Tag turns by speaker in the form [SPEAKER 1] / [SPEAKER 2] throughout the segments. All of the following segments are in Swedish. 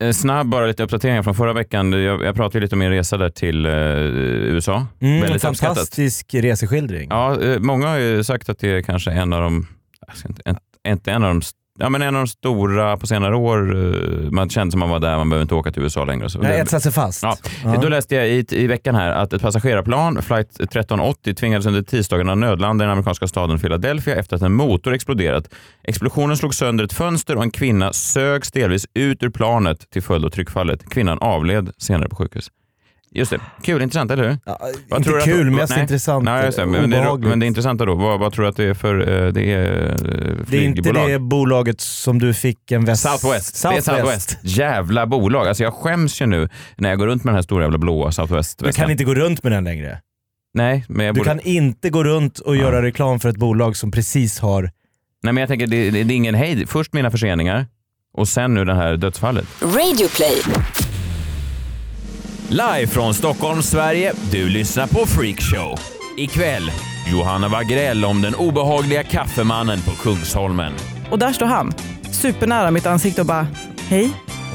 [SPEAKER 1] en Eh, snabb bara lite uppdatering från förra veckan. Jag, jag pratade ju lite om min resa där till eh, USA.
[SPEAKER 2] Mm, en
[SPEAKER 1] Väldigt uppskattat.
[SPEAKER 2] fantastisk reseskildring.
[SPEAKER 1] Ja, eh, många har ju sagt att det är kanske en av de, jag ska inte, en, inte en av de, st- ja, men en av de stora på senare år. eh, Man kände som man var där, man behöver inte åka till USA längre. och Så.
[SPEAKER 2] Den har etsat sig fast.
[SPEAKER 1] Ja. Då läste jag i, i veckan här att ett passagerarplan, flight 1380, tvingades under tisdagen att nödlanda i den amerikanska staden Philadelphia efter att en motor exploderat. Explosionen slog sönder ett fönster och en kvinna sögs delvis ut ur planet till följd av tryckfallet. Kvinnan avled senare på sjukhus. Just det. Kul, intressant, eller hur?
[SPEAKER 2] Ja,
[SPEAKER 1] Vad
[SPEAKER 2] inte
[SPEAKER 1] tror du att-
[SPEAKER 2] kul,
[SPEAKER 1] vad-
[SPEAKER 2] mest
[SPEAKER 1] nej.
[SPEAKER 2] intressant.
[SPEAKER 1] Nej, just det. Men, det är,
[SPEAKER 2] obehagligt.
[SPEAKER 1] men det är intressanta då, vad, vad tror du att det är för eh, det är, eh, flygbolag?
[SPEAKER 2] Det är inte det bolaget som du fick en väst...
[SPEAKER 1] Southwest. Det är Southwest. Jävla bolag. Alltså jag skäms ju nu när jag går runt med den här stora jävla blåa
[SPEAKER 2] Du
[SPEAKER 1] Southwest-väskan.
[SPEAKER 2] kan inte gå runt med den längre.
[SPEAKER 1] Nej, men jag
[SPEAKER 2] Du
[SPEAKER 1] borde...
[SPEAKER 2] kan inte gå runt och göra reklam för ett bolag som precis har...
[SPEAKER 1] Nej, men jag tänker det, det, det är ingen hejd. Först mina förseningar och sen nu det här dödsfallet.
[SPEAKER 3] Radioplay.
[SPEAKER 1] Live från Stockholm, Sverige. Du lyssnar på Freakshow. Ikväll, Johanna Wagrell om den obehagliga kaffemannen på Kungsholmen.
[SPEAKER 4] Och där står han, supernära mitt ansikte och bara Hej,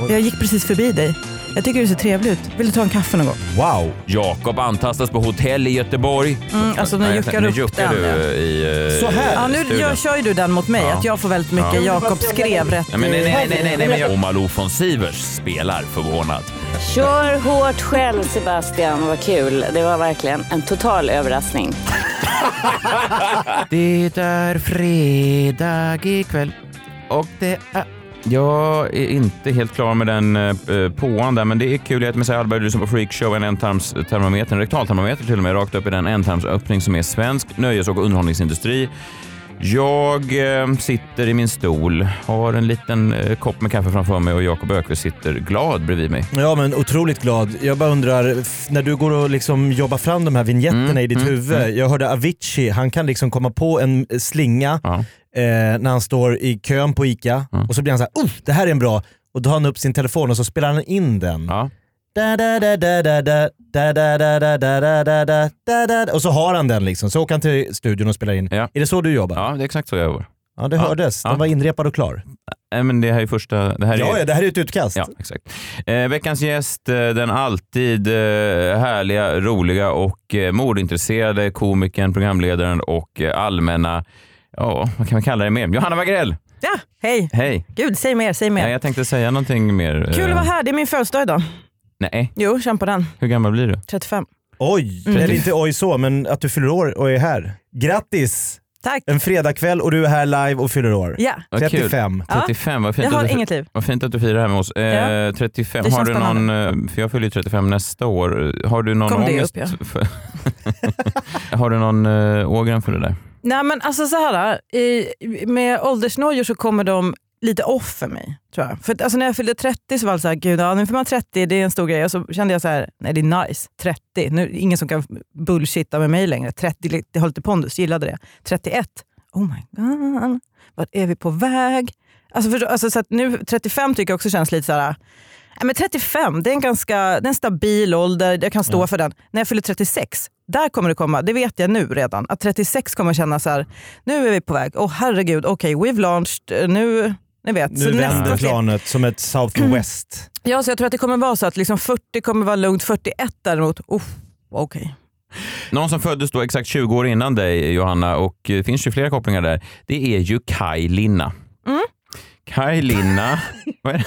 [SPEAKER 4] jag gick precis förbi dig. Jag tycker du ser trevlig ut. Vill du ta en kaffe någon gång?
[SPEAKER 2] Wow!
[SPEAKER 1] Jakob antastas på hotell i Göteborg.
[SPEAKER 4] Mm, alltså nu juckar
[SPEAKER 1] nu
[SPEAKER 4] upp
[SPEAKER 1] juckar
[SPEAKER 4] den.
[SPEAKER 1] du
[SPEAKER 4] ja.
[SPEAKER 1] i... eh,
[SPEAKER 2] Så här.
[SPEAKER 4] Ja, nu
[SPEAKER 1] studion.
[SPEAKER 4] gör, kör ju du den mot mig,
[SPEAKER 1] Ja.
[SPEAKER 4] att jag får väldigt mycket
[SPEAKER 1] Ja.
[SPEAKER 4] Jakob skrev rätt
[SPEAKER 1] Nej, men, nej, nej, nej, nej, nej, men
[SPEAKER 4] i...
[SPEAKER 1] jag... Och Malou von Sivers spelar förvånad.
[SPEAKER 3] Kör hårt själv Sebastian, vad kul. Det var verkligen en total överraskning.
[SPEAKER 1] Det är fredag ikväll och det är... Jag är inte helt klar med den eh, påan där, men det är kul. Jag heter Messiah Hallberg, du lyssnar på Freakshow, en ändtarmstermometer, en rektaltermometer till och med, rakt upp i den ändtarmsöppning som är svensk nöjes och underhållningsindustri. Jag eh, sitter i min stol, har en liten eh, kopp med kaffe framför mig och Jakob Ökvist sitter glad bredvid mig.
[SPEAKER 2] Ja men otroligt glad. Jag bara undrar, f- när du går och liksom jobbar fram de här vignetterna
[SPEAKER 1] Mm,
[SPEAKER 2] i ditt
[SPEAKER 1] mm,
[SPEAKER 2] huvud. Jag hörde Avicii, han kan liksom komma på en slinga
[SPEAKER 1] Ja.
[SPEAKER 2] eh, när han står i kön på ICA
[SPEAKER 1] Mm.
[SPEAKER 2] och så blir han så här, oh, det här är en bra. Och då har han upp sin telefon och så spelar han in den.
[SPEAKER 1] Ja.
[SPEAKER 2] Da, da, da, da, da, da, da, da, da, da, da, da, da, da, da, da. Och så har han den liksom, så åker han till studion och spelar in.
[SPEAKER 1] Ja.
[SPEAKER 2] Är det så du jobbar?
[SPEAKER 1] ja, det är exakt så jag gör.
[SPEAKER 2] Ja, det
[SPEAKER 1] Ja.
[SPEAKER 2] hördes. Den
[SPEAKER 1] Ja.
[SPEAKER 2] var inrepad och klar.
[SPEAKER 1] Nej, men det här är första... Det här är...
[SPEAKER 2] Ja, ja, det här är ett utkast.
[SPEAKER 1] Ja, exakt. Eh, veckans gäst, eh, den alltid eh, härliga, roliga och eh, mordintresserade komikern, programledaren och eh, allmänna, ja, vad kan man kalla det mer? Johanna Wagrell!
[SPEAKER 4] Ja, hej.
[SPEAKER 1] Hej!
[SPEAKER 4] Gud, säg mer, säg mer.
[SPEAKER 1] Nej, jag tänkte säga någonting mer. eh,
[SPEAKER 4] Kul att vara här, det är min födelsedag idag.
[SPEAKER 1] Nej,
[SPEAKER 4] Jo, känn på den.
[SPEAKER 1] hur gammal blir du?
[SPEAKER 4] 35.
[SPEAKER 2] Oj!
[SPEAKER 4] Mm.
[SPEAKER 2] Eller inte oj så, men att du fyller år och är här. Grattis!
[SPEAKER 4] Tack.
[SPEAKER 2] En fredagkväll och du är här live och fyller år.
[SPEAKER 4] Ja,
[SPEAKER 1] Vad kul.
[SPEAKER 2] 35.
[SPEAKER 4] Ja.
[SPEAKER 1] 35, vad fint,
[SPEAKER 4] jag har
[SPEAKER 1] att du,
[SPEAKER 4] inget liv.
[SPEAKER 1] vad fint att du firar här med oss. Eh, 35,
[SPEAKER 4] Det
[SPEAKER 1] har
[SPEAKER 4] känns
[SPEAKER 1] du någon, eh, för jag fyller ju 35 nästa år. Har du någon
[SPEAKER 4] Kom det
[SPEAKER 1] ångest?
[SPEAKER 4] upp,
[SPEAKER 1] för, har du någon eh, ågren för det där?
[SPEAKER 4] Nej men alltså så här, i, med åldersnojor så kommer de lite off för mig. Tror jag. För att, alltså, när jag fyllde 30 så var det så här, gud ja, nu får man 30, det är en stor grej. Och så kände jag så här, nej det är nice, 30. Nu, är det ingen som kan bullshitta med mig längre. 30, det har lite pondus, gillade det. 31, oh my god, vart är vi på väg? Alltså, förstå- alltså, så att nu 35 tycker jag också känns lite så här, nej, men 35 det är, en ganska, det är en stabil ålder, jag kan stå för den. När jag fyller 36, där kommer det komma, det vet jag nu redan, att 36 kommer känna så här, nu är vi på väg, åh oh, herregud, okej we've launched, eh, nu, ni vet.
[SPEAKER 2] Nu vänder
[SPEAKER 4] nästa steg-
[SPEAKER 2] planet som ett Southwest.
[SPEAKER 4] Ja, så jag tror att det kommer vara så att liksom 40 kommer vara lugnt, 41 däremot, oh, okej.
[SPEAKER 1] Någon som föddes då exakt 20 år innan dig, Johanna, och det finns ju flera kopplingar där. Det är ju Kaj Linna.
[SPEAKER 4] Mm.
[SPEAKER 1] Kaj Linna... Vad är det?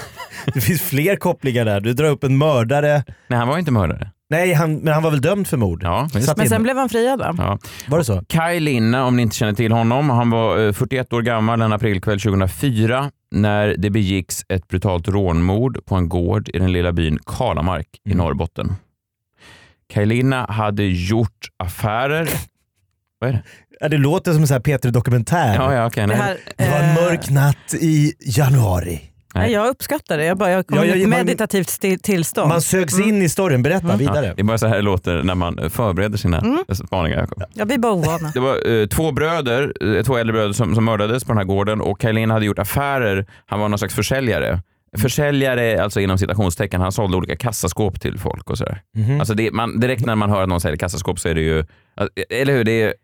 [SPEAKER 2] Det finns fler kopplingar där. Du drar upp en mördare.
[SPEAKER 1] Nej, han var inte mördare.
[SPEAKER 2] Nej, han, men han var väl dömd för mord?
[SPEAKER 1] Ja, visst.
[SPEAKER 2] Satt
[SPEAKER 4] Men sen
[SPEAKER 2] inne.
[SPEAKER 4] blev han friad va?
[SPEAKER 1] Ja.
[SPEAKER 2] Var det så?
[SPEAKER 1] Kaj Linna, om ni inte känner till honom, han var eh, 41 år gammal en aprilkväll 2004 när det begicks ett brutalt rånmord på en gård i den lilla byn Kalamark i
[SPEAKER 2] Mm.
[SPEAKER 1] Norrbotten. Kaj Linna hade gjort affärer... Vad är det?
[SPEAKER 2] Ja, det låter som en sån här Peter Dokumentär.
[SPEAKER 1] Ja, ja, okej.
[SPEAKER 4] Det,
[SPEAKER 1] nej.
[SPEAKER 4] här,
[SPEAKER 2] Det var en
[SPEAKER 4] eh,
[SPEAKER 2] mörk natt i januari.
[SPEAKER 4] Nej, jag uppskattar det. Jag, bara, jag kom
[SPEAKER 2] Ja,
[SPEAKER 4] i
[SPEAKER 2] ja,
[SPEAKER 4] ett
[SPEAKER 2] man-
[SPEAKER 4] meditativt sti- tillstånd. Mm.
[SPEAKER 2] Man sögs in i storyn. Berätta
[SPEAKER 1] Mm. Ja,
[SPEAKER 2] vidare.
[SPEAKER 1] det är bara så här det låter när man eh, förbereder sina spaningar. Jakob.
[SPEAKER 4] Jag blir bara ovana.
[SPEAKER 1] Det var eh, två bröder, eh, två äldre bröder som, som mördades på den här gården och Kailin hade gjort affärer. Han var någon slags försäljare. Försäljare, alltså inom citationstecken, han sålde olika kassaskåp till folk och sådär.
[SPEAKER 2] Mhm.
[SPEAKER 1] Alltså det, man, direkt när man hör att någon säljer kassaskåp så är det ju, eh, eller hur? Det är,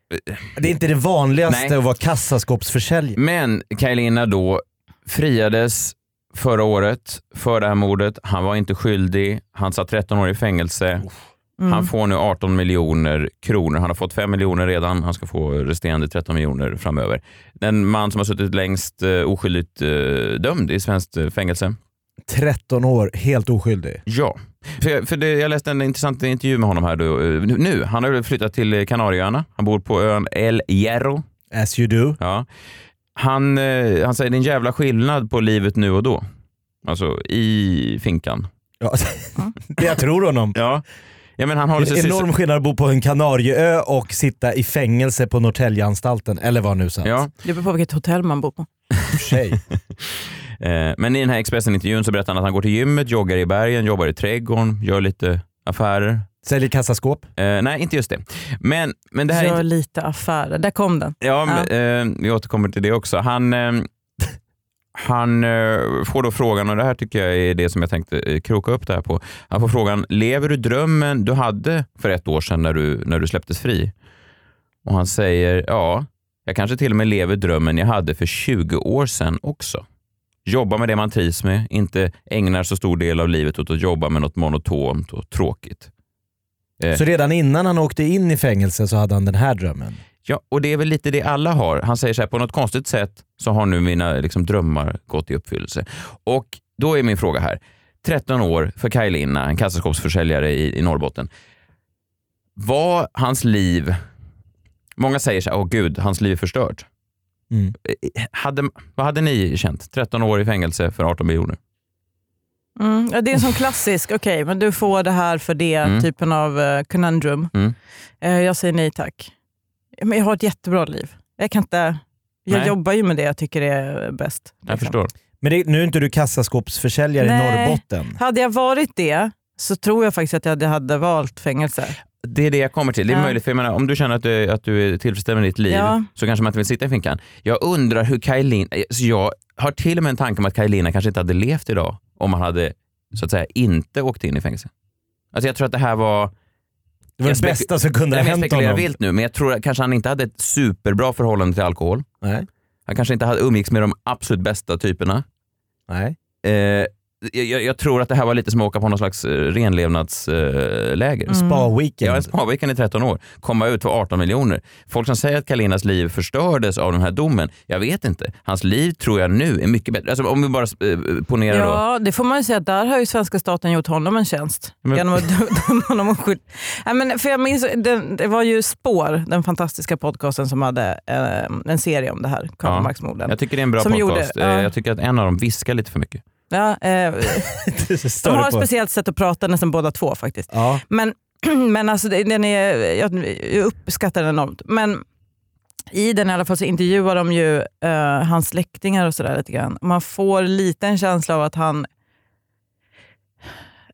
[SPEAKER 2] Det är inte det vanligaste
[SPEAKER 1] Nej.
[SPEAKER 2] att vara kassaskåpsförsäljare.
[SPEAKER 1] men Kailina då friades förra året för det här mordet. Han var inte skyldig. Han satt 13 år i fängelse.
[SPEAKER 4] Mm.
[SPEAKER 1] Han får nu 18 miljoner kronor. Han har fått 5 miljoner redan. Han ska få resterande 13 miljoner framöver. Den man som har suttit längst eh, oskyldigt eh, dömd i svenskt eh, fängelse.
[SPEAKER 2] 13 år, helt oskyldig.
[SPEAKER 1] Ja. För jag, för det, jag läste en intressant intervju med honom här då, eh, nu- nu. Han har ju flyttat till eh, Kanarieöarna. Han bor på ön El Hierro.
[SPEAKER 2] As you do.
[SPEAKER 1] Ja. Han, eh, han säger det är en jävla skillnad på livet nu och då. Alltså i finkan.
[SPEAKER 2] Ja. det jag tror honom.
[SPEAKER 1] Ja. Ja, men han har
[SPEAKER 2] Det är en enorm skillnad att bo på en Kanarieö och sitta i fängelse på Norrtäljeanstalten, eller var nu satt.
[SPEAKER 1] Ja.
[SPEAKER 4] Det beror på vilket hotell man bor på.
[SPEAKER 2] För sig.
[SPEAKER 1] Eh, Men i den här Expressen-intervjun så berättar han att han går till gymmet, joggar i bergen, jobbar i trädgården, gör lite affärer.
[SPEAKER 2] Säljer kassaskåp.
[SPEAKER 1] Eh, nej, inte just det. Men, men det här är
[SPEAKER 4] Gör
[SPEAKER 1] inte...
[SPEAKER 4] lite affärer. Där kom den.
[SPEAKER 1] Ja, men, Eh, vi återkommer till det också. Han, eh, han eh, får då frågan, och det här tycker jag är det som jag tänkte eh, kroka upp det här på. Han får frågan, lever du drömmen du hade för ett år sedan när du, när du släpptes fri? Och han säger, ja, jag kanske till och med lever drömmen jag hade för 20 år sedan också. Jobba med det man trivs med, inte ägnar så stor del av livet åt att jobba med något monotont och tråkigt. Eh.
[SPEAKER 2] Så redan innan han åkte in i fängelse så hade han den här drömmen.
[SPEAKER 1] Ja, och det är väl lite det alla har. Han säger så här, på något konstigt sätt så har nu mina liksom, drömmar gått i uppfyllelse. Och då är min fråga här. 13 år för Kaj Linna, en kassaskåpsförsäljare i, i Norrbotten. Var hans liv... Många säger så här, åh gud, hans liv är förstört.
[SPEAKER 2] Mm.
[SPEAKER 1] Eh, Hade, vad hade ni känt? 13 år i fängelse för 18 miljoner.
[SPEAKER 4] Mm. Ja, det är en sån klassisk, okej men du får det här för det,
[SPEAKER 1] Mm.
[SPEAKER 4] typen av eh, conundrum.
[SPEAKER 1] Mm.
[SPEAKER 4] Eh, jag säger nej tack. Men jag har ett jättebra liv. Jag kan inte... Jag
[SPEAKER 1] Nej.
[SPEAKER 4] jobbar ju med det jag tycker är bäst.
[SPEAKER 1] Jag
[SPEAKER 4] liksom.
[SPEAKER 1] förstår.
[SPEAKER 2] Men det, nu är inte du kassaskåpsförsäljare i
[SPEAKER 4] Nej.
[SPEAKER 2] Norrbotten.
[SPEAKER 4] Hade jag varit det så tror jag faktiskt att jag hade- hade valt fängelse.
[SPEAKER 1] Det är det jag kommer till. Det är
[SPEAKER 4] Ja.
[SPEAKER 1] möjligt, för jag menar, om du känner att du, att du är tillfredsställd med ditt liv
[SPEAKER 4] Ja.
[SPEAKER 1] så kanske man inte vill sitta i finkan. Jag undrar hur Kaj Lina, så jag har till och med en tanke om att Kaj Lina kanske inte hade levt idag om han hade så att säga inte åkt in i fängelse. Alltså jag tror att det här var,
[SPEAKER 2] Det var
[SPEAKER 1] Jag
[SPEAKER 2] det
[SPEAKER 1] spek-
[SPEAKER 2] bästa som kunde
[SPEAKER 1] Nej,
[SPEAKER 2] ha
[SPEAKER 1] men jag
[SPEAKER 2] hänt
[SPEAKER 1] spekulerar
[SPEAKER 2] honom.
[SPEAKER 1] vilt nu, men jag tror att kanske han inte hade ett superbra förhållande till alkohol.
[SPEAKER 2] Nej.
[SPEAKER 1] Han kanske inte hade umgicks med de absolut bästa typerna.
[SPEAKER 2] Nej.
[SPEAKER 1] Eh, jag, jag- jag tror att det här var lite som att åka på någon slags eh, renlevnadsläger. Eh,
[SPEAKER 4] Mm.
[SPEAKER 1] läger. Jag
[SPEAKER 2] Spa-weekend.
[SPEAKER 1] har en sparveckan i 13 år, komma ut för 18 miljoner. Folk som säger att Kalinas liv förstördes av den här domen, jag vet inte. Hans liv tror jag nu är mycket bättre. Alltså, om vi bara eh, ponerar då.
[SPEAKER 4] Ja, det får man ju säga. att Där har ju svenska staten gjort honom en tjänst.
[SPEAKER 1] Men-
[SPEAKER 4] Genom att döma honom och skydd. Nej, men för jag minns, det, det var ju Spår, den fantastiska podcasten som hade eh, en serie om det här, Karl
[SPEAKER 1] Ja.
[SPEAKER 4] Marx-morden.
[SPEAKER 1] Jag tycker det är en bra
[SPEAKER 4] Som
[SPEAKER 1] podcast.
[SPEAKER 4] gjorde,
[SPEAKER 1] Eh,
[SPEAKER 4] ja.
[SPEAKER 1] Jag tycker att en av dem viskar lite för mycket.
[SPEAKER 4] Ja, eh, de
[SPEAKER 2] Stör
[SPEAKER 4] har
[SPEAKER 2] du
[SPEAKER 4] ett
[SPEAKER 2] på.
[SPEAKER 4] speciellt sätt att prata, nästan båda två faktiskt.
[SPEAKER 2] Ja.
[SPEAKER 4] Men, men alltså, det- den är, jag, jag uppskattar den enormt. Men i den i alla fall så intervjuar de ju eh, hans släktingar och sådär lite grann. Man får lite en känsla av att han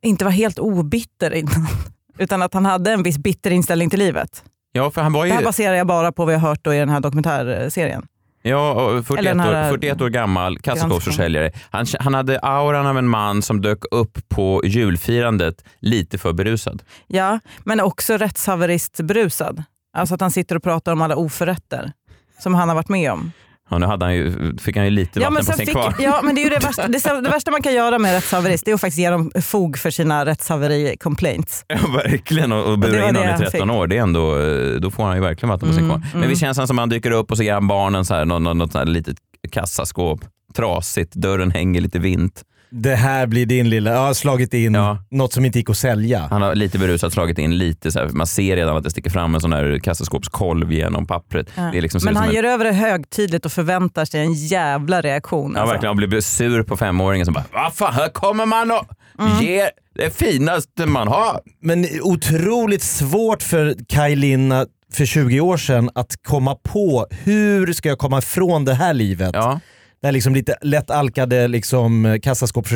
[SPEAKER 4] inte var helt obitter innan. Utan att han hade en viss bitter inställning till livet.
[SPEAKER 1] Ja, för han var ju
[SPEAKER 4] Det här baserar jag bara på vad jag hört då i den här dokumentärserien.
[SPEAKER 1] ja, och 41,
[SPEAKER 4] Eller den här-
[SPEAKER 1] år, 41 år gammal kassaskåpsförsäljare. Han, han hade auran av en man som dök upp på julfirandet lite för berusad.
[SPEAKER 4] Ja, men också rättshaveristberusad. Alltså att han sitter och pratar om alla oförrätter som han har varit med om.
[SPEAKER 1] Ja, nu hade han ju, fick han ju lite vatten på
[SPEAKER 4] sen
[SPEAKER 1] sin kvar.
[SPEAKER 4] ja, men det är ju det värsta, det, är det värsta man kan göra med rättshaverist, det är att faktiskt ge dem fog för sina rättshaveri-complaints.
[SPEAKER 1] Ja, verkligen. Och, och
[SPEAKER 4] det
[SPEAKER 1] bura
[SPEAKER 4] var
[SPEAKER 1] in
[SPEAKER 4] det
[SPEAKER 1] honom i
[SPEAKER 4] han
[SPEAKER 1] 13 år, det är ändå, eh, då får han ju verkligen vatten på sin
[SPEAKER 4] Mm,
[SPEAKER 1] kvarn. Men visst känns han som att han dyker upp och så ger han barnen så här, något, något så här litet kassaskåp. Trasigt, dörren hänger lite vint.
[SPEAKER 2] Det här blir din lilla... Jag har slagit in
[SPEAKER 1] Ja.
[SPEAKER 2] något som inte gick att sälja.
[SPEAKER 1] Han har lite berusat slagit in lite, så här, man ser redan att det sticker fram en sån här kassaskåpskolv genom pappret. Det är liksom, ser
[SPEAKER 4] men
[SPEAKER 1] ut som
[SPEAKER 4] han
[SPEAKER 1] en,
[SPEAKER 4] ger över det högtidligt och förväntar sig en jävla reaktion.
[SPEAKER 1] ja,
[SPEAKER 4] alltså.
[SPEAKER 1] verkligen, han blir sur på femåringen som bara, vad fan, här kommer man och
[SPEAKER 4] Mm.
[SPEAKER 1] ger det finaste man har.
[SPEAKER 2] Men otroligt svårt för Kaj Linna för 20 år sedan att komma på hur ska jag komma ifrån det här livet?
[SPEAKER 1] Ja.
[SPEAKER 2] Det här liksom lite lätt alkade liksom,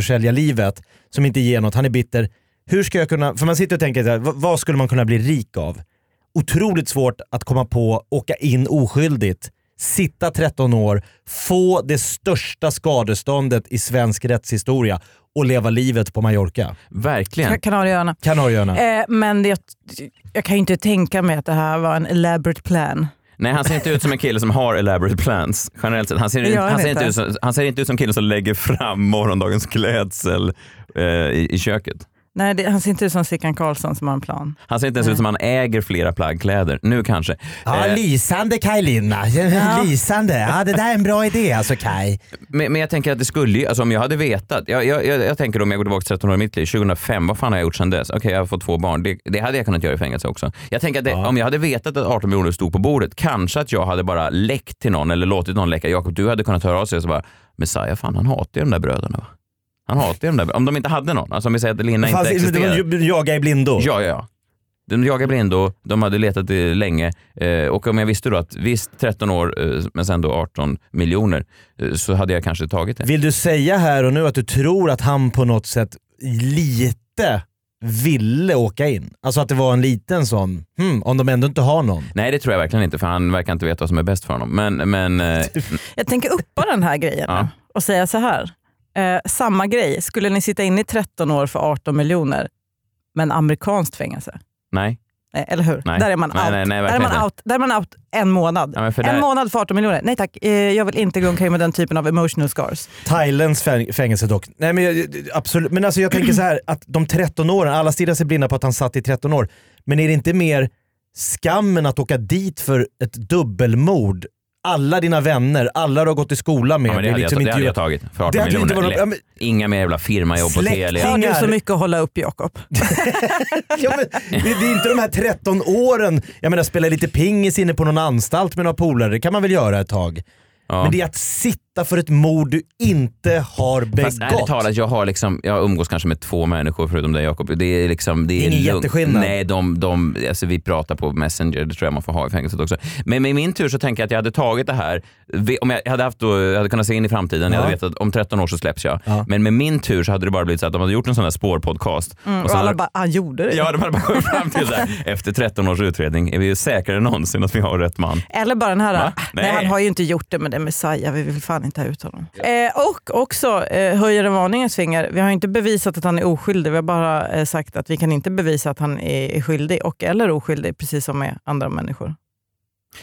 [SPEAKER 2] kassaskåpsförsäljarlivet som inte ger något. Han är bitter. Hur ska jag kunna... För man sitter och tänker, så här, vad vad skulle man kunna bli rik av? Otroligt svårt att komma på, åka in oskyldigt, sitta 13 år, få det största skadeståndet i svensk rättshistoria och leva livet på Mallorca.
[SPEAKER 1] Verkligen.
[SPEAKER 4] Kanarieöarna.
[SPEAKER 2] Kanarieöarna.
[SPEAKER 4] Eh, men det, jag kan ju inte tänka mig att det här var en elaborate plan.
[SPEAKER 1] Nej, han ser inte ut som en kille som har elaborate plans. Generellt sett. Han ser,
[SPEAKER 4] Det
[SPEAKER 1] inte,
[SPEAKER 4] gör han
[SPEAKER 1] han, ser inte
[SPEAKER 4] inte.
[SPEAKER 1] ut som, han ser inte ut som killen som lägger fram morgondagens klädsel eh, i, i köket.
[SPEAKER 4] Nej, det, han ser inte ut som Sickan Karlsson som har en plan.
[SPEAKER 1] Han ser inte ens ut som han äger flera plagg kläder. Nu kanske.
[SPEAKER 2] Ja,
[SPEAKER 1] Eh,
[SPEAKER 2] lysande Kaj Linna. lysande. Ja, det där är en bra idé alltså Kaj.
[SPEAKER 1] Men, men jag tänker att det skulle ju, alltså om jag hade vetat. Jag, jag, jag, jag tänker om jag går tillbaka 13 år i mitt liv, 2005, vad fan har jag gjort sedan dess? Okej, jag har fått två barn. Det, det hade jag kunnat göra i fängelse också. Jag tänker att det, om jag hade vetat att 18 miljoner stod på bordet, kanske att jag hade bara läckt till någon eller låtit någon läcka. Jakob, du hade kunnat höra av sig och så bara, Messiah, fan han hatar ju de där bröderna va? Han hatar ju de där, om de inte hade någon. Alltså om vi säger att Linda inte
[SPEAKER 2] Fanns-
[SPEAKER 1] existerade.
[SPEAKER 2] de- de jagar i blindo.
[SPEAKER 1] Ja, ja, ja. De jagade blindo, de hade letat eh, länge eh, och om jag visste då att visst 13 år eh, men sen då 18 miljoner eh, så hade jag kanske tagit det.
[SPEAKER 2] Vill du säga här och nu att du tror att han på något sätt lite ville åka in? Alltså att det var en liten sån, hmm, om de ändå inte har någon.
[SPEAKER 1] Nej det tror jag verkligen inte för han verkar inte veta vad som är bäst för honom. Men, men eh,
[SPEAKER 4] Jag tänker uppa den här grejen
[SPEAKER 1] Ja.
[SPEAKER 4] nu och säga så här. Eh, samma grej, skulle ni sitta inne i 13 år för 18 miljoner, men amerikanskt fängelse?
[SPEAKER 1] nej.
[SPEAKER 4] Nej, eller hur?
[SPEAKER 1] Nej.
[SPEAKER 4] Där är man
[SPEAKER 1] Nej,
[SPEAKER 4] out.
[SPEAKER 1] nej, nej,
[SPEAKER 4] där, är
[SPEAKER 1] verkligen
[SPEAKER 4] man
[SPEAKER 1] inte.
[SPEAKER 4] out där är man out en månad.
[SPEAKER 1] Ja, men för
[SPEAKER 4] En
[SPEAKER 1] där-
[SPEAKER 4] månad för 18 miljoner. Nej tack, eh, jag vill inte gå omkring med den typen av emotional scars.
[SPEAKER 2] Thailands fäng- fängelse dock. Nej men jag, absolut, men alltså jag tänker så här att de 13 åren, alla stirrar sig blinda på att han satt i 13 år. Men är det inte mer skammen att åka dit för ett dubbelmord? Alla dina vänner, alla du har gått i skola med.
[SPEAKER 1] Ja, men det,
[SPEAKER 2] är liksom
[SPEAKER 1] hade jag, det hade
[SPEAKER 2] ju-
[SPEAKER 1] jag tagit för 18
[SPEAKER 2] Det hade ju inte
[SPEAKER 1] miljoner.
[SPEAKER 2] varit- ja,
[SPEAKER 1] Lätt. Inga mer jävla firmajobb på
[SPEAKER 2] Släkting.
[SPEAKER 1] Telia.
[SPEAKER 4] Har du
[SPEAKER 2] Pengar.
[SPEAKER 4] så mycket att hålla upp Jakob?
[SPEAKER 2] Ja, men det, det är inte de här 13 åren. Jag menar spela lite pingis inne på någon anstalt med några polare, det kan man väl göra ett tag.
[SPEAKER 1] Ja.
[SPEAKER 2] Men det är att sitta för ett mord du inte har
[SPEAKER 1] Fast ärligt
[SPEAKER 2] begått.
[SPEAKER 1] talat, jag, har liksom, jag umgås kanske med två människor förutom dig Jakob. Det är liksom... Det är
[SPEAKER 2] Ingen
[SPEAKER 1] lugnt.
[SPEAKER 2] jätteskillnad.
[SPEAKER 1] Nej, de, de, alltså, vi pratar på Messenger, det tror jag man får ha i fängelset också. Men med min tur så tänker jag att jag hade tagit det här, vi- om jag hade, haft då, jag hade kunnat se in i framtiden, jag hade
[SPEAKER 2] Ja.
[SPEAKER 1] vetat om 13 år så släpps jag.
[SPEAKER 2] Ja.
[SPEAKER 1] Men med min tur så hade det bara blivit så att de hade gjort en sån där spårpodcast.
[SPEAKER 4] Och
[SPEAKER 2] Mm,
[SPEAKER 1] sen
[SPEAKER 4] alla
[SPEAKER 1] hade-
[SPEAKER 4] bara, han gjorde det.
[SPEAKER 1] Ja, de hade bara kommit fram till det här. Efter 13 års utredning är vi ju säkrare än någonsin att vi har rätt man.
[SPEAKER 4] Eller bara den här,
[SPEAKER 1] Va?
[SPEAKER 4] ah, nej.
[SPEAKER 1] Nej.
[SPEAKER 4] han har ju inte gjort det men det är Messiah, vi vill fan inte ha ut honom. Eh, och också eh, höjer en varningens finger. Vi har inte bevisat att han är oskyldig, vi har bara eh, sagt att vi kan inte bevisa att han är är skyldig och eller oskyldig, precis som med andra människor.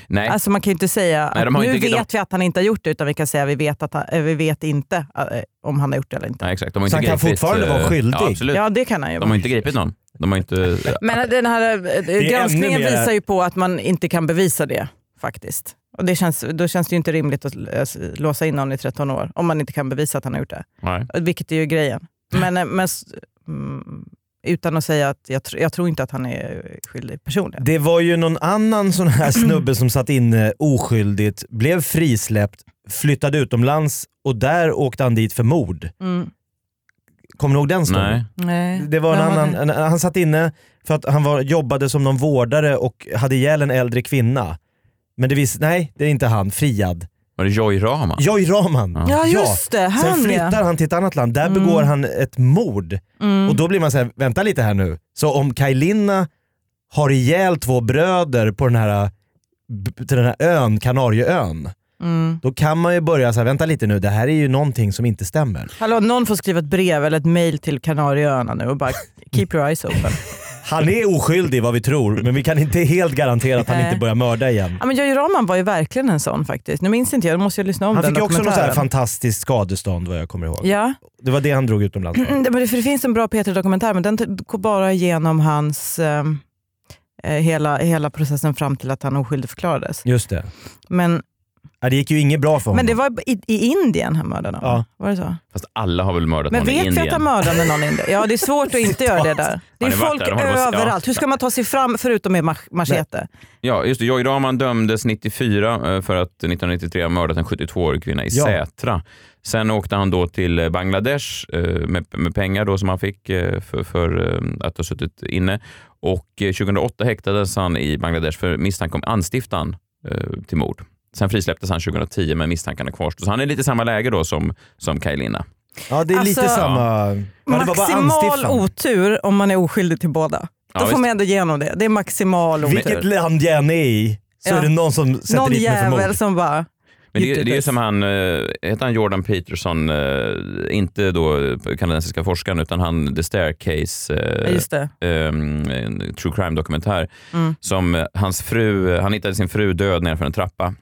[SPEAKER 1] Nej,
[SPEAKER 4] Alltså man kan ju inte säga
[SPEAKER 1] Nej,
[SPEAKER 4] att
[SPEAKER 1] de har
[SPEAKER 4] nu
[SPEAKER 1] inte- de-
[SPEAKER 4] vet vi att han inte har gjort det, utan vi kan säga att vi vet, att han, eh, vi vet inte eh, om han har gjort det eller inte.
[SPEAKER 1] nej exakt. De har
[SPEAKER 2] Så
[SPEAKER 1] inte
[SPEAKER 2] han kan
[SPEAKER 1] gripit,
[SPEAKER 2] fortfarande
[SPEAKER 1] eh,
[SPEAKER 2] vara skyldig?
[SPEAKER 1] Ja, absolut.
[SPEAKER 4] Ja det kan han ju
[SPEAKER 1] De har
[SPEAKER 4] vara.
[SPEAKER 1] inte gripit någon. De har inte...
[SPEAKER 4] Men den här eh,
[SPEAKER 2] ännu
[SPEAKER 4] granskningen
[SPEAKER 2] mer-
[SPEAKER 4] visar ju på att man inte kan bevisa det faktiskt. Och det känns, då känns det ju inte rimligt att eh, låsa in någon i 13 år om man inte kan bevisa att han har gjort det.
[SPEAKER 1] Nej.
[SPEAKER 4] Vilket är ju grejen. Men, eh, men s- mm, utan att säga att jag, tr- jag tror inte att han är skyldig personligen.
[SPEAKER 2] Det var ju någon annan sån här snubbe som satt inne oskyldigt, blev frisläppt, flyttade utomlands och där åkte han dit för mord.
[SPEAKER 4] Mm.
[SPEAKER 2] Kommer du ihåg den storyn?
[SPEAKER 1] Nej.
[SPEAKER 4] Nej.
[SPEAKER 2] Det var en
[SPEAKER 4] Nej,
[SPEAKER 2] annan,
[SPEAKER 4] men-
[SPEAKER 2] en, han satt inne för att han var, jobbade som någon vårdare och hade ihjäl en äldre kvinna. Men det visste, nej det är inte han, friad.
[SPEAKER 1] Var det Joy Rama?
[SPEAKER 2] Joy Rahman.
[SPEAKER 1] Ja.
[SPEAKER 4] Ja just det,
[SPEAKER 2] Sen
[SPEAKER 4] han
[SPEAKER 2] flyttar
[SPEAKER 4] ja. Mm.
[SPEAKER 2] han till ett annat land, där begår han ett mord. Och då blir man såhär, vänta lite här nu. Så om Kajlinna har ihjäl två bröder på den här, b- till den här ön, Kanarieön.
[SPEAKER 4] Mm.
[SPEAKER 2] Då kan man ju börja såhär, vänta lite nu, det här är ju någonting som inte stämmer.
[SPEAKER 4] Hallå, någon får skriva ett brev eller ett mail till Kanarieöarna nu och bara keep your eyes open.
[SPEAKER 2] Han är oskyldig vad vi tror, men vi kan inte helt garantera att han inte
[SPEAKER 4] Nej.
[SPEAKER 2] börjar mörda igen.
[SPEAKER 4] Ja, men Jojje Raman var ju verkligen en sån faktiskt. Nu minns inte jag, då måste jag lyssna om
[SPEAKER 2] Han
[SPEAKER 4] den
[SPEAKER 2] fick ju också något så här
[SPEAKER 4] dokumentären.
[SPEAKER 2] fantastiskt skadestånd vad jag kommer ihåg.
[SPEAKER 4] Ja,
[SPEAKER 2] Det var det han drog utomlands för.
[SPEAKER 4] Mm, det- men det, för det finns en bra P3-dokumentär, men den t- går bara igenom hans, ehm, eh, hela, hela processen fram till att han oskyldigförklarades.
[SPEAKER 2] Just det.
[SPEAKER 4] Men,
[SPEAKER 2] Ja, det gick ju inget bra för honom.
[SPEAKER 4] men det var i, i Indien han mördade någon.
[SPEAKER 2] Ja.
[SPEAKER 4] Var det så?
[SPEAKER 1] Fast alla har väl mördat
[SPEAKER 4] Men
[SPEAKER 1] någon i
[SPEAKER 4] vet vi
[SPEAKER 1] Indien?
[SPEAKER 4] att han mördade någon i Indien? Ja, det är svårt att inte göra det där. Det
[SPEAKER 1] Har
[SPEAKER 4] är
[SPEAKER 1] ni varit
[SPEAKER 4] folk
[SPEAKER 1] där? Har ni varit- ja.
[SPEAKER 4] överallt. Hur ska man ta sig fram förutom med mach- machete?
[SPEAKER 1] Ja, just det. Joy Rahman dömdes 94 eh, för att 1993 ha mördat en 72-årig kvinna i
[SPEAKER 2] Ja.
[SPEAKER 1] Sätra. Sen åkte han då till eh, Bangladesh eh, med, med pengar då som han fick eh, för, för eh, att ha suttit inne. Och eh, 2008 häktades han i Bangladesh för misstanke om anstiftan eh, till mord. Sen frisläpptes han 2010 men misstankarna kvarstod. Så han är lite i samma läge då som, som Kaj Linna.
[SPEAKER 2] Ja, det är lite
[SPEAKER 4] Alltså-
[SPEAKER 2] samma... Ja, det var bara
[SPEAKER 4] Maximal
[SPEAKER 2] anstiftan.
[SPEAKER 4] otur om man är oskyldig till båda.
[SPEAKER 1] Ja,
[SPEAKER 4] Då får
[SPEAKER 1] visst.
[SPEAKER 4] man ändå igenom det. Det är maximal otur.
[SPEAKER 2] Vilket land jag än är i så
[SPEAKER 4] Ja.
[SPEAKER 2] är det någon som sätter
[SPEAKER 4] Någon
[SPEAKER 2] dit mig för mord. Eh,
[SPEAKER 4] jävel som bara,
[SPEAKER 1] Men det, är- det är ju
[SPEAKER 4] Utdödes.
[SPEAKER 1] som han, eh, heter han Jordan Peterson, eh, inte då kanadensiska forskaren utan han The Staircase,
[SPEAKER 4] Ja,
[SPEAKER 1] eh,
[SPEAKER 4] just det.
[SPEAKER 1] ehm, en true crime-dokumentär,
[SPEAKER 4] Mm.
[SPEAKER 1] som eh, hans fru, han hittade sin fru död nedanför en trappa.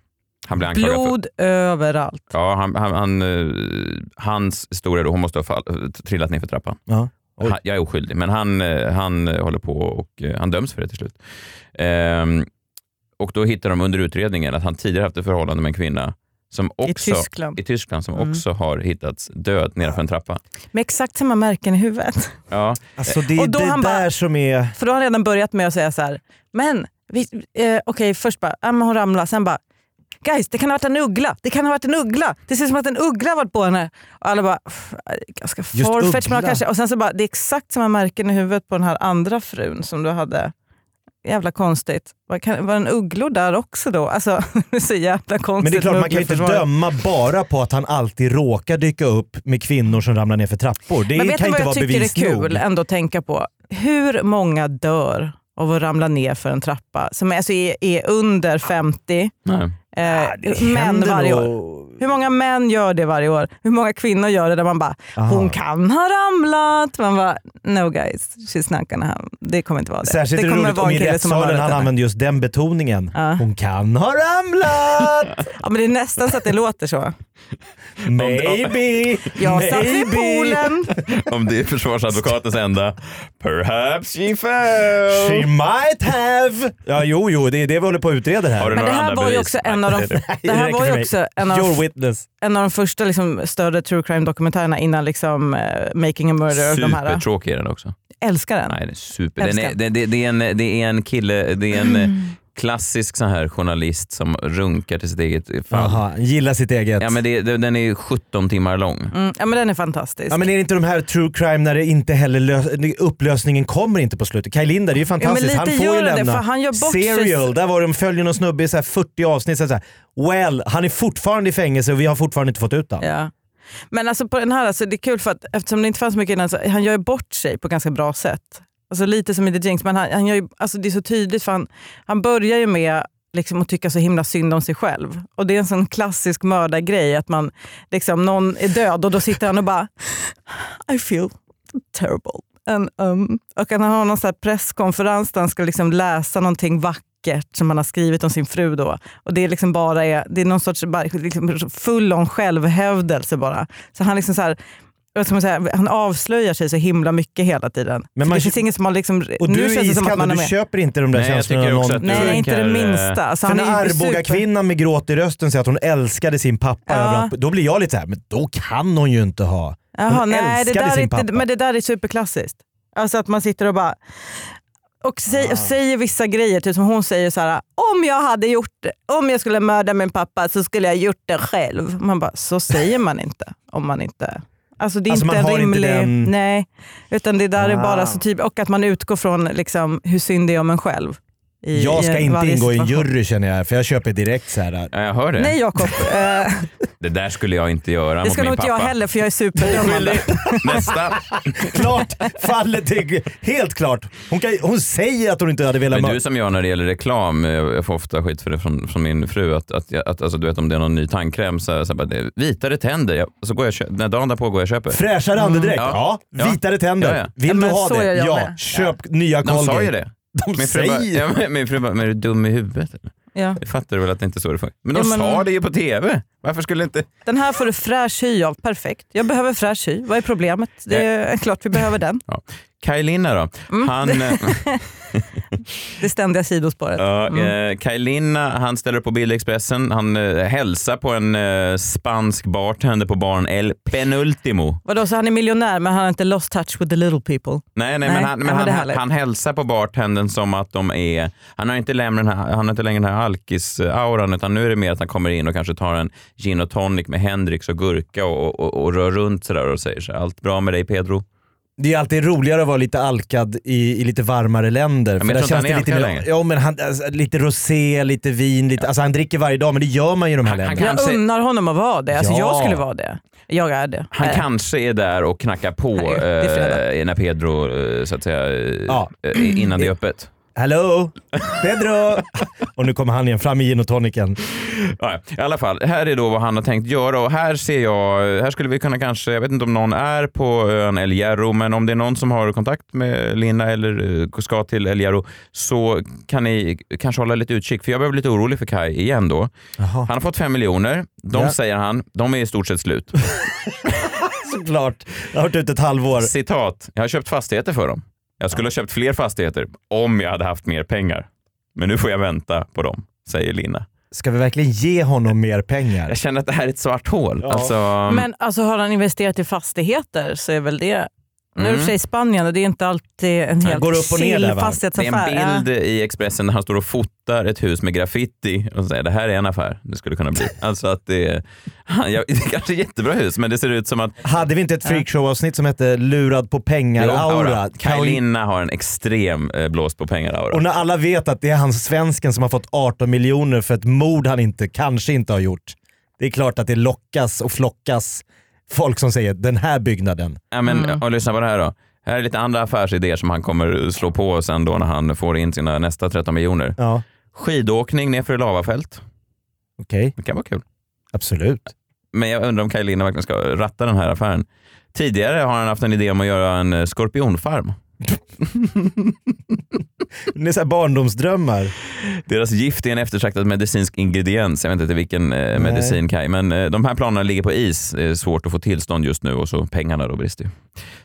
[SPEAKER 1] Han blev anklagad för
[SPEAKER 4] Blod överallt.
[SPEAKER 1] Ja, han, han, han, eh, hans historia då, hon måste ha fall, trillat ner för trappan.
[SPEAKER 2] Ja. Oj.
[SPEAKER 1] Han, jag är oskyldig, men han, eh, han eh, håller på och eh, han döms för det till slut. Ehm, och då hittar de under utredningen att han tidigare haft ett förhållande med en kvinna som också,
[SPEAKER 4] I Tyskland.
[SPEAKER 1] i Tyskland som
[SPEAKER 4] Mm.
[SPEAKER 1] också har hittats död nedanför en trappa.
[SPEAKER 4] Med exakt samma märken i huvudet.
[SPEAKER 1] Ja,
[SPEAKER 2] Alltså det är
[SPEAKER 4] Och
[SPEAKER 2] det
[SPEAKER 4] då han
[SPEAKER 2] där
[SPEAKER 4] bara-
[SPEAKER 2] som är...
[SPEAKER 4] För då har han redan börjat med att säga så här. men vi, eh, okej först bara, ah, men hon ramlade, sen bara, guys det kan ha varit en uggla, det kan ha varit en uggla, det ser ut som att en uggla har varit på henne. Och alla bara, "Pff, eh, ganska
[SPEAKER 2] Just
[SPEAKER 4] farfetch, men
[SPEAKER 2] uggla.
[SPEAKER 4] kanske. Och sen så bara, det är exakt samma märken i huvudet på den här andra frun som du hade. Jävla konstigt. Var, kan, var det en ugglor där också då? Alltså, det är så jävla konstigt.
[SPEAKER 2] Men det är klart,
[SPEAKER 4] med
[SPEAKER 2] man kan ju inte
[SPEAKER 4] uggleförsvar.
[SPEAKER 2] döma bara på att han alltid råkar dyka upp med kvinnor som ramlar ner för trappor. Det
[SPEAKER 4] Men vet
[SPEAKER 2] kan
[SPEAKER 4] ni
[SPEAKER 2] inte
[SPEAKER 4] vad jag
[SPEAKER 2] vara
[SPEAKER 4] tycker är
[SPEAKER 2] bevis nog.
[SPEAKER 4] kul ändå att tänka på? Hur många dör av att ramla ner för en trappa som alltså är, är under 50
[SPEAKER 1] nej.
[SPEAKER 4] eh,
[SPEAKER 2] Äh, Det
[SPEAKER 4] män
[SPEAKER 2] händer
[SPEAKER 4] varje år?
[SPEAKER 2] nog-
[SPEAKER 4] Hur många män gör det varje år? Hur många kvinnor gör det där man bara,
[SPEAKER 2] Aha.
[SPEAKER 4] hon kan ha ramlat. Man bara, no guys, she's not gonna happen. Det kommer inte vara det.
[SPEAKER 2] Särskilt
[SPEAKER 4] det
[SPEAKER 2] är det
[SPEAKER 4] kommer
[SPEAKER 2] roligt om i rättssalen han
[SPEAKER 4] henne.
[SPEAKER 2] använder just den betoningen.
[SPEAKER 4] Ja.
[SPEAKER 2] Hon kan ha ramlat!
[SPEAKER 4] Ja, men det är nästan så att det låter så.
[SPEAKER 2] Maybe!
[SPEAKER 4] Jag satt vid
[SPEAKER 2] Maybe!
[SPEAKER 4] poolen.
[SPEAKER 1] Om det är försvarsadvokatens enda “Perhaps she fell”.
[SPEAKER 4] Oh.
[SPEAKER 2] She might have! Ja, jo, jo, det är det vi håller på att utreda här.
[SPEAKER 1] Har du
[SPEAKER 4] Men det
[SPEAKER 1] några
[SPEAKER 4] här
[SPEAKER 1] andra
[SPEAKER 4] var ju
[SPEAKER 1] bevis?
[SPEAKER 4] också en av
[SPEAKER 1] Nej,
[SPEAKER 4] de, det här
[SPEAKER 2] räcker
[SPEAKER 4] var
[SPEAKER 2] för
[SPEAKER 4] ju
[SPEAKER 2] mig.
[SPEAKER 4] också en av
[SPEAKER 2] Your witness.
[SPEAKER 4] en av de första liksom, större true crime-dokumentärerna innan liksom, eh, Making a Murder. och De här.
[SPEAKER 1] Supertråkig är den också.
[SPEAKER 4] Älskar den.
[SPEAKER 1] Nej, den är super. Den är,
[SPEAKER 4] Älskar. Mm.
[SPEAKER 1] det, det, det, är en, det är en kille, det är en eh, klassisk sån här journalist som runkar till sitt eget fall.
[SPEAKER 2] Aha, gillar sitt eget.
[SPEAKER 1] Ja, men det, det- den är 17 timmar lång.
[SPEAKER 4] Mm, ja, men den är fantastisk.
[SPEAKER 2] Ja men är det inte de här true crime när det inte heller lö- upplösningen kommer inte på slutet? Kaj Linder, det är ju fantastiskt.
[SPEAKER 4] lite
[SPEAKER 2] han får
[SPEAKER 4] gör
[SPEAKER 2] ju
[SPEAKER 4] den det,
[SPEAKER 2] lämna.
[SPEAKER 4] för han gör bort sig.
[SPEAKER 2] Serial, där var de följer någon snubbe i så här 40 avsnitt. Så här, så här, well, han är fortfarande i fängelse och vi har fortfarande inte fått ut honom.
[SPEAKER 4] Ja. Men alltså på den här, alltså, det är kul för att eftersom det inte fanns så mycket innan, så, han gör ju bort sig på ganska bra sätt. Alltså lite som i The Jinx, men han, han gör ju, alltså, det är så tydligt för han, han börjar ju med liksom, att tycka så himla synd om sig själv. Och det är en sån klassisk mördargrej att man, liksom, någon är död och då sitter han och bara I feel terrible. And, um, och han har någon sån här presskonferens där han ska liksom läsa någonting vackert som han har skrivit om sin fru. Då. Och det är liksom bara är, det är någon sorts bara liksom full om självhävdelse bara. Så han liksom så här, vad ska man säga, han avslöjar sig så himla mycket hela tiden.
[SPEAKER 2] Men
[SPEAKER 4] Men
[SPEAKER 2] man-
[SPEAKER 4] det finns ingen som har liksom,
[SPEAKER 2] Och
[SPEAKER 4] nu
[SPEAKER 2] du är
[SPEAKER 4] känns det som att
[SPEAKER 2] iskall
[SPEAKER 4] man
[SPEAKER 2] och
[SPEAKER 4] är
[SPEAKER 2] du
[SPEAKER 4] med.
[SPEAKER 2] köper inte de där
[SPEAKER 1] Nej, jag
[SPEAKER 2] känslorna
[SPEAKER 1] tycker
[SPEAKER 2] av
[SPEAKER 1] också
[SPEAKER 2] någon.
[SPEAKER 1] att du-
[SPEAKER 4] Nej, inte det
[SPEAKER 1] Tänker, eh,
[SPEAKER 4] minsta. Alltså,
[SPEAKER 2] För
[SPEAKER 4] han
[SPEAKER 2] när
[SPEAKER 4] är ju super-
[SPEAKER 2] Arboga-kvinnan med gråt i rösten säger att hon älskade sin pappa
[SPEAKER 4] Ja.
[SPEAKER 2] överallt. Då blir jag lite så här, men då kan hon ju inte ha.
[SPEAKER 4] Jaha,
[SPEAKER 2] Hon
[SPEAKER 4] nej, det
[SPEAKER 2] älskade
[SPEAKER 4] där
[SPEAKER 2] sin
[SPEAKER 4] är, inte-
[SPEAKER 2] pappa.
[SPEAKER 4] Men det där är superklassiskt. Alltså att man sitter och bara och säger,
[SPEAKER 2] Ah.
[SPEAKER 4] och säger vissa grejer, typ som hon säger så här, om jag hade gjort det, om jag skulle mörda min pappa så skulle jag gjort det själv. Man bara, så säger man inte om man inte... Alltså det är
[SPEAKER 2] Alltså, man
[SPEAKER 4] inte en
[SPEAKER 2] har inte
[SPEAKER 4] rimlig...
[SPEAKER 2] den-
[SPEAKER 4] Nej, utan det där är
[SPEAKER 2] Ah.
[SPEAKER 4] bara så typ, och att man utgår från liksom, hur synd det är om en själv. i-
[SPEAKER 2] Jag ska
[SPEAKER 4] i
[SPEAKER 2] inte
[SPEAKER 4] varje
[SPEAKER 2] ingå i en
[SPEAKER 4] situation.
[SPEAKER 2] jury känner jag, för jag köper direkt så här.
[SPEAKER 1] Ja, jag hör det.
[SPEAKER 4] Nej Jakob, eh,
[SPEAKER 1] Det där skulle jag inte göra
[SPEAKER 4] det
[SPEAKER 1] mot
[SPEAKER 4] ska
[SPEAKER 1] min
[SPEAKER 4] nog inte
[SPEAKER 1] pappa.
[SPEAKER 4] jag heller för jag är superdömande.
[SPEAKER 1] Nästa.
[SPEAKER 2] Klart fallet är helt klart. Hon, kan, hon säger att hon inte hade velat
[SPEAKER 1] Men du är
[SPEAKER 2] mörda.
[SPEAKER 1] som jag när det gäller reklam, eh, jag får ofta skit för det från, från min fru, att, att, jag- att alltså, du vet om det är någon ny tandkräm, så, här- så här bara, det är vitare tänder, jag, så går jag, och kö- när dagen därpå går jag och köper.
[SPEAKER 2] Fräschare andedräkt, ja.
[SPEAKER 1] Mm, Ja. Ja.
[SPEAKER 2] Vitare tänder.
[SPEAKER 1] Ja, ja.
[SPEAKER 2] Vill
[SPEAKER 4] Men
[SPEAKER 2] du ha
[SPEAKER 4] så
[SPEAKER 2] det?
[SPEAKER 4] gör jag
[SPEAKER 2] Ja,
[SPEAKER 4] med.
[SPEAKER 2] köp nya
[SPEAKER 1] De
[SPEAKER 2] Colgate.
[SPEAKER 1] sa ju det.
[SPEAKER 2] De
[SPEAKER 1] Min fru, bara,
[SPEAKER 2] säger
[SPEAKER 1] ja, men- min fru bara, men är du dum i huvudet? eller?"
[SPEAKER 4] ja.
[SPEAKER 1] Det fattar du väl att det inte är så det funkar? Men de
[SPEAKER 4] Ja, men-
[SPEAKER 1] sa det ju på TV. Varför skulle inte...
[SPEAKER 4] Den här får du fräsch hy av. Perfekt. Jag behöver fräsch hy. Vad är problemet? Det är klart vi behöver den.
[SPEAKER 1] Kaj Linna då?
[SPEAKER 4] Mm.
[SPEAKER 1] Han, eh,
[SPEAKER 4] Det ständiga sidospåret.
[SPEAKER 1] ja,
[SPEAKER 4] Mm.
[SPEAKER 1] eh, Kaj Linna, han ställer upp på Bildexpressen. Han eh, hälsar på en eh, spansk bartender på baren El Penultimo.
[SPEAKER 4] Vadå, så han är miljonär men han har inte lost touch with the little people?
[SPEAKER 1] Nej, nej, men,
[SPEAKER 4] Nej,
[SPEAKER 1] han,
[SPEAKER 4] nej,
[SPEAKER 1] men
[SPEAKER 4] men
[SPEAKER 1] han,
[SPEAKER 4] det är
[SPEAKER 1] han,
[SPEAKER 4] härligt.
[SPEAKER 1] hälsar på bartendern som att de är... Han har inte längre den här, han har inte längre den här alkis-auran utan nu är det mer att han kommer in och kanske tar en gin och tonic med Hendrix och gurka och, och, och rör runt sådär och säger så här, allt bra med dig Pedro?
[SPEAKER 2] Det är alltid roligare att vara lite alkad i, i lite varmare länder.
[SPEAKER 1] men jag tror inte han är
[SPEAKER 2] lite
[SPEAKER 1] alkad
[SPEAKER 2] mer-
[SPEAKER 1] längre.
[SPEAKER 2] ja, men han, alltså, Lite rosé, lite vin. Lite, alltså, han dricker varje dag, men det gör man ju i de här
[SPEAKER 1] Han- han
[SPEAKER 2] länderna.
[SPEAKER 1] kan-
[SPEAKER 4] Jag
[SPEAKER 1] säger-
[SPEAKER 4] unnar honom att vara det. Alltså,
[SPEAKER 2] Ja.
[SPEAKER 4] Jag skulle vara det. Jag är det.
[SPEAKER 1] Han
[SPEAKER 4] Nej.
[SPEAKER 1] kanske är där och knackar på
[SPEAKER 4] Nej, det är fredag.
[SPEAKER 1] eh, när Pedro, eh, så att säga, eh,
[SPEAKER 2] Ja.
[SPEAKER 1] eh, innan det är öppet.
[SPEAKER 2] Hello! Pedro! och nu kommer han igen, fram i gin och toniken.
[SPEAKER 1] Ja, I alla fall, här är då vad han har tänkt göra och här ser jag, här skulle vi kunna kanske, jag vet inte om någon är på ön El Hierro, men om det är någon som har kontakt med Linda eller eh, ska till El Hierro så kan ni kanske hålla lite utkik, för jag börjar bli lite orolig för Kai igen då.
[SPEAKER 2] Jaha,
[SPEAKER 1] Han har fått fem miljoner, de
[SPEAKER 2] Ja.
[SPEAKER 1] säger han, de är i stort sett slut.
[SPEAKER 2] såklart. Jag har varit ute ett halvår.
[SPEAKER 1] Citat, jag har köpt fastigheter för dem. Jag skulle ha köpt fler fastigheter om jag hade haft mer pengar. Men nu får jag vänta på dem, säger Linda.
[SPEAKER 2] Ska vi verkligen ge honom mer pengar?
[SPEAKER 1] Jag känner att det här är ett svart hål.
[SPEAKER 2] Ja.
[SPEAKER 1] Alltså,
[SPEAKER 4] Men alltså, har han investerat i fastigheter så är väl det... Nu är det i och
[SPEAKER 1] Mm.
[SPEAKER 4] för sig Spanien och det är inte alltid en helt
[SPEAKER 2] går upp och ner
[SPEAKER 4] chill
[SPEAKER 2] där, va?
[SPEAKER 1] Det
[SPEAKER 4] fastighetsaffär.
[SPEAKER 1] är en bild i Expressen där han står och fotar ett hus med graffiti och säger det här är en affär det skulle kunna bli. Alltså att det är, han, jag, det är kanske är jättebra hus men det ser ut som att
[SPEAKER 2] Hade vi inte ett freakshow-avsnitt som hette “Lurad på pengar-aura”?
[SPEAKER 1] Kaj Linna har en extrem eh, blåst på pengar-aura.
[SPEAKER 2] Och när alla vet att det är han svensken som har fått 18 miljoner för ett mord han inte, kanske inte har gjort. Det är klart att det lockas och flockas folk som säger “den här byggnaden”.
[SPEAKER 1] Ja, men, och lyssna på det här då. Här är lite andra affärsidéer som han kommer slå på sen då när han får in sina nästa 13 miljoner.
[SPEAKER 2] Ja,
[SPEAKER 1] Skidåkning nerför i lavafält.
[SPEAKER 2] okej.
[SPEAKER 1] Det kan vara kul.
[SPEAKER 2] Absolut.
[SPEAKER 1] Men jag undrar om Kaj Linna verkligen ska ratta den här affären. Tidigare har han haft en idé om att göra en eh, skorpionfarm.
[SPEAKER 2] Det är så här barndomsdrömmar.
[SPEAKER 1] Deras gift är en eftertraktad medicinsk ingrediens. Jag vet inte vilken eh, medicin Kaj, men eh, de här planerna ligger på is. Det är svårt att få tillstånd just nu och så pengarna då brister ju.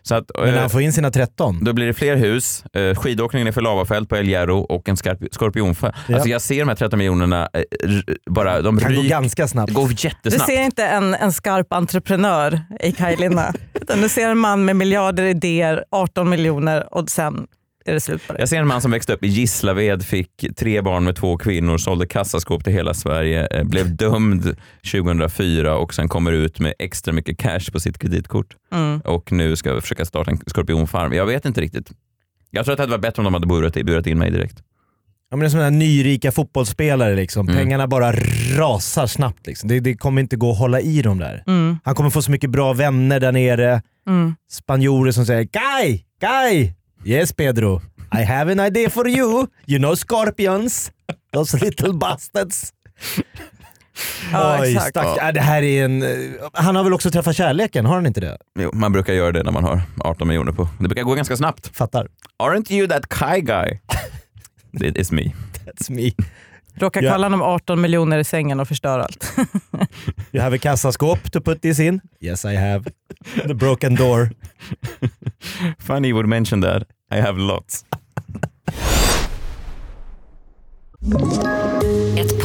[SPEAKER 1] Så att,
[SPEAKER 2] Men när
[SPEAKER 1] eh,
[SPEAKER 2] han får in sina 13.
[SPEAKER 1] då blir det fler hus, eh, skidåkningen är för lavafält på El Hierro och en skarp, skorpionfärg.
[SPEAKER 2] Ja.
[SPEAKER 1] Alltså jag ser de här 13 miljonerna, eh, r- bara, de
[SPEAKER 2] Kan gå
[SPEAKER 1] ryker,
[SPEAKER 2] ganska snabbt.
[SPEAKER 1] det går
[SPEAKER 4] Du
[SPEAKER 1] jättesnabbt.
[SPEAKER 4] ser inte en, en skarp entreprenör i Kaj Linna, utan du ser en man med miljarder idéer, 18 miljoner och sen är det slut på det.
[SPEAKER 1] Jag ser en man som växte upp i Gislaved, fick tre barn med två kvinnor, sålde kassaskåp till hela Sverige, eh, blev dömd 2004 och sen kommer ut med extra mycket cash på sitt kreditkort.
[SPEAKER 4] Mm.
[SPEAKER 1] Och nu ska jag försöka starta en skorpionfarm. Jag vet inte riktigt. Jag tror att det hade varit bättre om de hade burat, burat in mig direkt.
[SPEAKER 2] Ja, men det är som den här nyrika fotbollsspelare. Liksom.
[SPEAKER 1] Mm.
[SPEAKER 2] Pengarna bara rasar snabbt. Liksom. Det, det kommer inte gå att hålla i dem där.
[SPEAKER 4] Mm.
[SPEAKER 2] Han kommer få så mycket bra vänner där nere.
[SPEAKER 4] Mm.
[SPEAKER 2] Spanjorer som säger “Kai! Kai! Yes Pedro! I have an idea for you! You know scorpions! Those little bastards!”
[SPEAKER 4] Ja,
[SPEAKER 2] Oj,
[SPEAKER 4] exakt.
[SPEAKER 2] stack, ja. det här är en... eh, Han har väl också träffat kärleken? Har han inte det?
[SPEAKER 1] Jo, man brukar göra det när man har 18 miljoner på. Det brukar gå ganska snabbt.
[SPEAKER 2] Fattar.
[SPEAKER 1] Aren't you that Kai guy? It is me.
[SPEAKER 2] That's me.
[SPEAKER 4] Råkar
[SPEAKER 2] Ja.
[SPEAKER 4] kalla honom 18 miljoner i sängen och förstör allt.
[SPEAKER 2] You have a kassaskåp to put this in? Yes I have. The broken door.
[SPEAKER 1] Funny you would mention that. I have lots.
[SPEAKER 5] Ett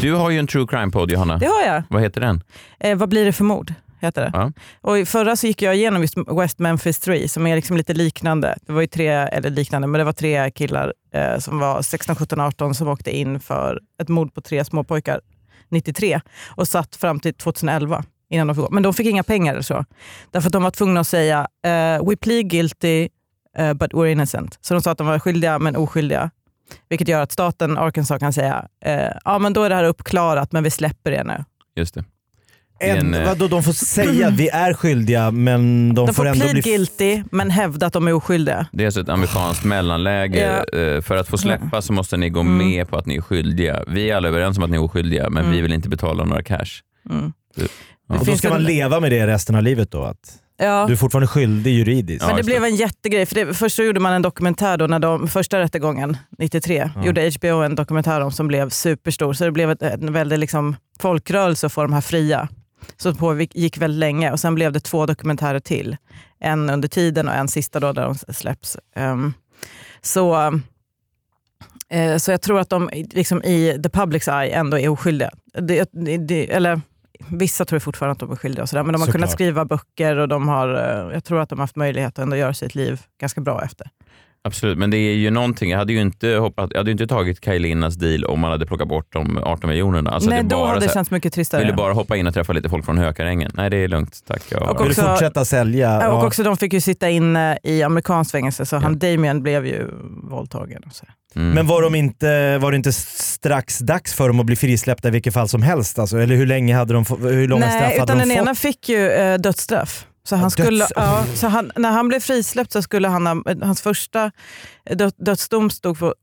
[SPEAKER 1] Du har ju en true crime-podd Johanna.
[SPEAKER 4] Det har jag.
[SPEAKER 1] Vad heter den?
[SPEAKER 4] Eh, vad blir det för mord? Heter det.
[SPEAKER 1] Ja.
[SPEAKER 4] Och i förra så gick jag igenom just West Memphis 3 som är liksom lite liknande. Det var ju tre, eller liknande, men det var tre killar eh, som var 16, 17, 18 som åkte in för ett mord på tre småpojkar 93 och satt fram till 2011 innan de fick gå. Men de fick inga pengar eller så. Därför att de var tvungna att säga eh, “We plead guilty eh, but we're innocent”. Så de sa att de var skyldiga men oskyldiga. Vilket gör att staten Arkansas kan säga eh, “Ja men då är det här uppklarat men vi släpper det nu”.
[SPEAKER 1] Just det. är en,
[SPEAKER 2] En,
[SPEAKER 1] eh,
[SPEAKER 2] vadå, de får säga vi är skyldiga men de,
[SPEAKER 4] De
[SPEAKER 2] får,
[SPEAKER 4] får
[SPEAKER 2] ändå
[SPEAKER 4] plead
[SPEAKER 2] bli...
[SPEAKER 4] guilty men hävda att de är oskyldiga.
[SPEAKER 1] Det är alltså ett amerikanskt mellanläge. Eh, För att få släppa så måste ni gå
[SPEAKER 4] Mm.
[SPEAKER 1] med på att ni är skyldiga. Vi är alla överens om att ni är oskyldiga, men
[SPEAKER 4] Mm.
[SPEAKER 1] vi vill inte betala några cash.
[SPEAKER 2] och då
[SPEAKER 4] finns
[SPEAKER 2] ska
[SPEAKER 4] en-
[SPEAKER 2] man leva med det resten av livet då? Att
[SPEAKER 4] Ja.
[SPEAKER 2] Du är fortfarande skyldig juridiskt.
[SPEAKER 4] Men det
[SPEAKER 1] just
[SPEAKER 4] blev en jättegrej. För det, först så gjorde man en dokumentär då när de, första rättegången 93. Gjorde HBO en dokumentär om som blev superstor. Så det blev ett, en väldig liksom, folkrörelse att få de här fria. Så pågick väldigt länge och sen blev det två dokumentärer till. En under tiden och en sista då där de släpps. Ehm, så, eh, så jag tror att de liksom, i the public's eye ändå är oskyldiga. Det, det, eller, Vissa tror fortfarande att de är skyldiga och sådär, men de har
[SPEAKER 2] Såklart.
[SPEAKER 4] kunnat skriva böcker och de har, eh, jag tror att de har haft möjlighet att ändå göra sitt liv ganska bra efter.
[SPEAKER 1] Absolut, men det är ju någonting. Jag hade ju inte, hoppat, jag hade ju inte tagit Kajlinas deal om man hade plockat bort de 18 miljonerna. Alltså
[SPEAKER 4] Nej,
[SPEAKER 1] det är
[SPEAKER 4] då
[SPEAKER 1] bara
[SPEAKER 4] hade
[SPEAKER 1] så
[SPEAKER 4] det
[SPEAKER 1] här,
[SPEAKER 4] känts mycket
[SPEAKER 1] Vill du
[SPEAKER 4] tristare.
[SPEAKER 1] bara hoppa in och träffa lite folk från Hökarängen? Nej, det är lugnt. Tack. Jag,
[SPEAKER 4] Och
[SPEAKER 2] Vill du
[SPEAKER 4] också-
[SPEAKER 2] fortsätta sälja?
[SPEAKER 4] Ja, Och
[SPEAKER 2] Ja.
[SPEAKER 4] också de fick ju sitta inne i amerikanskt fängelse så han Damien blev ju våldtagen. Och så.
[SPEAKER 1] mm.
[SPEAKER 2] Men var, de inte, var det inte strax dags för dem att bli frisläppta i vilket fall som helst? Alltså? Eller hur länge hade de få- hur långa straff
[SPEAKER 4] Nej,
[SPEAKER 2] hade
[SPEAKER 4] utan
[SPEAKER 2] de
[SPEAKER 4] den
[SPEAKER 2] fått?
[SPEAKER 4] ena fick ju eh, dödsstraff. Så, han
[SPEAKER 2] Döds-
[SPEAKER 4] skulle, ja, så han, när han blev frisläppt så skulle han, ha- hans första dö, dödsdom stod på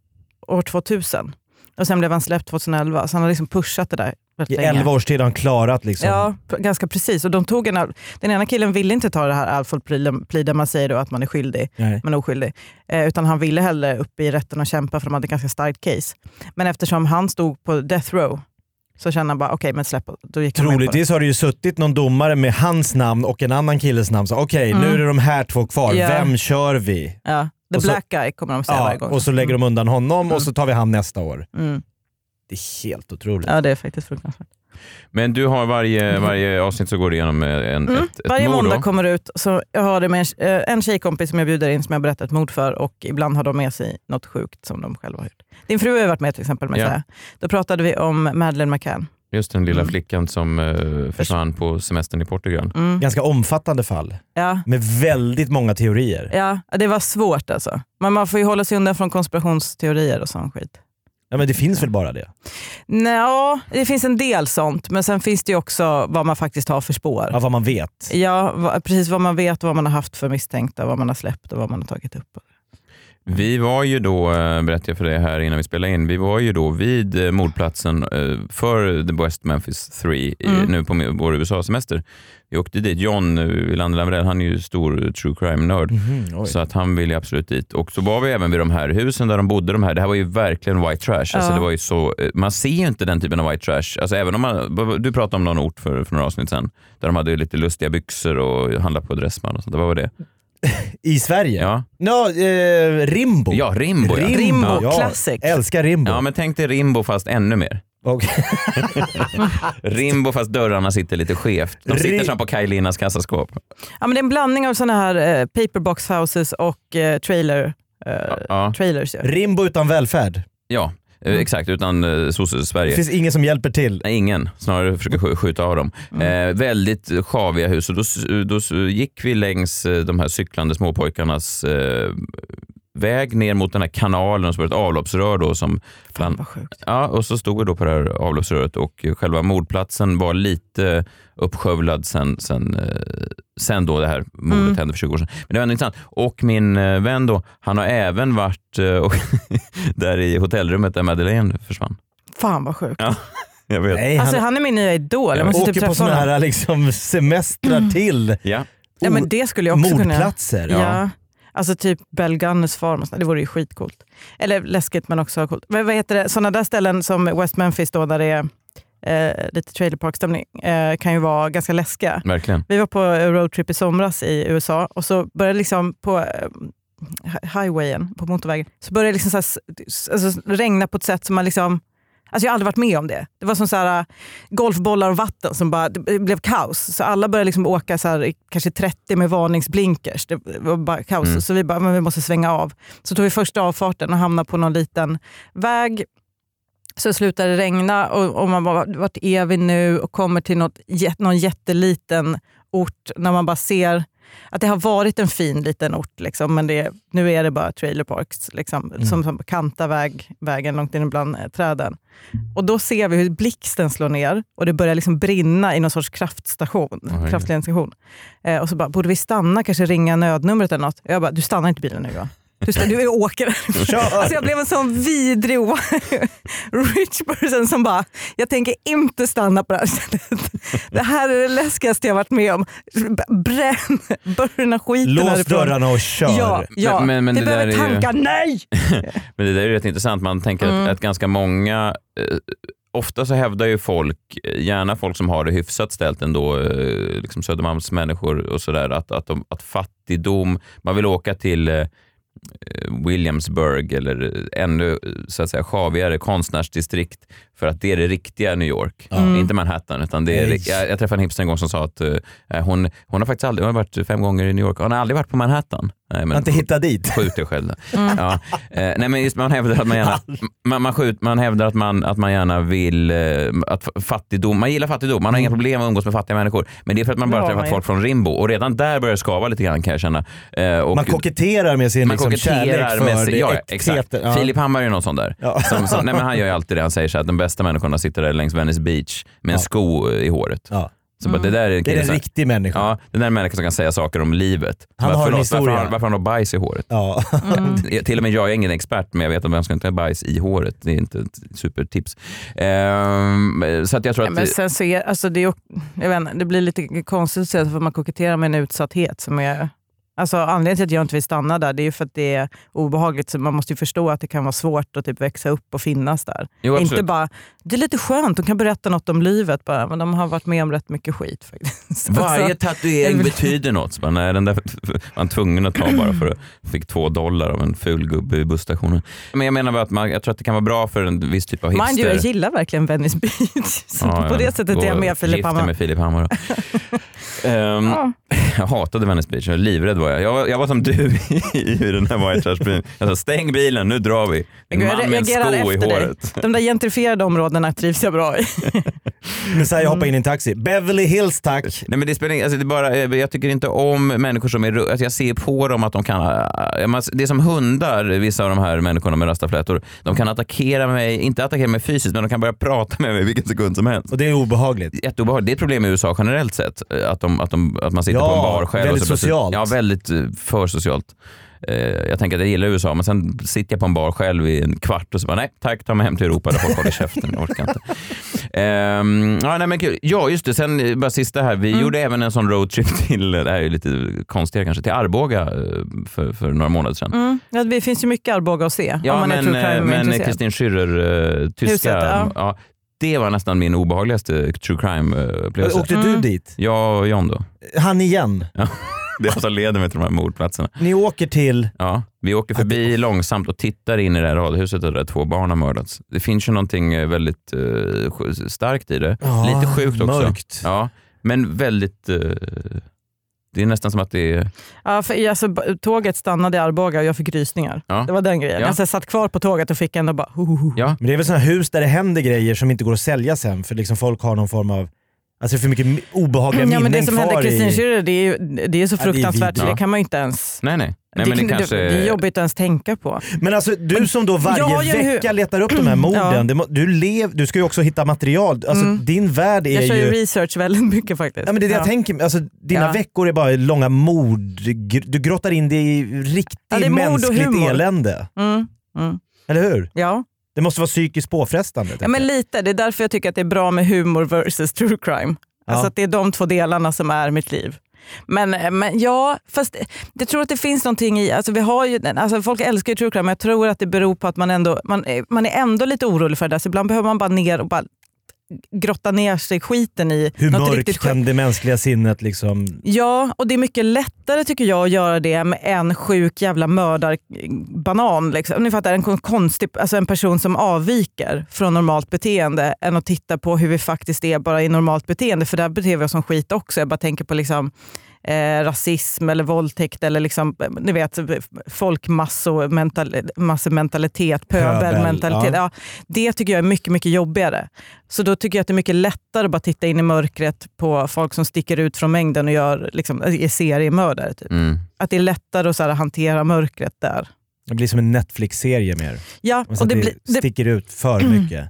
[SPEAKER 4] år 2000. Och sen blev han släppt 2011, så han har liksom pushat det där
[SPEAKER 2] I
[SPEAKER 4] väldigt länge.
[SPEAKER 2] 11 års tid har han klarat liksom.
[SPEAKER 4] Ja, p- ganska precis. Och de tog en, al- den ena killen ville inte ta det här Alfred Plea där man säger då att man är skyldig,
[SPEAKER 2] Nej.
[SPEAKER 4] men oskyldig. Eh, utan han ville hellre upp i rätten och kämpa för de hade ett ganska starkt case. Men eftersom han stod på death row så kände han bara okej, men släpp. Då gick han med på det.
[SPEAKER 2] Troligtvis har det ju suttit någon domare med hans namn och en annan killes namn. Så, Okej, nu är det de här två kvar.
[SPEAKER 4] Mm. Ja.
[SPEAKER 2] Vem kör vi?
[SPEAKER 4] Ja, the
[SPEAKER 2] Och så-
[SPEAKER 4] black guy kommer de säga
[SPEAKER 2] Ja,
[SPEAKER 4] varje gång.
[SPEAKER 2] och så lägger de undan honom och så tar vi han nästa år.
[SPEAKER 4] Mm.
[SPEAKER 2] Det är helt otroligt.
[SPEAKER 4] Ja, det är faktiskt fruktansvärt.
[SPEAKER 1] Men du har varje, varje avsnitt så går du igenom eh, en,
[SPEAKER 4] Mm.
[SPEAKER 1] ett, ett
[SPEAKER 4] Varje
[SPEAKER 1] mord
[SPEAKER 4] måndag
[SPEAKER 1] då?
[SPEAKER 4] kommer det ut, så jag har det med en, eh, en tjejkompis som jag bjuder in som jag berättat ett mord för och ibland har de med sig något sjukt som de själva har gjort. Din fru har ju varit med till exempel. Med
[SPEAKER 1] Ja.
[SPEAKER 4] yeah. Då pratade vi om Madeleine McCann.
[SPEAKER 1] Just den lilla
[SPEAKER 4] Mm.
[SPEAKER 1] flickan som eh, försvann på semestern i Portugal.
[SPEAKER 4] Mm.
[SPEAKER 2] Ganska omfattande fall
[SPEAKER 4] Ja.
[SPEAKER 2] med väldigt många teorier.
[SPEAKER 4] ja, det var svårt alltså. Men man får ju hålla sig undan från konspirationsteorier och sån skit.
[SPEAKER 2] Ja, men det finns väl bara det?
[SPEAKER 4] Nja, det finns en del sånt, men sen finns det ju också vad man faktiskt har för spår.
[SPEAKER 2] Av vad man vet.
[SPEAKER 4] Ja, va, precis vad man vet, vad man har haft för misstänkta, vad man har släppt och vad man har tagit upp.
[SPEAKER 1] Vi var ju då, eh, berättade jag för dig här innan vi spelade in, vi var ju då vid eh, mordplatsen eh, för The West Memphis 3 i,
[SPEAKER 4] Mm.
[SPEAKER 1] nu på min- vår USA-semester. Vi åkte dit. John eh, Wilander Lamrell, han är ju stor eh, true crime-nörd.
[SPEAKER 2] Mhm, oj.
[SPEAKER 1] Så att han ville ju absolut dit. Och så var vi även vid de här husen där de bodde. De här. Det här var ju verkligen white trash. Alltså
[SPEAKER 4] Ja.
[SPEAKER 1] det var ju så, eh, man ser ju inte den typen av white trash. Alltså även om man, du pratade om någon ort för, för några avsnitt sen, där de hade lite lustiga byxor och handlade på Dressman och sånt. Vad var det?
[SPEAKER 2] I Sverige?
[SPEAKER 1] Ja,
[SPEAKER 2] Ja, eh, Rimbo.
[SPEAKER 1] ja Rimbo. Ja.
[SPEAKER 4] Rimbo,
[SPEAKER 2] ja.
[SPEAKER 4] classic.
[SPEAKER 2] Älskar Rimbo.
[SPEAKER 1] ja, men tänk dig Rimbo fast ännu mer.
[SPEAKER 2] Och-
[SPEAKER 1] Rimbo fast dörrarna sitter lite skevt. De sitter
[SPEAKER 2] Ri-
[SPEAKER 1] som på Kajlinas kassaskåp.
[SPEAKER 4] Ja, men det är en blandning av såna här eh, paperbox houses och eh, trailer, eh,
[SPEAKER 2] Mm.
[SPEAKER 1] Ja,
[SPEAKER 4] trailers. Ja.
[SPEAKER 2] Rimbo utan välfärd.
[SPEAKER 1] ja eh, exakt. Utan eh,
[SPEAKER 2] Det
[SPEAKER 1] sosse-Sverige.
[SPEAKER 2] finns ingen som hjälper till.
[SPEAKER 1] Nej, ingen. Snarare försöker skj- skjuta av dem.
[SPEAKER 2] Mm.
[SPEAKER 1] Eh, väldigt eh, sjaviga hus. Och då, s- då s- gick vi längs eh, de här cyklande småpojkarnas eh, väg ner mot den här kanalen och så var det ett avloppsrör. Då som
[SPEAKER 4] Fan
[SPEAKER 1] bland,
[SPEAKER 4] vad sjukt.
[SPEAKER 1] ja, och så stod vi då på det här avloppsröret och eh, själva mordplatsen var lite uppskövlad sen, sen, eh, sen då det här mordet
[SPEAKER 4] Mm.
[SPEAKER 1] hände för 20 år sedan. Men det var ändå intressant. Och min eh, vän då, han har även varit eh, och där i hotellrummet där Madeleine försvann.
[SPEAKER 4] Fan vad sjukt.
[SPEAKER 1] Jag vet.
[SPEAKER 2] Nej, han
[SPEAKER 4] Alltså han är min nya idol. Jag måste
[SPEAKER 2] åker
[SPEAKER 4] typ
[SPEAKER 2] på
[SPEAKER 4] träffa
[SPEAKER 2] sådana
[SPEAKER 4] honom. Mm.
[SPEAKER 2] här liksom, semestrar till
[SPEAKER 1] Ja.
[SPEAKER 4] Ja, men det skulle jag också kunna göra.
[SPEAKER 2] mordplatser.
[SPEAKER 4] Ja. Alltså typ Belgunners farm, och sånt. det vore ju skitcoolt. Eller läskigt men också coolt. Men vad heter det, sådana där ställen som West Memphis då där det är eh, lite trailerparkstämning eh, kan ju vara ganska läskiga.
[SPEAKER 1] Verkligen.
[SPEAKER 4] Vi var på roadtrip i somras i USA och så började liksom på eh, hi- highwayen, på motorvägen, så började det liksom så här, s- s- alltså regna på ett sätt som man liksom Alltså jag har aldrig varit med om det. Det var som så här, eh, golfbollar och vatten som bara, det blev kaos. Så alla började liksom åka så här, i kanske 30 med varningsblinkers. Det var bara kaos.
[SPEAKER 1] Mm.
[SPEAKER 4] Så vi bara, men vi måste svänga av. Så tog vi första avfarten och hamnade på någon liten väg. Så slutade det regna och, och man bara, vart är vi nu? Och kommer till något, jä- någon jätteliten ort när man bara ser att det har varit en fin liten ort, liksom, men det, nu är det bara trailerparks liksom, som, som kantar väg, vägen långt in bland eh, träden. Och då ser vi hur blixten slår ner och det börjar liksom brinna i någon sorts kraftstation,
[SPEAKER 1] herregud.
[SPEAKER 4] kraftledningsstation. Eh, och så bara, borde vi stanna, kanske ringa nödnumret eller något? Jag bara, du stannar inte bilen nu va? Du, stannar, du åker Alltså jag blev en sån vidrig o- rich person som bara, jag tänker inte stanna på det här stället. Det här är det läskigaste jag varit med om. B- Bränn, bränna skiten
[SPEAKER 2] Lås
[SPEAKER 4] härifrån.
[SPEAKER 2] dörrarna och kör.
[SPEAKER 4] Ja, ja.
[SPEAKER 1] Men- men- men
[SPEAKER 4] det,
[SPEAKER 1] det där
[SPEAKER 4] behöver
[SPEAKER 1] är ju-
[SPEAKER 4] tankar, nej!
[SPEAKER 1] Men det där är ju rätt intressant. Man tänker att, att ganska många... Eh, ofta så hävdar ju folk, eh, gärna folk som har det hyfsat ställt ändå, eh, liksom Södermalmsmänniskor och sådär, att, att, de, att fattigdom... Man vill åka till eh, Williamsburg eller ännu eh, så att säga, sjavigare konstnärsdistrikt för att det är det riktiga New York. Inte Manhattan. Utan det är,
[SPEAKER 2] Nej.
[SPEAKER 1] jag, jag träffade en hipster en gång som sa att eh, hon, hon har faktiskt aldrig hon har varit fem gånger i New York hon har aldrig varit på Manhattan. Nej,
[SPEAKER 2] Man har
[SPEAKER 1] men
[SPEAKER 2] inte hittat dit.
[SPEAKER 1] skjut dig själv då. Ja. Eh, nej, men just, man hävdar att man gärna, man, man skjut, man hävdar att man, att man gärna vill, eh, att fa- fattigdom, man gillar fattigdom, man har inga problem att umgås med fattiga människor. Men det är för att man bara
[SPEAKER 4] Ja,
[SPEAKER 1] träffat
[SPEAKER 4] man-
[SPEAKER 1] folk från Rimbo och redan där börjar det skava lite grann kan jag känna. Eh, och
[SPEAKER 2] Man koketterar med sin
[SPEAKER 1] man
[SPEAKER 2] liksom, kärlek
[SPEAKER 1] koketterar
[SPEAKER 2] för
[SPEAKER 1] med sig.
[SPEAKER 2] det
[SPEAKER 1] Ja,
[SPEAKER 2] äktheten.
[SPEAKER 1] exakt.
[SPEAKER 2] Ja.
[SPEAKER 1] Filip Hammar är ju någon sån där.
[SPEAKER 2] Ja.
[SPEAKER 1] Som, som, nej, men han gör ju alltid det. Han säger så här, att de bästa människorna sitter där längs Venice Beach med en
[SPEAKER 2] Ja.
[SPEAKER 1] sko i håret.
[SPEAKER 2] Ja.
[SPEAKER 1] Så bara, det där är en
[SPEAKER 2] Det
[SPEAKER 1] kille
[SPEAKER 2] är en
[SPEAKER 1] som-
[SPEAKER 2] riktig människa. Ja.
[SPEAKER 1] Ja, den där människan som kan säga saker om livet.
[SPEAKER 2] Han
[SPEAKER 1] Bara,
[SPEAKER 2] har en
[SPEAKER 1] förlåt,
[SPEAKER 2] historia.
[SPEAKER 1] Varför, har- varför har han har bajs i håret?
[SPEAKER 4] Mm.
[SPEAKER 1] Till och med jag är ingen expert, men jag vet att vem ska inte ha bajs i håret? Det är inte ett supertips. Ehm, så att jag tror
[SPEAKER 4] Ja,
[SPEAKER 1] att...
[SPEAKER 4] men sen så är, alltså det, är, ju- jag vet, inte, det blir lite konstigt att säga för man koketterar med en utsatthet som är... Alltså anledningen till att jag inte vill stanna där det är ju för att det är obehagligt. Så man måste ju förstå att det kan vara svårt att typ växa upp och finnas där.
[SPEAKER 1] Jo, absolut.
[SPEAKER 4] inte bara, det är lite skönt, de kan berätta något om livet bara, men de har varit med om rätt mycket skit faktiskt.
[SPEAKER 1] Varje
[SPEAKER 4] Alltså,
[SPEAKER 1] tatuering
[SPEAKER 4] jag vill-
[SPEAKER 1] betyder något. Så bara, nej, den där var han tvungen att ta bara för att fick två dollar av en ful gubbe i busstationen. Men jag menar bara att man, jag tror att det kan vara bra för en viss typ av hipster.
[SPEAKER 4] Mind you, jag gillar verkligen Venice Beach. Så
[SPEAKER 1] Ja,
[SPEAKER 4] på
[SPEAKER 1] ja.
[SPEAKER 4] det sättet är jag
[SPEAKER 1] Gå-
[SPEAKER 4] med Filip
[SPEAKER 1] gift dig
[SPEAKER 4] Hammar.
[SPEAKER 1] med Filip Hammar. Ehm, Jag hatade Venice Beach, jag var livrädd var jag. Jag var, jag var som du i den här White Trash-bilen. Jag sa stäng bilen, nu drar vi. En
[SPEAKER 4] Jag
[SPEAKER 1] man med en
[SPEAKER 4] reagerar
[SPEAKER 1] sko i
[SPEAKER 4] efter dig.
[SPEAKER 1] håret.
[SPEAKER 4] De där gentrifierade områdena trivs jag bra i.
[SPEAKER 2] Men så här, jag hoppar in i en taxi. Beverly Hills tack.
[SPEAKER 1] Nej, men det spelar ingen, alltså det är bara, eh, jag tycker inte om människor som är... ru- Alltså jag ser på dem att de kan... eh, man- Det är som hundar, vissa av de här människorna med rastaflätor. De kan attackera mig, inte attackera mig fysiskt, men de kan börja prata med mig vilken sekund som helst.
[SPEAKER 2] Och det är obehagligt.
[SPEAKER 1] jätteobehagligt. Det är ett problem i USA generellt sett. eh, Att, de, att, de, att man sitter
[SPEAKER 2] Ja,
[SPEAKER 1] på en bar själv.
[SPEAKER 2] väldigt
[SPEAKER 1] och så plötsligt-
[SPEAKER 2] socialt.
[SPEAKER 1] Ja, väldigt eh, för socialt. Eh, Jag tänker att jag gillar USA, men sen sitter jag på en bar själv i en kvart och så bara nej tack, ta mig hem till Europa där folk håller käften. Jag orkar inte. Ehm, ja, nej, men kul. ja, just det. Sen eh, bara sista här.
[SPEAKER 4] Mm.
[SPEAKER 1] Vi gjorde även en sån roadtrip till, det här är ju lite konstigare kanske, till Arboga eh, för, för några månader sedan.
[SPEAKER 4] Mm. Ja, det finns ju mycket Arboga att se om
[SPEAKER 1] Ja,
[SPEAKER 4] man är
[SPEAKER 1] men,
[SPEAKER 4] true
[SPEAKER 1] eh, men
[SPEAKER 4] crime-intresserad.
[SPEAKER 1] Kristin Schürrer, eh, tyska.
[SPEAKER 4] Huset, ja.
[SPEAKER 1] ja, det var nästan min obehagligaste true eh, crime-upplevelse.
[SPEAKER 2] Åkte du
[SPEAKER 4] Mm.
[SPEAKER 2] dit?
[SPEAKER 1] Jag och John då.
[SPEAKER 2] Han igen.
[SPEAKER 1] Det är alltså leder mig till de här mordplatserna.
[SPEAKER 2] Ni åker till...
[SPEAKER 1] Ja, vi åker förbi långsamt och tittar in i det här radhuset där två barn har mördats. Det finns ju någonting eh, väldigt eh, sj- starkt i det.
[SPEAKER 2] Ja,
[SPEAKER 1] Lite sjukt också.
[SPEAKER 2] Mörkt.
[SPEAKER 1] Ja, men väldigt... eh, det är nästan som att det är...
[SPEAKER 4] Ja, för, alltså, b- tåget stannade i Arboga och jag fick rysningar.
[SPEAKER 1] Ja.
[SPEAKER 4] Det var den grejen.
[SPEAKER 1] Ja.
[SPEAKER 4] Alltså, jag satt kvar på tåget och fick ändå bara... Ho, ho, ho.
[SPEAKER 1] Ja.
[SPEAKER 2] Men det är väl sådana hus där det händer grejer som inte går att sälja sen för liksom folk har någon form av... Alltså det är för mycket mi- obehagliga
[SPEAKER 4] Ja, men
[SPEAKER 2] minnen
[SPEAKER 4] det som hände
[SPEAKER 2] kvar
[SPEAKER 4] Kristin
[SPEAKER 2] i...
[SPEAKER 4] Schürrer, det är ju det är så
[SPEAKER 2] Ja, det är
[SPEAKER 4] fruktansvärt så
[SPEAKER 1] vidrigt.
[SPEAKER 4] det kan man ju inte ens...
[SPEAKER 1] Nej, nej. nej men det,
[SPEAKER 4] kan-
[SPEAKER 1] kanske...
[SPEAKER 4] det är jobbigt att ens tänka på.
[SPEAKER 2] Men alltså du som då
[SPEAKER 4] jag
[SPEAKER 2] varje
[SPEAKER 4] gör ju-
[SPEAKER 2] vecka letar upp de här morden,
[SPEAKER 4] Ja.
[SPEAKER 2] det må- du, lev, du ska ju också hitta material. Alltså din värld är
[SPEAKER 4] Mm. Jag kör ju
[SPEAKER 2] ju...
[SPEAKER 4] research väldigt mycket faktiskt.
[SPEAKER 2] Ja, men det är det jag tänker, alltså, dina
[SPEAKER 4] Ja.
[SPEAKER 2] veckor är bara långa mord, gr- du grottar in dig i riktigt
[SPEAKER 4] Ja, det är mord och
[SPEAKER 2] mänskligt
[SPEAKER 4] humor.
[SPEAKER 2] elände.
[SPEAKER 4] Mm, mm.
[SPEAKER 2] Eller hur?
[SPEAKER 4] Ja.
[SPEAKER 2] Det måste vara psykiskt påfrestande.
[SPEAKER 4] ja,
[SPEAKER 2] tänker
[SPEAKER 4] men
[SPEAKER 2] jag.
[SPEAKER 4] lite. Det är därför jag tycker att det är bra med humor versus true crime. Alltså
[SPEAKER 2] Ja.
[SPEAKER 4] att det är de två delarna som är mitt liv. Men, eh, men ja, fast jag tror att det finns någonting i... Alltså vi har ju, alltså folk älskar ju true crime, men jag tror att det beror på att man ändå man, är- man är ändå lite orolig för det där. Så ibland behöver man bara ner och bara grotta ner sig i skiten i
[SPEAKER 2] Hur
[SPEAKER 4] något
[SPEAKER 2] mörkt
[SPEAKER 4] riktigt sjukt.
[SPEAKER 2] kan det mänskliga sinnet liksom...
[SPEAKER 4] Ja, och det är mycket lättare tycker jag att göra det med en sjuk jävla mördarbanan. Liksom. Ni fattar, en kon- konstig, alltså en person som avviker från normalt beteende än att titta på hur vi faktiskt är bara i normalt beteende. För där beter vi oss som skit också. Jag bara tänker på liksom, eh, rasism eller våldtäkt eller liksom, eh, ni vet, folkmassementalitet, pöbelmentalitet.
[SPEAKER 2] Pöbel, ja.
[SPEAKER 4] Ja, det tycker jag är mycket, mycket jobbigare. Så då tycker jag att det är mycket lättare att bara titta in i mörkret på folk som sticker ut från mängden och gör, liksom, är seriemördare. Typ.
[SPEAKER 1] Mm.
[SPEAKER 4] Att det är lättare att så här, hantera mörkret där.
[SPEAKER 2] Det blir som en Netflix-serie mer.
[SPEAKER 4] Ja,
[SPEAKER 2] Och
[SPEAKER 4] och det,
[SPEAKER 2] det,
[SPEAKER 4] blir- det, Mm.
[SPEAKER 2] sticker ut för mycket.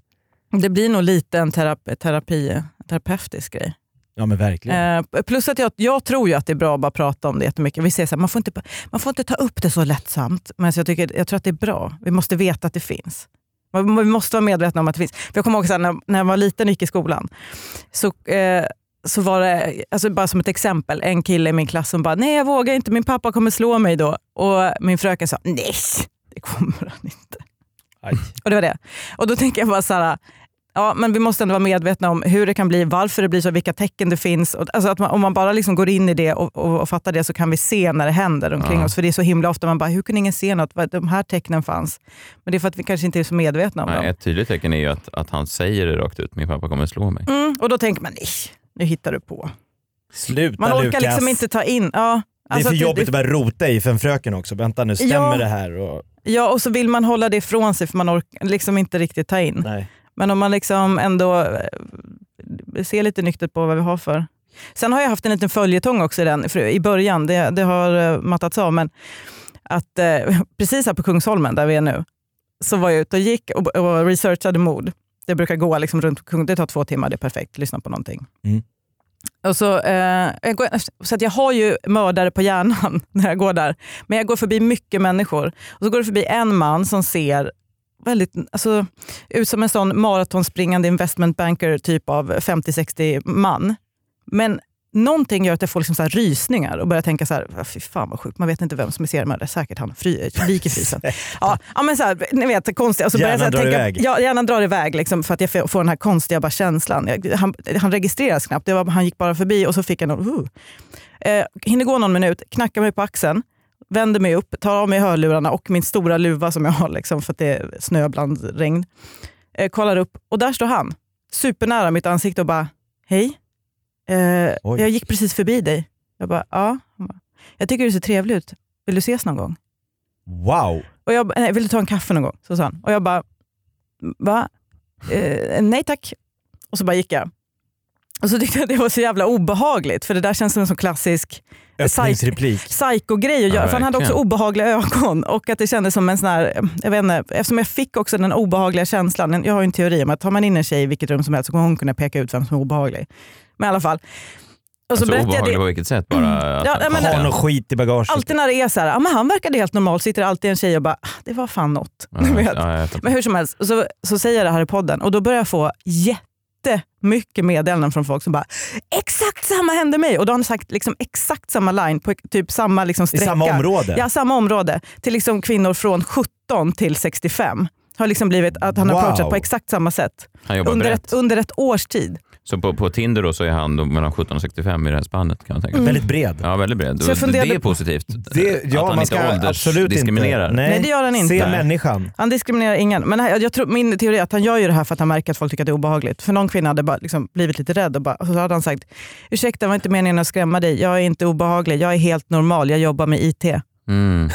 [SPEAKER 4] det blir nog lite en terapi, terapi, en terapeutisk grej.
[SPEAKER 2] Ja men verkligen.
[SPEAKER 4] Eh, plus att jag, jag tror ju att det är bra att bara prata om det jättemycket. Vi säger så här, man, får inte, man får inte ta upp det så lättsamt. Men så jag, tycker, jag tror att det är bra. Vi måste veta att det finns. Man- Vi måste vara medvetna om att det finns. För jag kommer ihåg så här, när, när jag var liten och gick i skolan. Så, eh, så var det, alltså bara som ett exempel, en kille i min klass som bara, nej jag vågar inte, min pappa kommer slå mig då. Och min fröken sa, nej det kommer han inte.
[SPEAKER 2] Aj.
[SPEAKER 4] Och det var det. Och då tänker jag bara så här, Ja, men vi måste ändå vara medvetna om hur det kan bli, varför det blir så, vilka tecken det finns. Och, Alltså att man, om man bara liksom går in i det och, och, och fattar det så kan vi se när det händer omkring
[SPEAKER 1] Ja.
[SPEAKER 4] oss. För det är så himla ofta man bara, hur kunde ingen se något? Vad- De här tecknen fanns. Men det är för att vi kanske inte är så medvetna om
[SPEAKER 1] Nej,
[SPEAKER 4] dem.
[SPEAKER 1] ett tydligt tecken är ju att, att han säger det rakt ut, min pappa kommer slå mig.
[SPEAKER 4] Mm, och då tänker man, nej, nu hittar du på.
[SPEAKER 2] Sluta
[SPEAKER 4] Man orkar
[SPEAKER 2] Lukas.
[SPEAKER 4] liksom inte ta in. Ja,
[SPEAKER 2] det är
[SPEAKER 4] Alltså
[SPEAKER 2] för
[SPEAKER 4] att
[SPEAKER 2] jobbigt att börja rota i för en fröken också. Vänta nu, stämmer
[SPEAKER 4] Ja.
[SPEAKER 2] det här? Och,
[SPEAKER 4] Ja, och så vill man hålla det ifrån sig för man orkar liksom inte riktigt ta in.
[SPEAKER 2] nej.
[SPEAKER 4] Men om man liksom ändå eh, ser lite nyktert på vad vi har för... Sen har jag haft en liten följetong också i, den, för i början, det, det har eh, mattats av. Men att eh, precis här på Kungsholmen, där vi är nu, så var jag ute och gick och, och researchade mord. Det brukar gå liksom runt Kungsholmen, det tar två timmar, det är perfekt, lyssna på någonting.
[SPEAKER 2] Mm.
[SPEAKER 4] Och så, eh, jag går, så att jag har ju mördare på hjärnan när jag går där. Men jag går förbi mycket människor. Och så går det förbi en man som ser väldigt, alltså, ut som en sån maratonspringande investment banker typ av 50-60 man. Men någonting gör att jag får liksom så här rysningar och börjar tänka så här, "Va, fy fan vad sjukt, man vet inte vem som är seriemördare. Säkert han, fri, lik i frysen. ja, ja, men så här, ni vet, konstigt. Och så börjar jag så här
[SPEAKER 2] Hjärnan drar
[SPEAKER 4] tänka,
[SPEAKER 2] iväg.
[SPEAKER 4] Ja, hjärnan drar iväg liksom, för att jag får får den här konstiga bara känslan. Jag, han, han registreras knappt, det var, han gick bara förbi och så fick jag någon, uh. eh, hinner gå någon minut, knackar mig på axeln, vänder mig upp, tar av mig hörlurarna och min stora luva som jag har liksom, för att det är snö bland regn. Eh, kollar upp och där står han, supernära mitt ansikte och bara, hej, eh,
[SPEAKER 2] Oj.
[SPEAKER 4] jag gick precis förbi dig. Jag bara, ja. Han bara, Jag tycker du ser trevlig ut, vill du ses någon gång?
[SPEAKER 2] Wow!
[SPEAKER 4] Och jag, bara, nej, vill du ta en kaffe någon gång? Så sa han. Och jag bara, va? Eh, nej tack. Och så bara gick jag. Och så tyckte jag att det var så jävla obehagligt, för det där känns som en sån klassisk
[SPEAKER 2] Öppningsreplik.
[SPEAKER 4] psykogrej att göra.
[SPEAKER 1] Ja,
[SPEAKER 4] för han hade också
[SPEAKER 1] verkligen.
[SPEAKER 4] obehagliga ögon. Och att det kändes som en sån här, jag vet inte, eftersom jag fick också den obehagliga känslan. en- Jag har ju en teori om att tar man in en tjej i vilket rum som helst så kommer hon kunna peka ut vem som är obehaglig. Men i alla fall. Och så
[SPEAKER 1] Alltså,
[SPEAKER 4] berättade jag
[SPEAKER 1] obehagligt
[SPEAKER 4] det. Mm.
[SPEAKER 1] på vilket sätt? Bara,
[SPEAKER 4] Ja, nej, men-
[SPEAKER 2] Har någon skit i bagaget.
[SPEAKER 4] Alltid när det är så här, ja, men han verkade helt normal, sitter det alltid en tjej och bara, "Ah, det var fan något. Du vet.
[SPEAKER 1] ja, jag fattar.
[SPEAKER 4] Men hur som helst, så, så säger jag det här i podden och då börjar jag få jättemycket meddelanden från folk som bara “exakt samma hände mig” och då har de sagt liksom, exakt samma line på typ samma liksom,
[SPEAKER 2] I
[SPEAKER 4] sträcka.
[SPEAKER 2] samma område?
[SPEAKER 4] Ja, samma område. Till liksom kvinnor från 17 till 65. Har liksom blivit att han
[SPEAKER 2] Wow.
[SPEAKER 4] har approachat på exakt samma sätt
[SPEAKER 1] han jobbar
[SPEAKER 4] under
[SPEAKER 1] brett.
[SPEAKER 4] ett, under ett års tid.
[SPEAKER 1] Så på, på Tinder då så är han då mellan 17 och 65 i det här spannet kan jag
[SPEAKER 4] mm.
[SPEAKER 1] tänka mig.
[SPEAKER 2] Väldigt bred.
[SPEAKER 1] Ja, väldigt bred.
[SPEAKER 4] Så jag funderade
[SPEAKER 1] det är
[SPEAKER 4] på-
[SPEAKER 1] positivt. eh,
[SPEAKER 2] Det, ja,
[SPEAKER 1] att han
[SPEAKER 2] man
[SPEAKER 1] inte
[SPEAKER 2] ska absolut inte.
[SPEAKER 1] åldersdiskriminerar.
[SPEAKER 4] Nej, det gör han
[SPEAKER 2] Se
[SPEAKER 4] inte.
[SPEAKER 2] människan.
[SPEAKER 4] Han diskriminerar ingen. Men jag, jag tror, min teori är att han gör ju det här för att han märker att folk tycker att det är obehagligt. För någon kvinna hade bara liksom blivit lite rädd och, bara, och så hade han sagt “ursäkta, det var inte meningen att skrämma dig. Jag är inte obehaglig. Jag är helt normal. Jag jobbar med IT”.
[SPEAKER 1] Mm.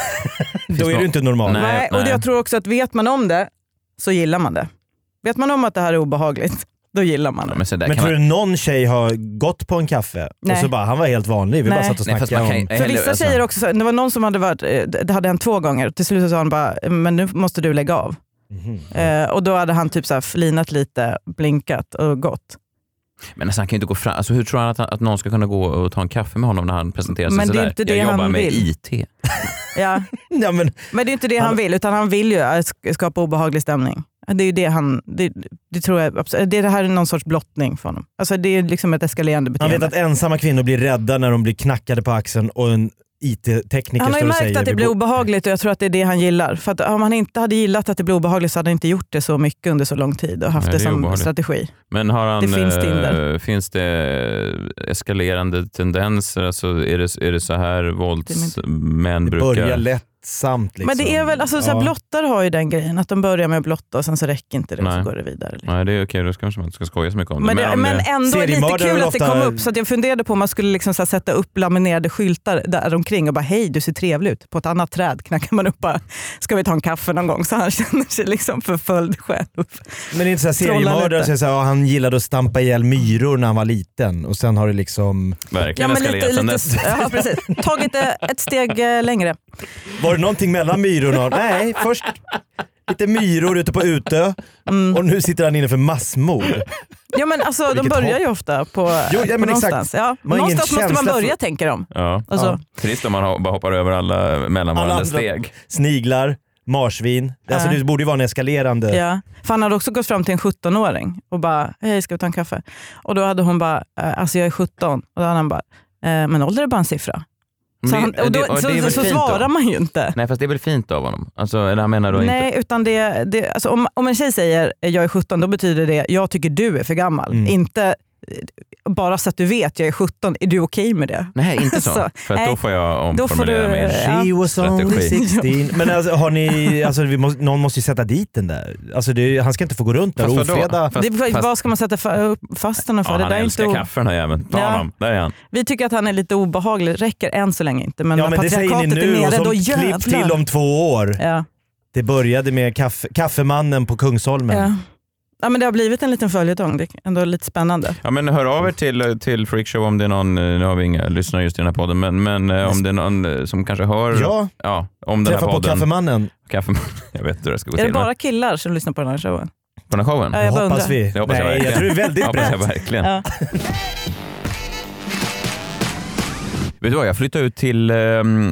[SPEAKER 2] Då är
[SPEAKER 1] någon-
[SPEAKER 2] du inte normal.
[SPEAKER 1] Nej.
[SPEAKER 4] och jag tror också att vet man om det så gillar man det. Vet man om att det här är obehagligt, då gillar man det.
[SPEAKER 1] Men så där
[SPEAKER 2] Men
[SPEAKER 1] kan
[SPEAKER 2] tror
[SPEAKER 1] man...
[SPEAKER 2] du någon tjej har gått på en kaffe och
[SPEAKER 4] Nej.
[SPEAKER 2] så bara, han var helt vanlig, vi bara
[SPEAKER 4] Nej.
[SPEAKER 2] satt och
[SPEAKER 1] Nej, fast
[SPEAKER 2] snackade
[SPEAKER 1] man kan ju-
[SPEAKER 2] om...
[SPEAKER 4] För vissa
[SPEAKER 1] alltså-
[SPEAKER 4] tjejer också, så- det var någon som hade varit, eh, det hade hänt två gånger. Till slut så sa han bara, men nu måste du lägga av.
[SPEAKER 2] Mhm.
[SPEAKER 4] Eh, och då hade han typ så här flinat lite, blinkat och gått.
[SPEAKER 1] Men alltså, han kan ju inte gå fram. Alltså, hur tror han att, att någon ska kunna gå och ta en kaffe med honom när han presenterar sig
[SPEAKER 4] Men det är
[SPEAKER 1] sådär?
[SPEAKER 4] inte det
[SPEAKER 1] jag jobbar
[SPEAKER 4] han
[SPEAKER 1] med
[SPEAKER 4] vill.
[SPEAKER 1] IT.
[SPEAKER 4] Ja.
[SPEAKER 2] Ja, men,
[SPEAKER 4] Men det är inte det han,
[SPEAKER 2] Han-
[SPEAKER 4] vill, utan han vill ju att sk- skapa obehaglig stämning. Det är ju det han... Det, det tror jag absolut. Det, det här är någon sorts blottning för honom. Alltså det är liksom ett eskalerande
[SPEAKER 2] han vet
[SPEAKER 1] Mm.
[SPEAKER 2] att
[SPEAKER 4] beteende.
[SPEAKER 2] ensamma kvinnor blir rädda när de blir knackade på axeln och en IT-tekniker
[SPEAKER 4] Han har
[SPEAKER 2] står
[SPEAKER 4] ju
[SPEAKER 2] och säger...
[SPEAKER 4] märkt att det
[SPEAKER 2] "Vi
[SPEAKER 4] blir
[SPEAKER 2] bor-"
[SPEAKER 4] obehagligt och jag tror att det är det han gillar. För att om han inte hade gillat att det blev obehagligt så hade han inte gjort det så mycket under så lång tid och haft
[SPEAKER 1] Nej,
[SPEAKER 4] det,
[SPEAKER 1] det är
[SPEAKER 4] som
[SPEAKER 1] obehagligt.
[SPEAKER 4] strategi.
[SPEAKER 1] Men har han,
[SPEAKER 4] Det finns
[SPEAKER 1] eh,
[SPEAKER 4] Tinder.
[SPEAKER 1] finns det eskalerande tendenser? Alltså, är, det, är det så här våldsmän
[SPEAKER 2] Det börjar
[SPEAKER 1] brukar...
[SPEAKER 2] lättsamt liksom.
[SPEAKER 4] Men det är väl, alltså, så här,
[SPEAKER 2] Ja.
[SPEAKER 4] blottare har ju den grejen att de börjar med att blotta och sen så räcker inte det och så
[SPEAKER 1] Nej.
[SPEAKER 4] går det vidare. liksom.
[SPEAKER 1] Nej, det är okej. Då kanske man inte ska skoja så mycket om det.
[SPEAKER 4] Men, det,
[SPEAKER 1] om
[SPEAKER 4] men
[SPEAKER 1] det...
[SPEAKER 4] ändå är det lite
[SPEAKER 2] Seriemördare är
[SPEAKER 4] kul
[SPEAKER 2] väl
[SPEAKER 4] att det
[SPEAKER 2] ofta-
[SPEAKER 4] kom upp. Så att jag funderade på om man skulle liksom så här sätta upp laminerade skyltar där omkring och bara hej du ser trevlig ut. På ett annat träd knackar man upp bara ska vi ta en kaffe någon gång? Så han känner sig liksom förföljd själv.
[SPEAKER 2] Men det är inte såhär
[SPEAKER 4] Trolla
[SPEAKER 2] seriemördare
[SPEAKER 4] lite.
[SPEAKER 2] som säger ja, han gillade att stampa ihjäl myror när han var liten och sen har det liksom...
[SPEAKER 1] Verkligen eskalerat sen dess.
[SPEAKER 4] ja, precis. Tagit eh, ett steg eh, längre.
[SPEAKER 2] Var det någonting mellan myrorna? Nej, först lite myror ute på Utö
[SPEAKER 4] Mm.
[SPEAKER 2] och nu sitter han inne för massmord.
[SPEAKER 4] Ja, men alltså, de
[SPEAKER 2] Vilket
[SPEAKER 4] börjar
[SPEAKER 2] hopp.
[SPEAKER 4] ju ofta på,
[SPEAKER 2] Jo, ja,
[SPEAKER 4] på
[SPEAKER 2] men exakt.
[SPEAKER 4] någonstans. Ja,
[SPEAKER 2] Man har ingen
[SPEAKER 4] någonstans måste man
[SPEAKER 2] känsla
[SPEAKER 4] börja
[SPEAKER 2] för-
[SPEAKER 4] tänker de.
[SPEAKER 1] Ja.
[SPEAKER 4] Alltså,
[SPEAKER 2] Ja.
[SPEAKER 1] Trist om man ho- bara hoppar över alla mellanvarande
[SPEAKER 2] Alla andra-
[SPEAKER 1] steg.
[SPEAKER 2] Sniglar, marsvin. Alltså
[SPEAKER 4] Ja.
[SPEAKER 2] det borde ju vara en eskalerande...
[SPEAKER 4] Ja. För han hade också gått fram till en 17-åring och bara, hej ska vi ta en kaffe? Och då hade hon bara, "Eh, alltså jag är 17. Och då hade han bara, "Eh, men ålder är bara en siffra.
[SPEAKER 1] Men
[SPEAKER 4] Så,
[SPEAKER 1] det-
[SPEAKER 4] han, och då,
[SPEAKER 1] det- och det
[SPEAKER 4] så,
[SPEAKER 1] är väl
[SPEAKER 4] så, så
[SPEAKER 1] fint
[SPEAKER 4] svarar
[SPEAKER 1] då?
[SPEAKER 4] man ju inte.
[SPEAKER 1] Nej, fast det är väl fint av honom? Alltså, eller han menar då inte...
[SPEAKER 4] Nej, utan det, det, alltså om, om en tjej säger jag är 17, då betyder det jag tycker du är för gammal.
[SPEAKER 2] Mm.
[SPEAKER 4] Inte bara så att du vet, jag är 17, är du okej med det?
[SPEAKER 1] Nej, inte så.
[SPEAKER 4] Så,
[SPEAKER 1] för att då
[SPEAKER 4] nej.
[SPEAKER 1] får jag
[SPEAKER 4] Då får
[SPEAKER 1] omformulera
[SPEAKER 4] du-
[SPEAKER 1] min...
[SPEAKER 4] ja.
[SPEAKER 2] She was only
[SPEAKER 1] Strategi.
[SPEAKER 2] 16. Men alltså, har ni, alltså, vi måste, någon måste ju sätta dit den där. Alltså, det, är- han ska inte få gå runt där och
[SPEAKER 1] Fast vadå?
[SPEAKER 2] ofreda.
[SPEAKER 1] Fast-
[SPEAKER 4] det,
[SPEAKER 1] fast-
[SPEAKER 4] vad ska man sätta fa- upp fast honom för?
[SPEAKER 1] Ja,
[SPEAKER 4] det
[SPEAKER 1] han
[SPEAKER 4] där är
[SPEAKER 1] älskar
[SPEAKER 4] inte o-
[SPEAKER 1] kaffe den här jäveln. Ta
[SPEAKER 4] Ja.
[SPEAKER 1] honom, där är han.
[SPEAKER 4] Vi tycker att han är lite obehaglig, räcker än så länge inte. Men
[SPEAKER 2] Ja
[SPEAKER 4] när
[SPEAKER 2] men det säger ni
[SPEAKER 4] patriarkatet är
[SPEAKER 2] nu och
[SPEAKER 4] nere,
[SPEAKER 2] som
[SPEAKER 4] då jävlar.
[SPEAKER 2] klipp till om två år.
[SPEAKER 4] Ja,
[SPEAKER 2] Det började med kaffe, kaffemannen på Kungsholmen.
[SPEAKER 4] ja. Ja, men det har blivit en liten följetong, det är ändå lite spännande.
[SPEAKER 1] Ja, men hör av er till, eh, till Freakshow om det är någon, eh, nu har vi inga lyssnare just i den här podden, men, men eh, om det är någon eh, som kanske hör
[SPEAKER 2] Ja,
[SPEAKER 1] ja, om den här
[SPEAKER 2] träffa på
[SPEAKER 1] podden.
[SPEAKER 2] kaffemannen.
[SPEAKER 1] Kaffe. jag vet inte hur det ska gå
[SPEAKER 4] Är det
[SPEAKER 1] till. men-
[SPEAKER 4] bara Eh, killar som lyssnar på den här showen?
[SPEAKER 1] På den här showen?
[SPEAKER 4] Ja,
[SPEAKER 2] Det
[SPEAKER 4] jag bara
[SPEAKER 2] hoppas
[SPEAKER 4] undrar.
[SPEAKER 2] vi.
[SPEAKER 1] Det hoppas jag
[SPEAKER 2] Nej, jag,
[SPEAKER 1] verkligen.
[SPEAKER 2] tror det är väldigt
[SPEAKER 1] hoppas jag
[SPEAKER 2] brett.
[SPEAKER 1] verkligen.
[SPEAKER 4] Ja.
[SPEAKER 1] Vet du vad, jag flyttade ut till eh,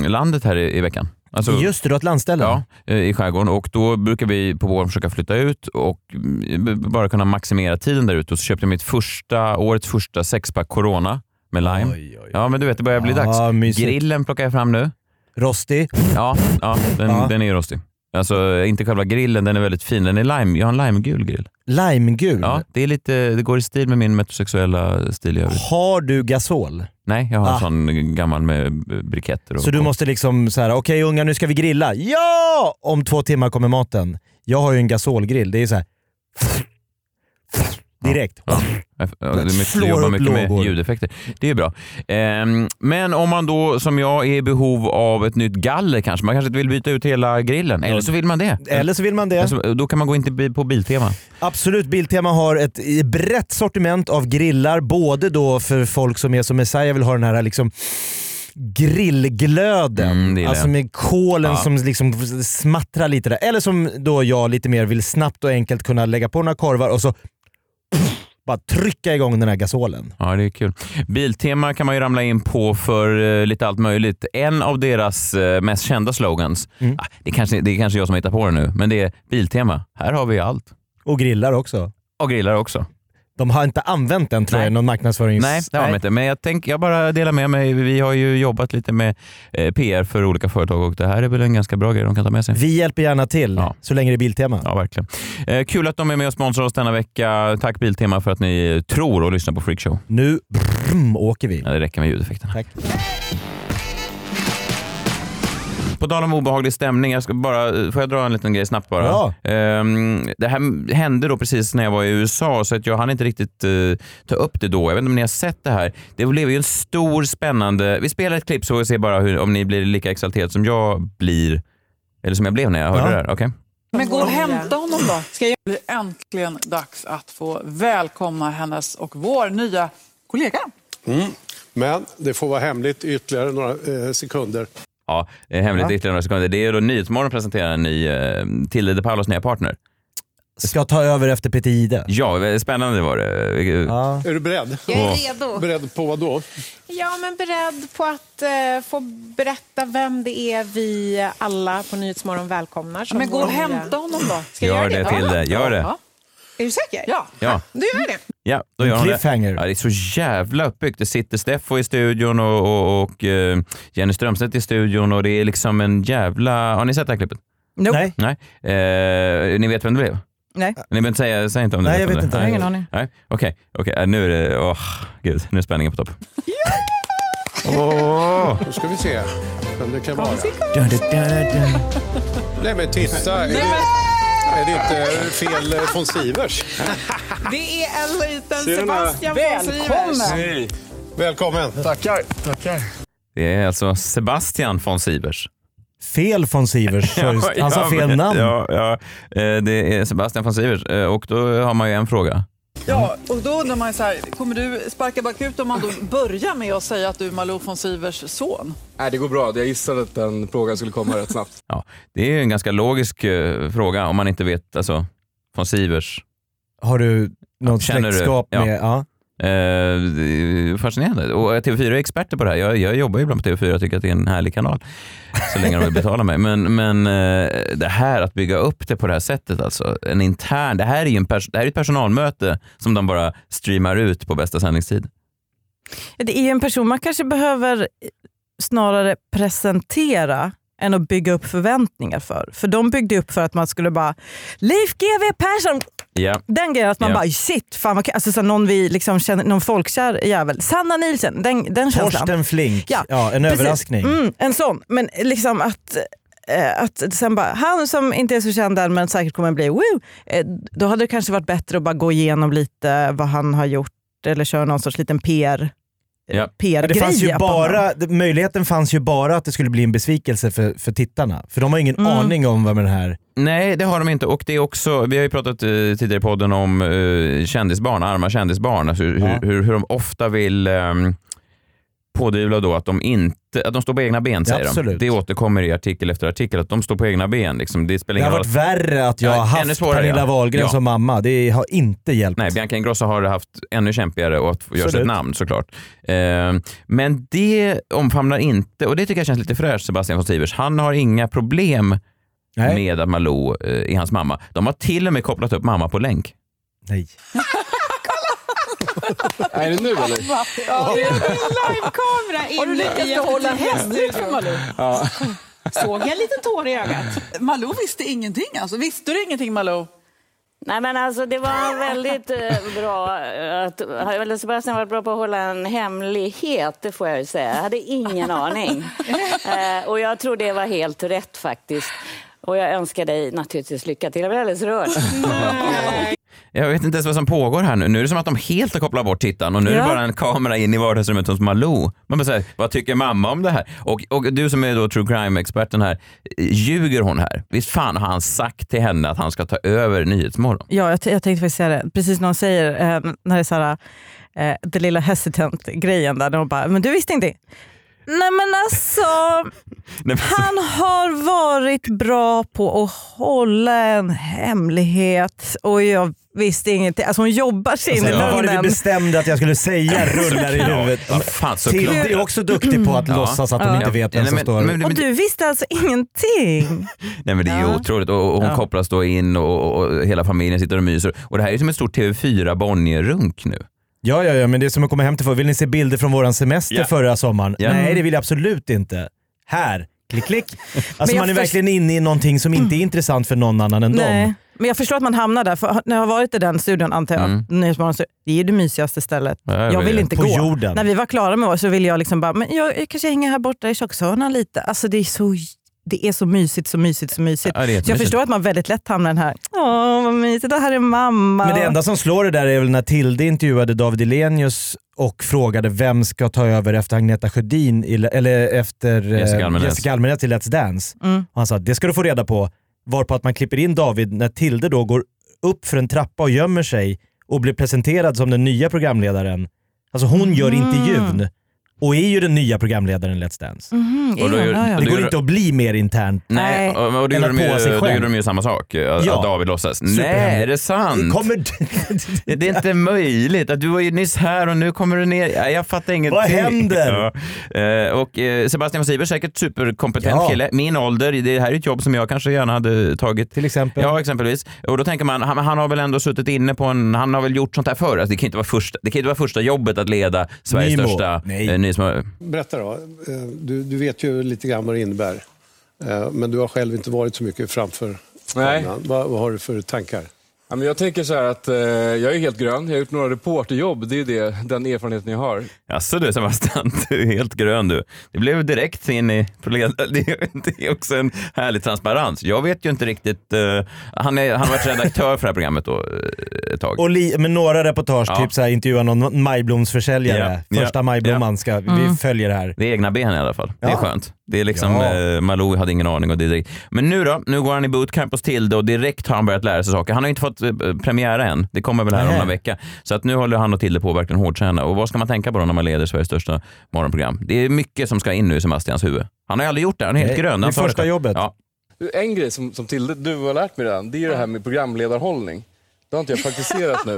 [SPEAKER 1] landet här i, i veckan. Alltså,
[SPEAKER 2] Just det, du har ett landställe.
[SPEAKER 1] Ja, eh, i skärgården och då brukar vi på våren försöka flytta ut och mm, b- bara kunna maximera tiden där ute. Och så köpte jag mitt första, årets första sexpack Corona med lime.
[SPEAKER 2] Oj, oj.
[SPEAKER 1] Ja, men du vet, det börjar bli dags.
[SPEAKER 2] Ja, mysigt.
[SPEAKER 1] Grillen plockar jag fram nu.
[SPEAKER 2] Rostig.
[SPEAKER 1] Ja, ja, den,
[SPEAKER 2] Ja.
[SPEAKER 1] den är ju rostig. Alltså inte själva grillen, den är väldigt fin. Den är lime, jag har en limegul grill.
[SPEAKER 2] Limegul.
[SPEAKER 1] Ja, det, är lite, det går i stil med min metrosexuella stil i övrigt.
[SPEAKER 2] Har du gasol?
[SPEAKER 1] Nej, jag har en
[SPEAKER 2] Ah.
[SPEAKER 1] sån gammal med briketter. Och,
[SPEAKER 2] Så du måste liksom så här, okej unga nu ska vi grilla. Ja! Om två timmar kommer maten. Jag har ju en gasolgrill. Det är så här. Direkt.
[SPEAKER 1] Ja, det är mycket,
[SPEAKER 2] Slår
[SPEAKER 1] du jobbar
[SPEAKER 2] upp
[SPEAKER 1] mycket med
[SPEAKER 2] lågor.
[SPEAKER 1] ljudeffekter. Det är bra. Ehm, men om man då, som jag, är i behov av ett nytt galler kanske. Man kanske inte vill byta ut hela grillen. Eller så vill man det.
[SPEAKER 2] Eller så vill man det.
[SPEAKER 1] Alltså, då kan man gå in till, bi- på Biltema.
[SPEAKER 2] Absolut, Biltema har ett brett sortiment av grillar. Både då för folk som är som Messiah vill ha den här liksom grillglöden.
[SPEAKER 1] Mm, det gillar
[SPEAKER 2] alltså
[SPEAKER 1] jag.
[SPEAKER 2] med kolen
[SPEAKER 1] Ja.
[SPEAKER 2] som liksom smattrar lite där. Eller som då jag lite mer vill snabbt och enkelt kunna lägga på några korvar och så bara trycka igång den här gasolen.
[SPEAKER 1] Ja, det är kul. Biltema kan man ju ramla in på för eh, lite allt möjligt. En av deras eh, mest kända slogans,
[SPEAKER 2] Mm.
[SPEAKER 1] ah, det, kanske, det är kanske jag som hittar på det nu, men det är Biltema. Här har vi allt.
[SPEAKER 2] Och grillar också.
[SPEAKER 1] Och grillar också.
[SPEAKER 2] De har inte använt den tror
[SPEAKER 1] Nej.
[SPEAKER 2] jag i någon marknadsförings...
[SPEAKER 1] Nej, det har de inte. Men jag, tänk, jag bara delar med mig. Vi har ju jobbat lite med eh, PR för olika företag och det här är väl en ganska bra grej de kan ta med sig.
[SPEAKER 2] Vi hjälper gärna till,
[SPEAKER 1] Ja.
[SPEAKER 2] så länge det är Biltema.
[SPEAKER 1] Ja, verkligen. Eh, kul att de är med och sponsrar oss denna vecka. Tack Biltema för att ni tror och lyssnar på Freakshow.
[SPEAKER 2] Nu brum, åker vi.
[SPEAKER 1] Ja, det räcker med ljudeffekterna.
[SPEAKER 2] Tack.
[SPEAKER 1] På tal om obehaglig stämning, jag ska bara, får jag dra en liten grej snabbt bara?
[SPEAKER 2] Ja.
[SPEAKER 1] Ehm, det här hände då precis när jag var i USA så att jag hann inte riktigt eh, ta upp det då. Jag vet inte om ni har sett det här. Det blev ju en stor spännande... Vi spelar ett klipp så vi ser bara hur, om ni blir lika exalterade som jag blir. Eller som jag blev när jag hörde
[SPEAKER 2] Ja.
[SPEAKER 1] det här. Okej?
[SPEAKER 6] Men gå och hämta honom då. Ska jag... Det blir äntligen dags att få välkomna hennes och vår nya kollega.
[SPEAKER 7] Men det får vara hemligt ytterligare några eh, sekunder.
[SPEAKER 1] Ja, det är hemligt ytterligare några sekunder. Det är då Nyhetsmorgon presenterar en ny eh, Tilde de Paulos nya partner.
[SPEAKER 2] Ska ta över efter Peter Jihde.
[SPEAKER 1] Ja, eh, spännande var det.
[SPEAKER 2] Ja.
[SPEAKER 7] Är du beredd?
[SPEAKER 8] Jag är redo.
[SPEAKER 7] Beredd på vad då?
[SPEAKER 8] Ja, men beredd på att eh, få berätta vem det är vi alla på Nyhetsmorgon välkomnar. som
[SPEAKER 6] Men gå och
[SPEAKER 8] vår-
[SPEAKER 6] hämta honom då.
[SPEAKER 8] Ska jag
[SPEAKER 1] Gör det Tilde, gör det.
[SPEAKER 6] Ja.
[SPEAKER 8] Är du säker?
[SPEAKER 6] Ja.
[SPEAKER 1] Ja.
[SPEAKER 8] Du gör det?
[SPEAKER 1] Ja, då
[SPEAKER 2] En
[SPEAKER 1] gör hon
[SPEAKER 2] cliffhanger.
[SPEAKER 1] Det. Ja, det är så jävla uppbyggt. Det sitter Steffo i studion och, och, och eh, Jenny Strömstedt i studion och det är liksom en jävla... Har ni sett det här klippet?
[SPEAKER 4] Nope.
[SPEAKER 2] Nej.
[SPEAKER 1] Nej. Eh, ni vet vem det blev?
[SPEAKER 4] Nej.
[SPEAKER 1] Ni behöver inte säga, säg inte om ni
[SPEAKER 2] Nej, jag
[SPEAKER 1] vem
[SPEAKER 2] vet
[SPEAKER 1] det
[SPEAKER 2] inte.
[SPEAKER 1] är.
[SPEAKER 4] Jag har ingen aning.
[SPEAKER 1] Nej, okej. okej. Eh, Nu är det... Åh, gud. Nu är spänningen på topp. Åh!
[SPEAKER 7] Då ska vi se vem det kan vara. Nej men titta, är det, är det inte fel eh, von Sivers?
[SPEAKER 8] Det är en liten
[SPEAKER 7] Tjena.
[SPEAKER 8] Sebastian von Sivers.
[SPEAKER 6] Välkommen!
[SPEAKER 7] Välkommen.
[SPEAKER 9] Tackar. Tackar.
[SPEAKER 1] Det är alltså Sebastian von Sivers.
[SPEAKER 2] Fel von Sivers. just. Han sa fel
[SPEAKER 1] men-
[SPEAKER 2] namn.
[SPEAKER 1] Ja, ja. Eh, Det är Sebastian von Sivers Eh, och då har man ju en fråga.
[SPEAKER 6] Ja, och då undrar man ju så här, kommer du sparka bakut om man då börjar med att säga att du är Malou von Sivers son?
[SPEAKER 9] Nej, det går bra. Jag gissade att den frågan skulle komma rätt snabbt.
[SPEAKER 1] Ja, det är ju en ganska logisk eh, fråga om man inte vet, alltså, von Sivers.
[SPEAKER 2] Har du något
[SPEAKER 1] känner du?
[SPEAKER 2] släktskap
[SPEAKER 1] Ja.
[SPEAKER 2] med... Ja.
[SPEAKER 1] Eh, det är fascinerande. Och eh, TV4 är experter på det här. Jag, jag jobbar ju ibland på TV4 och tycker att det är en härlig kanal. Så länge de vill betala mig. Men, men eh, det här att bygga upp det på det här sättet, alltså, en intern, det här är ju en pers- det här är ett personalmöte som de bara streamar ut på bästa sändningstid.
[SPEAKER 4] Det är ju en person man kanske behöver snarare presentera än att bygga upp förväntningar för. För de byggde upp för att man skulle bara, Leif GW Persson,
[SPEAKER 1] Ja.
[SPEAKER 4] Den grejen att man
[SPEAKER 1] Ja.
[SPEAKER 4] bara shit, fan vad kul." alltså, så någon, vi liksom känner, någon folkkär jävel. Sanna Nielsen, den, den känslan.
[SPEAKER 2] Torsten Flink. Ja. en
[SPEAKER 4] Precis.
[SPEAKER 2] överraskning.
[SPEAKER 4] Mm, en sån. Men liksom att, eh, att sen bara, han som inte är så känd än men säkert kommer bli, woo, eh, då hade det kanske varit bättre att bara gå igenom lite vad han har gjort eller köra någon sorts liten PR.
[SPEAKER 1] Ja.
[SPEAKER 4] PR
[SPEAKER 2] Men det fanns ju
[SPEAKER 4] greja på
[SPEAKER 2] bara, det- möjligheten fanns ju bara att det skulle bli en besvikelse för, för tittarna. För de har ingen
[SPEAKER 4] Mm.
[SPEAKER 2] aning om vad med den här...
[SPEAKER 1] Nej, det har de inte. Och det är också, vi har ju pratat eh, tidigare i podden om eh, kändisbarn, arma kändisbarn. Alltså hur,
[SPEAKER 2] Ja.
[SPEAKER 1] hur, hur de ofta vill ehm, pådyvla då att de inte att de står på egna ben, säger
[SPEAKER 2] absolut.
[SPEAKER 1] de. Det återkommer i artikel efter artikel, att de står på egna ben. Liksom. Det, spelar
[SPEAKER 2] Det har
[SPEAKER 1] ingen roll
[SPEAKER 2] varit värre att jag
[SPEAKER 1] Ja,
[SPEAKER 2] har
[SPEAKER 1] ännu
[SPEAKER 2] haft
[SPEAKER 1] svårare,
[SPEAKER 2] Pernilla
[SPEAKER 1] ja.
[SPEAKER 2] Wahlgren
[SPEAKER 1] Ja.
[SPEAKER 2] som mamma. Det har inte hjälpt.
[SPEAKER 1] Nej, Bianca Ingrosso har haft ännu kämpigare och att göra sitt
[SPEAKER 2] Absolut.
[SPEAKER 1] namn såklart. Eh, men det omfamnar inte, och det tycker jag känns lite fräscht, Sebastian von Sivers. Han har inga problem
[SPEAKER 2] Nej.
[SPEAKER 1] med att Malou eh, är hans mamma. De har till och med kopplat upp mamma på länk.
[SPEAKER 2] Nej.
[SPEAKER 9] Är det nu eller?
[SPEAKER 6] Ja, det är
[SPEAKER 8] Livekamera
[SPEAKER 6] Har du lyckats behålla hemligt från Malou?
[SPEAKER 9] Ja.
[SPEAKER 6] Såg jag en liten tår i ögat? Malou visste ingenting alltså. Visste du ingenting Malou?
[SPEAKER 3] Nej men alltså det var väldigt eh, bra eh, att, eller Sebastian har varit bra på att hålla en hemlighet, det får jag ju säga. Jag hade ingen aning. Eh, och jag tror det var helt rätt faktiskt. Och jag önskar dig naturligtvis lycka till. Jag blir alldeles rörd.
[SPEAKER 1] Jag vet inte ens vad som pågår här nu. Nu är det som att de helt har kopplat bort tittaren och nu är
[SPEAKER 3] Ja.
[SPEAKER 1] det bara en kamera in i vardagsrummet hos Malou. Man bara säger, vad tycker mamma om det här? Och, och du som är då true crime-experten här, ljuger hon här? Visst fan har han sagt till henne att han ska ta över Nyhetsmorgon?
[SPEAKER 4] Ja, jag, t- jag tänkte faktiskt säga det. Precis när hon säger, eh, när det är så här, eh, den lilla hesitant-grejen där, när hon bara, men du visste inte. Nej men alltså,
[SPEAKER 1] Nej, men-
[SPEAKER 4] han har varit bra på att hålla en hemlighet och jag visste ingenting. Alltså hon jobbar sig in
[SPEAKER 2] Alltså,
[SPEAKER 4] i
[SPEAKER 2] vad var det vi
[SPEAKER 4] lögnen.
[SPEAKER 2] bestämde att jag skulle säga rullar i huvudet.
[SPEAKER 1] Ja, fan, såklart.
[SPEAKER 2] Till är också duktig på att
[SPEAKER 1] Ja.
[SPEAKER 2] låtsas att de inte
[SPEAKER 1] Ja.
[SPEAKER 2] vet vem
[SPEAKER 1] Nej,
[SPEAKER 2] som
[SPEAKER 1] men-
[SPEAKER 2] står...
[SPEAKER 1] men- men-
[SPEAKER 4] Och du visste alltså ingenting?
[SPEAKER 1] Nej men det är ju otroligt och, och hon
[SPEAKER 4] Ja.
[SPEAKER 1] kopplas då in och, och, och hela familjen sitter och myser. Och det här är ju som en stor TV4 Bonnier-runk nu.
[SPEAKER 2] Ja, ja, ja, men det är som att komma hem till för. Vill ni se bilder från våran semester
[SPEAKER 1] Ja.
[SPEAKER 2] förra sommaren?
[SPEAKER 1] Ja.
[SPEAKER 2] Nej,
[SPEAKER 4] Mm.
[SPEAKER 2] det vill jag absolut inte. Här, klick, klick. Alltså
[SPEAKER 4] jag
[SPEAKER 2] man är
[SPEAKER 4] först-
[SPEAKER 2] verkligen inne i någonting som inte är intressant för någon annan än dem.
[SPEAKER 4] Nej. Men jag förstår att man hamnar där, för när jag har varit i den studion antar jag,
[SPEAKER 2] Mm.
[SPEAKER 4] Nyhetsmorgon, så det är ju det mysigaste stället.
[SPEAKER 2] Ja, jag
[SPEAKER 4] jag vill
[SPEAKER 2] vet.
[SPEAKER 4] inte
[SPEAKER 2] På
[SPEAKER 4] gå.
[SPEAKER 2] jorden.
[SPEAKER 4] När vi var klara med oss så ville jag liksom bara, men jag, jag kanske hänger här borta i kökshörnan lite. Alltså det är så det är så mysigt, så mysigt, så mysigt.
[SPEAKER 2] Ja, det är
[SPEAKER 4] så jag
[SPEAKER 2] jättemysigt.
[SPEAKER 4] förstår att man väldigt lätt hamnar i den här, åh vad mysigt, och här är mamma.
[SPEAKER 2] Men det enda som slår det där är väl när Tilde intervjuade David Hellenius och frågade vem ska ta över efter Agneta Sjödin, i- eller efter eh,
[SPEAKER 1] Jessica Almenäs.
[SPEAKER 2] Jessica Almenäs i Let's Dance.
[SPEAKER 4] Mm.
[SPEAKER 2] Och han sa det ska du få reda på, varpå att man klipper in David när Tilde då går upp för en trappa och gömmer sig och blir presenterad som den nya programledaren. Alltså hon gör
[SPEAKER 4] Mm.
[SPEAKER 2] intervjun och är ju den nya programledaren i Let's Dance.
[SPEAKER 4] Mhm,
[SPEAKER 1] Och då
[SPEAKER 4] Elon,
[SPEAKER 1] gör-
[SPEAKER 4] ja, ja.
[SPEAKER 1] då
[SPEAKER 2] Det går
[SPEAKER 1] gör-
[SPEAKER 2] inte att bli mer internt
[SPEAKER 1] Nej, och, och då,
[SPEAKER 2] än
[SPEAKER 1] gjorde
[SPEAKER 2] att
[SPEAKER 1] de
[SPEAKER 2] på sig
[SPEAKER 1] ju, då
[SPEAKER 2] själv.
[SPEAKER 1] gjorde de ju samma sak, att
[SPEAKER 2] Ja.
[SPEAKER 1] att David låtsas. Nej,
[SPEAKER 2] Superhemligt.
[SPEAKER 1] är det sant?
[SPEAKER 2] Kommer...
[SPEAKER 1] det är inte möjligt. Att du var ju nyss här och nu kommer du ner. Ja, Jag fattar ingenting.
[SPEAKER 2] Vad händer?
[SPEAKER 1] Ja. Eh, Och eh, Sebastian von Sivers, säkert superkompetent
[SPEAKER 2] Ja.
[SPEAKER 1] kille. Min ålder, det här är ett jobb som jag kanske gärna hade tagit.
[SPEAKER 2] Till exempel?
[SPEAKER 1] Ja, exempelvis. Och då tänker man, han, han har väl ändå suttit inne på en, han har väl gjort sånt här förr. Alltså, det kan inte vara första, det kan inte vara första jobbet att leda Sveriges
[SPEAKER 7] Nimo.
[SPEAKER 1] största
[SPEAKER 7] Nej.
[SPEAKER 1] eh, nyhetsmorgon.
[SPEAKER 7] Berätta då. Eh, Du, du vet ju lite grann vad det innebär. Eh, Men du har själv inte varit så mycket framför
[SPEAKER 9] Nej.
[SPEAKER 7] kameran. Vad, vad har du för tankar?
[SPEAKER 9] Ja, men jag tänker så här att eh, jag är helt grön. Jag har gjort några reporterjobb. Det är ju det, den erfarenheten jag har.
[SPEAKER 1] Jaså du Sebastian, du är helt grön du. Det blev direkt in i... Det är- det är också en härlig transparens. Jag vet ju inte riktigt... eh, han, är, han har varit redaktör för det här programmet då, eh, ett tag.
[SPEAKER 2] Och li- med några reportage,
[SPEAKER 1] Ja.
[SPEAKER 2] typ så här, intervjua någon majblomsförsäljare.
[SPEAKER 1] Ja,
[SPEAKER 2] Första
[SPEAKER 1] ja,
[SPEAKER 2] majblomman
[SPEAKER 1] ja.
[SPEAKER 2] ska, vi
[SPEAKER 1] Mm.
[SPEAKER 2] följer det här.
[SPEAKER 1] Det är egna ben i alla fall. Det är
[SPEAKER 2] Ja.
[SPEAKER 1] skönt. Det är liksom,
[SPEAKER 2] Ja.
[SPEAKER 1] eh, Malou hade ingen aning. Och det är direkt. Men nu då? Nu går han i bootcamp hos Tilde och direkt har han börjat lära sig saker. Han har ju inte fått eh, premiära än. Det kommer väl här om
[SPEAKER 2] Nej.
[SPEAKER 1] någon vecka. Så att nu håller han och Tilde på att verkligen hårdträna. Och vad ska man tänka på då när man leder Sveriges största morgonprogram? Det är mycket som ska in nu i Sebastians huvud. Han har ju aldrig gjort det. Han är helt
[SPEAKER 9] Nej,
[SPEAKER 1] grön. Han
[SPEAKER 9] det är
[SPEAKER 1] tar
[SPEAKER 9] första
[SPEAKER 1] själv.
[SPEAKER 2] jobbet.
[SPEAKER 1] Ja.
[SPEAKER 9] En grej som, som Tilde, du har lärt mig redan, det är ju det här med programledarhållning. Det har inte jag praktiserat nu.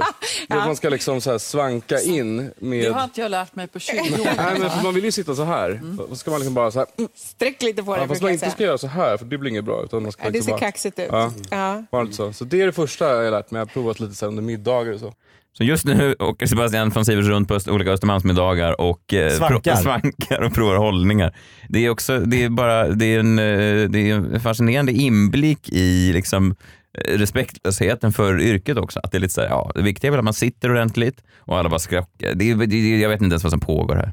[SPEAKER 9] Det är att man ska liksom så här svanka in
[SPEAKER 6] Det
[SPEAKER 9] med...
[SPEAKER 6] har inte jag lärt mig på 20
[SPEAKER 9] Nej, men för
[SPEAKER 6] år.
[SPEAKER 9] man vill ju sitta så här. Och så ska man liksom bara så här... mm.
[SPEAKER 8] Sträck lite på
[SPEAKER 9] Ja,
[SPEAKER 8] dig
[SPEAKER 9] fast man
[SPEAKER 8] Mm. brukar jag
[SPEAKER 9] inte ska
[SPEAKER 8] säga.
[SPEAKER 9] göra så här, för det blir inget bra. Utan man ska
[SPEAKER 8] Ja, det
[SPEAKER 9] liksom
[SPEAKER 8] ser
[SPEAKER 9] bara-
[SPEAKER 8] kaxigt ut.
[SPEAKER 9] Ja.
[SPEAKER 8] Ja.
[SPEAKER 9] Var det inte så? Så det är det första jag har lärt mig. Jag har provat lite så här under middagar och så.
[SPEAKER 1] Så just nu åker Sebastian från Sivers runt på öst- olika Östermalmsmiddagar och eh,
[SPEAKER 2] Svankar.
[SPEAKER 1] pro- svankar och provar hållningar. Det är också, det är bara, det är en, eh, det är en fascinerande inblick i liksom eh, respektlösheten för yrket också. Att det är lite så här, ja, det viktiga är väl att man sitter ordentligt och alla bara skrockar. Det, är- det, det, jag vet inte ens vad som pågår här.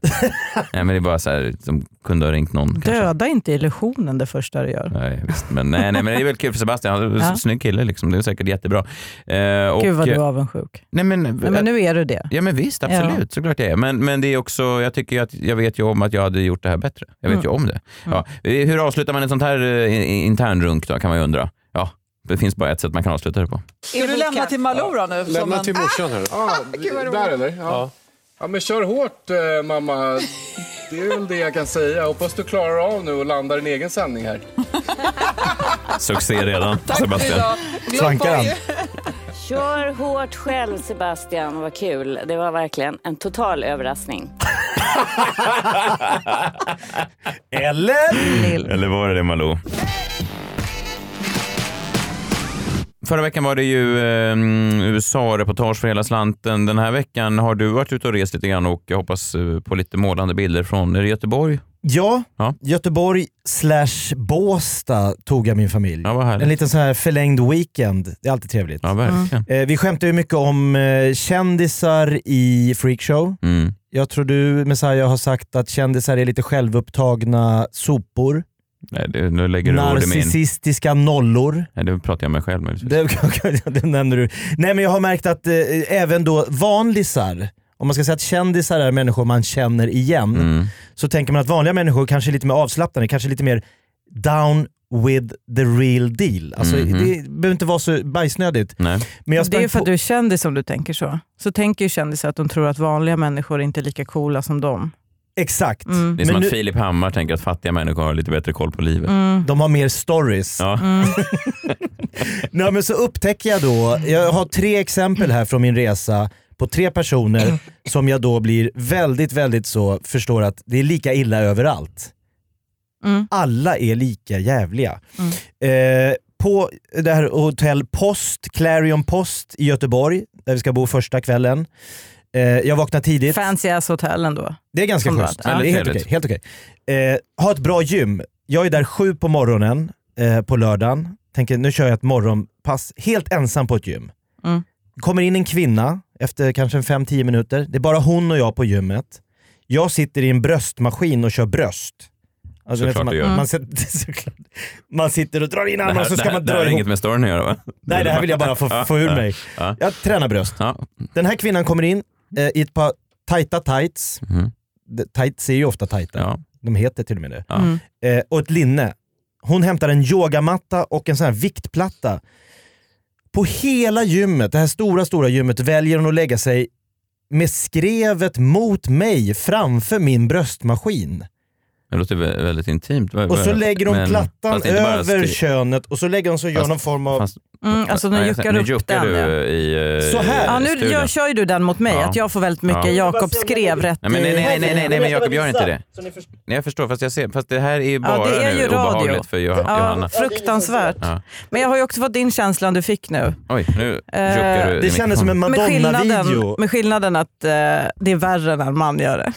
[SPEAKER 1] Nej, men det är bara så här, som kunde ha ringt någon.
[SPEAKER 4] Döda inte illusionen det första du gör.
[SPEAKER 1] Nej, visst. Men, nej, nej, men det är väl kul för Sebastian. Han är en
[SPEAKER 4] Ja.
[SPEAKER 1] snygg kille. Liksom. Det är säkert jättebra. Eh, och,
[SPEAKER 4] Gud vad du
[SPEAKER 1] eh,
[SPEAKER 4] är avundsjuk.
[SPEAKER 1] Nej, men,
[SPEAKER 4] Nej, men nu är du det.
[SPEAKER 1] Ja men visst, absolut. Såklart jag är. Men, men det är också, jag tycker ju att jag vet ju om att jag hade gjort det här bättre. Jag vet
[SPEAKER 4] Mm.
[SPEAKER 1] ju om det. Ja. Eh, Hur avslutar man en sånt här eh, i- internrunk då, kan man ju undra. Ja, det finns bara ett sätt man kan avsluta det på.
[SPEAKER 6] Ska du lämna till Malou då nu? som en-
[SPEAKER 9] Ja, där eller? Ja. Ja. men kör hårt eh, mamma. Det är väl det jag kan säga. Hoppas du klarar av nu och landar din egen sändning här.
[SPEAKER 1] Succé redan, Sebastian.
[SPEAKER 3] Kör hårt själv Sebastian, vad kul. Det var verkligen en total överraskning.
[SPEAKER 2] Eller?
[SPEAKER 1] Eller var det det Malou? Förra veckan var det ju eh, USA-reportage för hela slanten. Den här veckan har du varit ute och rest lite grann och jag hoppas eh, på lite målande bilder från är det Göteborg.
[SPEAKER 2] Ja,
[SPEAKER 1] Ja.
[SPEAKER 2] Göteborg slash Båstad tog jag min familj. en liten sån här förlängd weekend. Det är alltid trevligt.
[SPEAKER 1] Ja, verkligen.
[SPEAKER 2] Eh, vi skämtar ju mycket om eh, kändisar i freakshow.
[SPEAKER 1] Mm.
[SPEAKER 2] Jag tror du Messiah har sagt att kändisar är lite självupptagna sopor.
[SPEAKER 1] Nej, det, nu lägger du ord i min.
[SPEAKER 2] Narcissistiska nollor.
[SPEAKER 1] Nej, det pratar jag med själv möjligtvis.
[SPEAKER 2] Det, det nämner du. Nej men jag har märkt att eh, även då vanlisar, om man ska säga att kändisar är människor man känner igen,
[SPEAKER 1] Mm.
[SPEAKER 2] så tänker man att vanliga människor kanske är lite mer avslappnade, kanske lite mer down with the real deal. Alltså,
[SPEAKER 1] Mhm.
[SPEAKER 2] Det behöver inte vara så bajsnödigt.
[SPEAKER 1] Nej.
[SPEAKER 2] Men jag
[SPEAKER 4] det är
[SPEAKER 2] sprang
[SPEAKER 4] ju för
[SPEAKER 2] på-
[SPEAKER 4] att du är kändis som du tänker så. Så tänker ju kändisar att de tror att vanliga människor inte är lika coola som dem.
[SPEAKER 2] Exakt.
[SPEAKER 1] Mm. Det är som
[SPEAKER 2] Men
[SPEAKER 1] att
[SPEAKER 2] nu- Mm.
[SPEAKER 1] Filip Hammar tänker att fattiga människor har lite bättre koll på livet.
[SPEAKER 2] De har mer stories.
[SPEAKER 1] Ja.
[SPEAKER 2] Nej, men så upptäcker jag då, jag har tre exempel här från min resa på tre personer som jag då blir väldigt, väldigt så förstår att det är lika illa överallt. Alla är lika jävliga. Eh, på det här hotell Post, Clarion Post i Göteborg, där vi ska bo första kvällen. Eh, jag vaknar tidigt.
[SPEAKER 4] Fancy ass hotell ändå. Mm,
[SPEAKER 2] Det är ganska
[SPEAKER 4] Som
[SPEAKER 2] schysst. Det är
[SPEAKER 4] bara- ja.
[SPEAKER 2] helt okej. Helt okej. Eh, ha ett bra gym. Jag är där sju på morgonen eh, på lördagen. Tänker nu kör jag ett morgonpass helt ensam på ett gym.
[SPEAKER 4] Mm.
[SPEAKER 2] kommer in en kvinna efter kanske 5-10 minuter. Det är bara hon och jag på gymmet. Jag sitter i en bröstmaskin och kör bröst. Alltså,
[SPEAKER 1] Såklart
[SPEAKER 2] vet
[SPEAKER 1] du
[SPEAKER 2] man,
[SPEAKER 1] gör.
[SPEAKER 4] Mm.
[SPEAKER 2] man, sitter, såklart. man sitter och drar in
[SPEAKER 1] Det här-
[SPEAKER 2] armarna och så
[SPEAKER 1] det
[SPEAKER 2] ska
[SPEAKER 1] här-
[SPEAKER 2] man
[SPEAKER 1] det här
[SPEAKER 2] dra
[SPEAKER 1] har
[SPEAKER 2] ihop.
[SPEAKER 1] inget med storyn att göra va?
[SPEAKER 2] Nej, det här vill jag bara få, få ur mig.
[SPEAKER 1] Ja.
[SPEAKER 2] Jag tränar bröst.
[SPEAKER 1] Ja.
[SPEAKER 2] Den här kvinnan kommer in eh, i ett par tajta tights.
[SPEAKER 1] Mhm.
[SPEAKER 2] De- Tights är ju ofta tajta. De heter till och med det.
[SPEAKER 1] Ja. Mm.
[SPEAKER 2] Eh, och ett linne. Hon hämtar en yogamatta och en sån här viktplatta. På hela gymmet, det här stora, stora gymmet, väljer hon att lägga sig med skrevet mot mig framför min bröstmaskin.
[SPEAKER 1] Det låter vä- väldigt intimt. Vad-
[SPEAKER 2] Och så
[SPEAKER 1] vad-
[SPEAKER 2] lägger hon
[SPEAKER 1] men-
[SPEAKER 2] plattan
[SPEAKER 1] fast inte bara
[SPEAKER 2] över
[SPEAKER 1] skri-
[SPEAKER 2] könet och så lägger hon så gör
[SPEAKER 1] Fast-
[SPEAKER 2] någon form av...
[SPEAKER 1] fast-
[SPEAKER 4] Mm, alltså de
[SPEAKER 1] Nej,
[SPEAKER 4] juckar
[SPEAKER 1] nu
[SPEAKER 4] upp
[SPEAKER 1] juckar
[SPEAKER 4] den,
[SPEAKER 1] du
[SPEAKER 4] ja.
[SPEAKER 1] i eh,
[SPEAKER 2] Så här.
[SPEAKER 4] Ja, nu
[SPEAKER 1] studion.
[SPEAKER 4] jag kör ju du den mot mig,
[SPEAKER 1] Ja.
[SPEAKER 4] att jag får väldigt mycket.
[SPEAKER 1] Ja.
[SPEAKER 4] Jakob skrev rätt
[SPEAKER 1] Nej, men nej,
[SPEAKER 4] i-
[SPEAKER 1] nej, nej, nej, nej, nej, men Jakob, gör inte det.
[SPEAKER 2] Så ni förstår.
[SPEAKER 1] Nej, jag förstår, fast, jag ser, fast det här är ju bara
[SPEAKER 4] Ja, det är
[SPEAKER 1] nu
[SPEAKER 4] ju radio.
[SPEAKER 1] obehagligt för Joh- Johanna.
[SPEAKER 4] Ja, fruktansvärt.
[SPEAKER 1] Ja.
[SPEAKER 4] Men jag har ju också fått din känslan du fick nu.
[SPEAKER 1] Oj, nu
[SPEAKER 4] Eh,
[SPEAKER 1] juckar du i mikrofonen.
[SPEAKER 4] Med skillnaden, med skillnaden att eh, det är värre när en man gör det.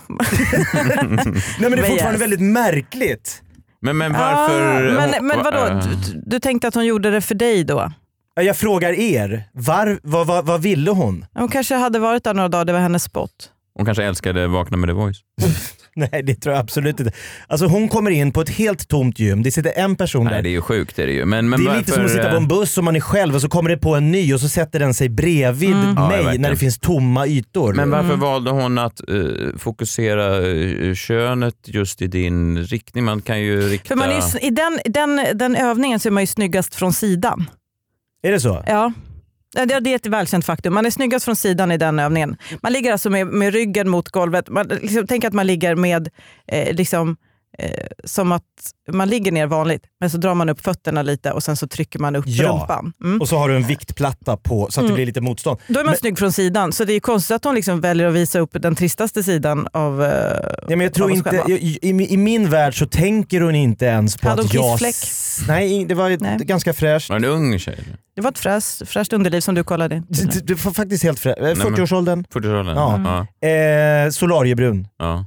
[SPEAKER 2] Nej men det är
[SPEAKER 4] Men
[SPEAKER 2] fortfarande
[SPEAKER 4] yes.
[SPEAKER 2] väldigt märkligt.
[SPEAKER 1] Men, men varför...
[SPEAKER 4] Ah, men,
[SPEAKER 1] hon-
[SPEAKER 4] men vadå,
[SPEAKER 1] eh,
[SPEAKER 4] du, du tänkte att hon gjorde det för dig då?
[SPEAKER 2] Ja, Jag frågar er, var, vad, vad, vad ville hon?
[SPEAKER 4] Hon kanske hade varit där några dagar, det var hennes spot.
[SPEAKER 1] Hon kanske älskade Vakna med The Voice.
[SPEAKER 2] Nej det tror jag absolut inte. Alltså hon kommer in på ett helt tomt gym, det sitter en person
[SPEAKER 1] Nej,
[SPEAKER 2] där.
[SPEAKER 1] det är ju sjukt. Det är, det ju. Men, men
[SPEAKER 2] det är
[SPEAKER 1] varför,
[SPEAKER 2] lite som att sitta på
[SPEAKER 1] eh,
[SPEAKER 2] en buss och man är själv och så kommer det på en ny och så sätter den sig bredvid
[SPEAKER 1] Mm. Ja,
[SPEAKER 2] mig
[SPEAKER 1] verkligen.
[SPEAKER 2] när det finns tomma ytor.
[SPEAKER 1] Men varför valde hon att eh, fokusera eh, könet just i din riktning? Man kan ju rikta...
[SPEAKER 4] För man är ju, sn- I den, den, den övningen så är man ju snyggast från sidan.
[SPEAKER 2] Är det
[SPEAKER 1] Mm.
[SPEAKER 2] så?
[SPEAKER 4] Ja. Ja, Det det är ett välkänt faktum. Man är snyggast från sidan i den övningen. Man ligger alltså med, med ryggen mot golvet. Man, liksom, tänk att man ligger med eh, liksom, eh, som att man ligger ner vanligt, men så drar man upp fötterna lite och sen så trycker man upp rumpan. Mm.
[SPEAKER 2] Och så har du en viktplatta på så att det
[SPEAKER 4] Mm.
[SPEAKER 2] blir lite motstånd.
[SPEAKER 4] Då är man snygg från sidan, så det är konstigt att de liksom väljer att visa upp den tristaste sidan av eh,
[SPEAKER 2] Nej, men jag tror
[SPEAKER 4] av oss
[SPEAKER 2] inte,
[SPEAKER 4] själva.
[SPEAKER 2] i, i, I min värld så tänker hon inte ens på
[SPEAKER 4] Hade hon
[SPEAKER 2] att jag...
[SPEAKER 4] kissfläck?
[SPEAKER 2] s- Nej, det var ett- ganska fräscht.
[SPEAKER 1] Var en ung tjej?
[SPEAKER 4] Det var ett fräscht, fräscht underliv som du kollade.
[SPEAKER 2] Du, du får faktiskt helt fräscht.
[SPEAKER 1] men-
[SPEAKER 2] 40-årsåldern.
[SPEAKER 1] 40-årsåldern?
[SPEAKER 2] Ja.
[SPEAKER 1] Ja.
[SPEAKER 2] Eh, solariebrun.
[SPEAKER 1] Ja.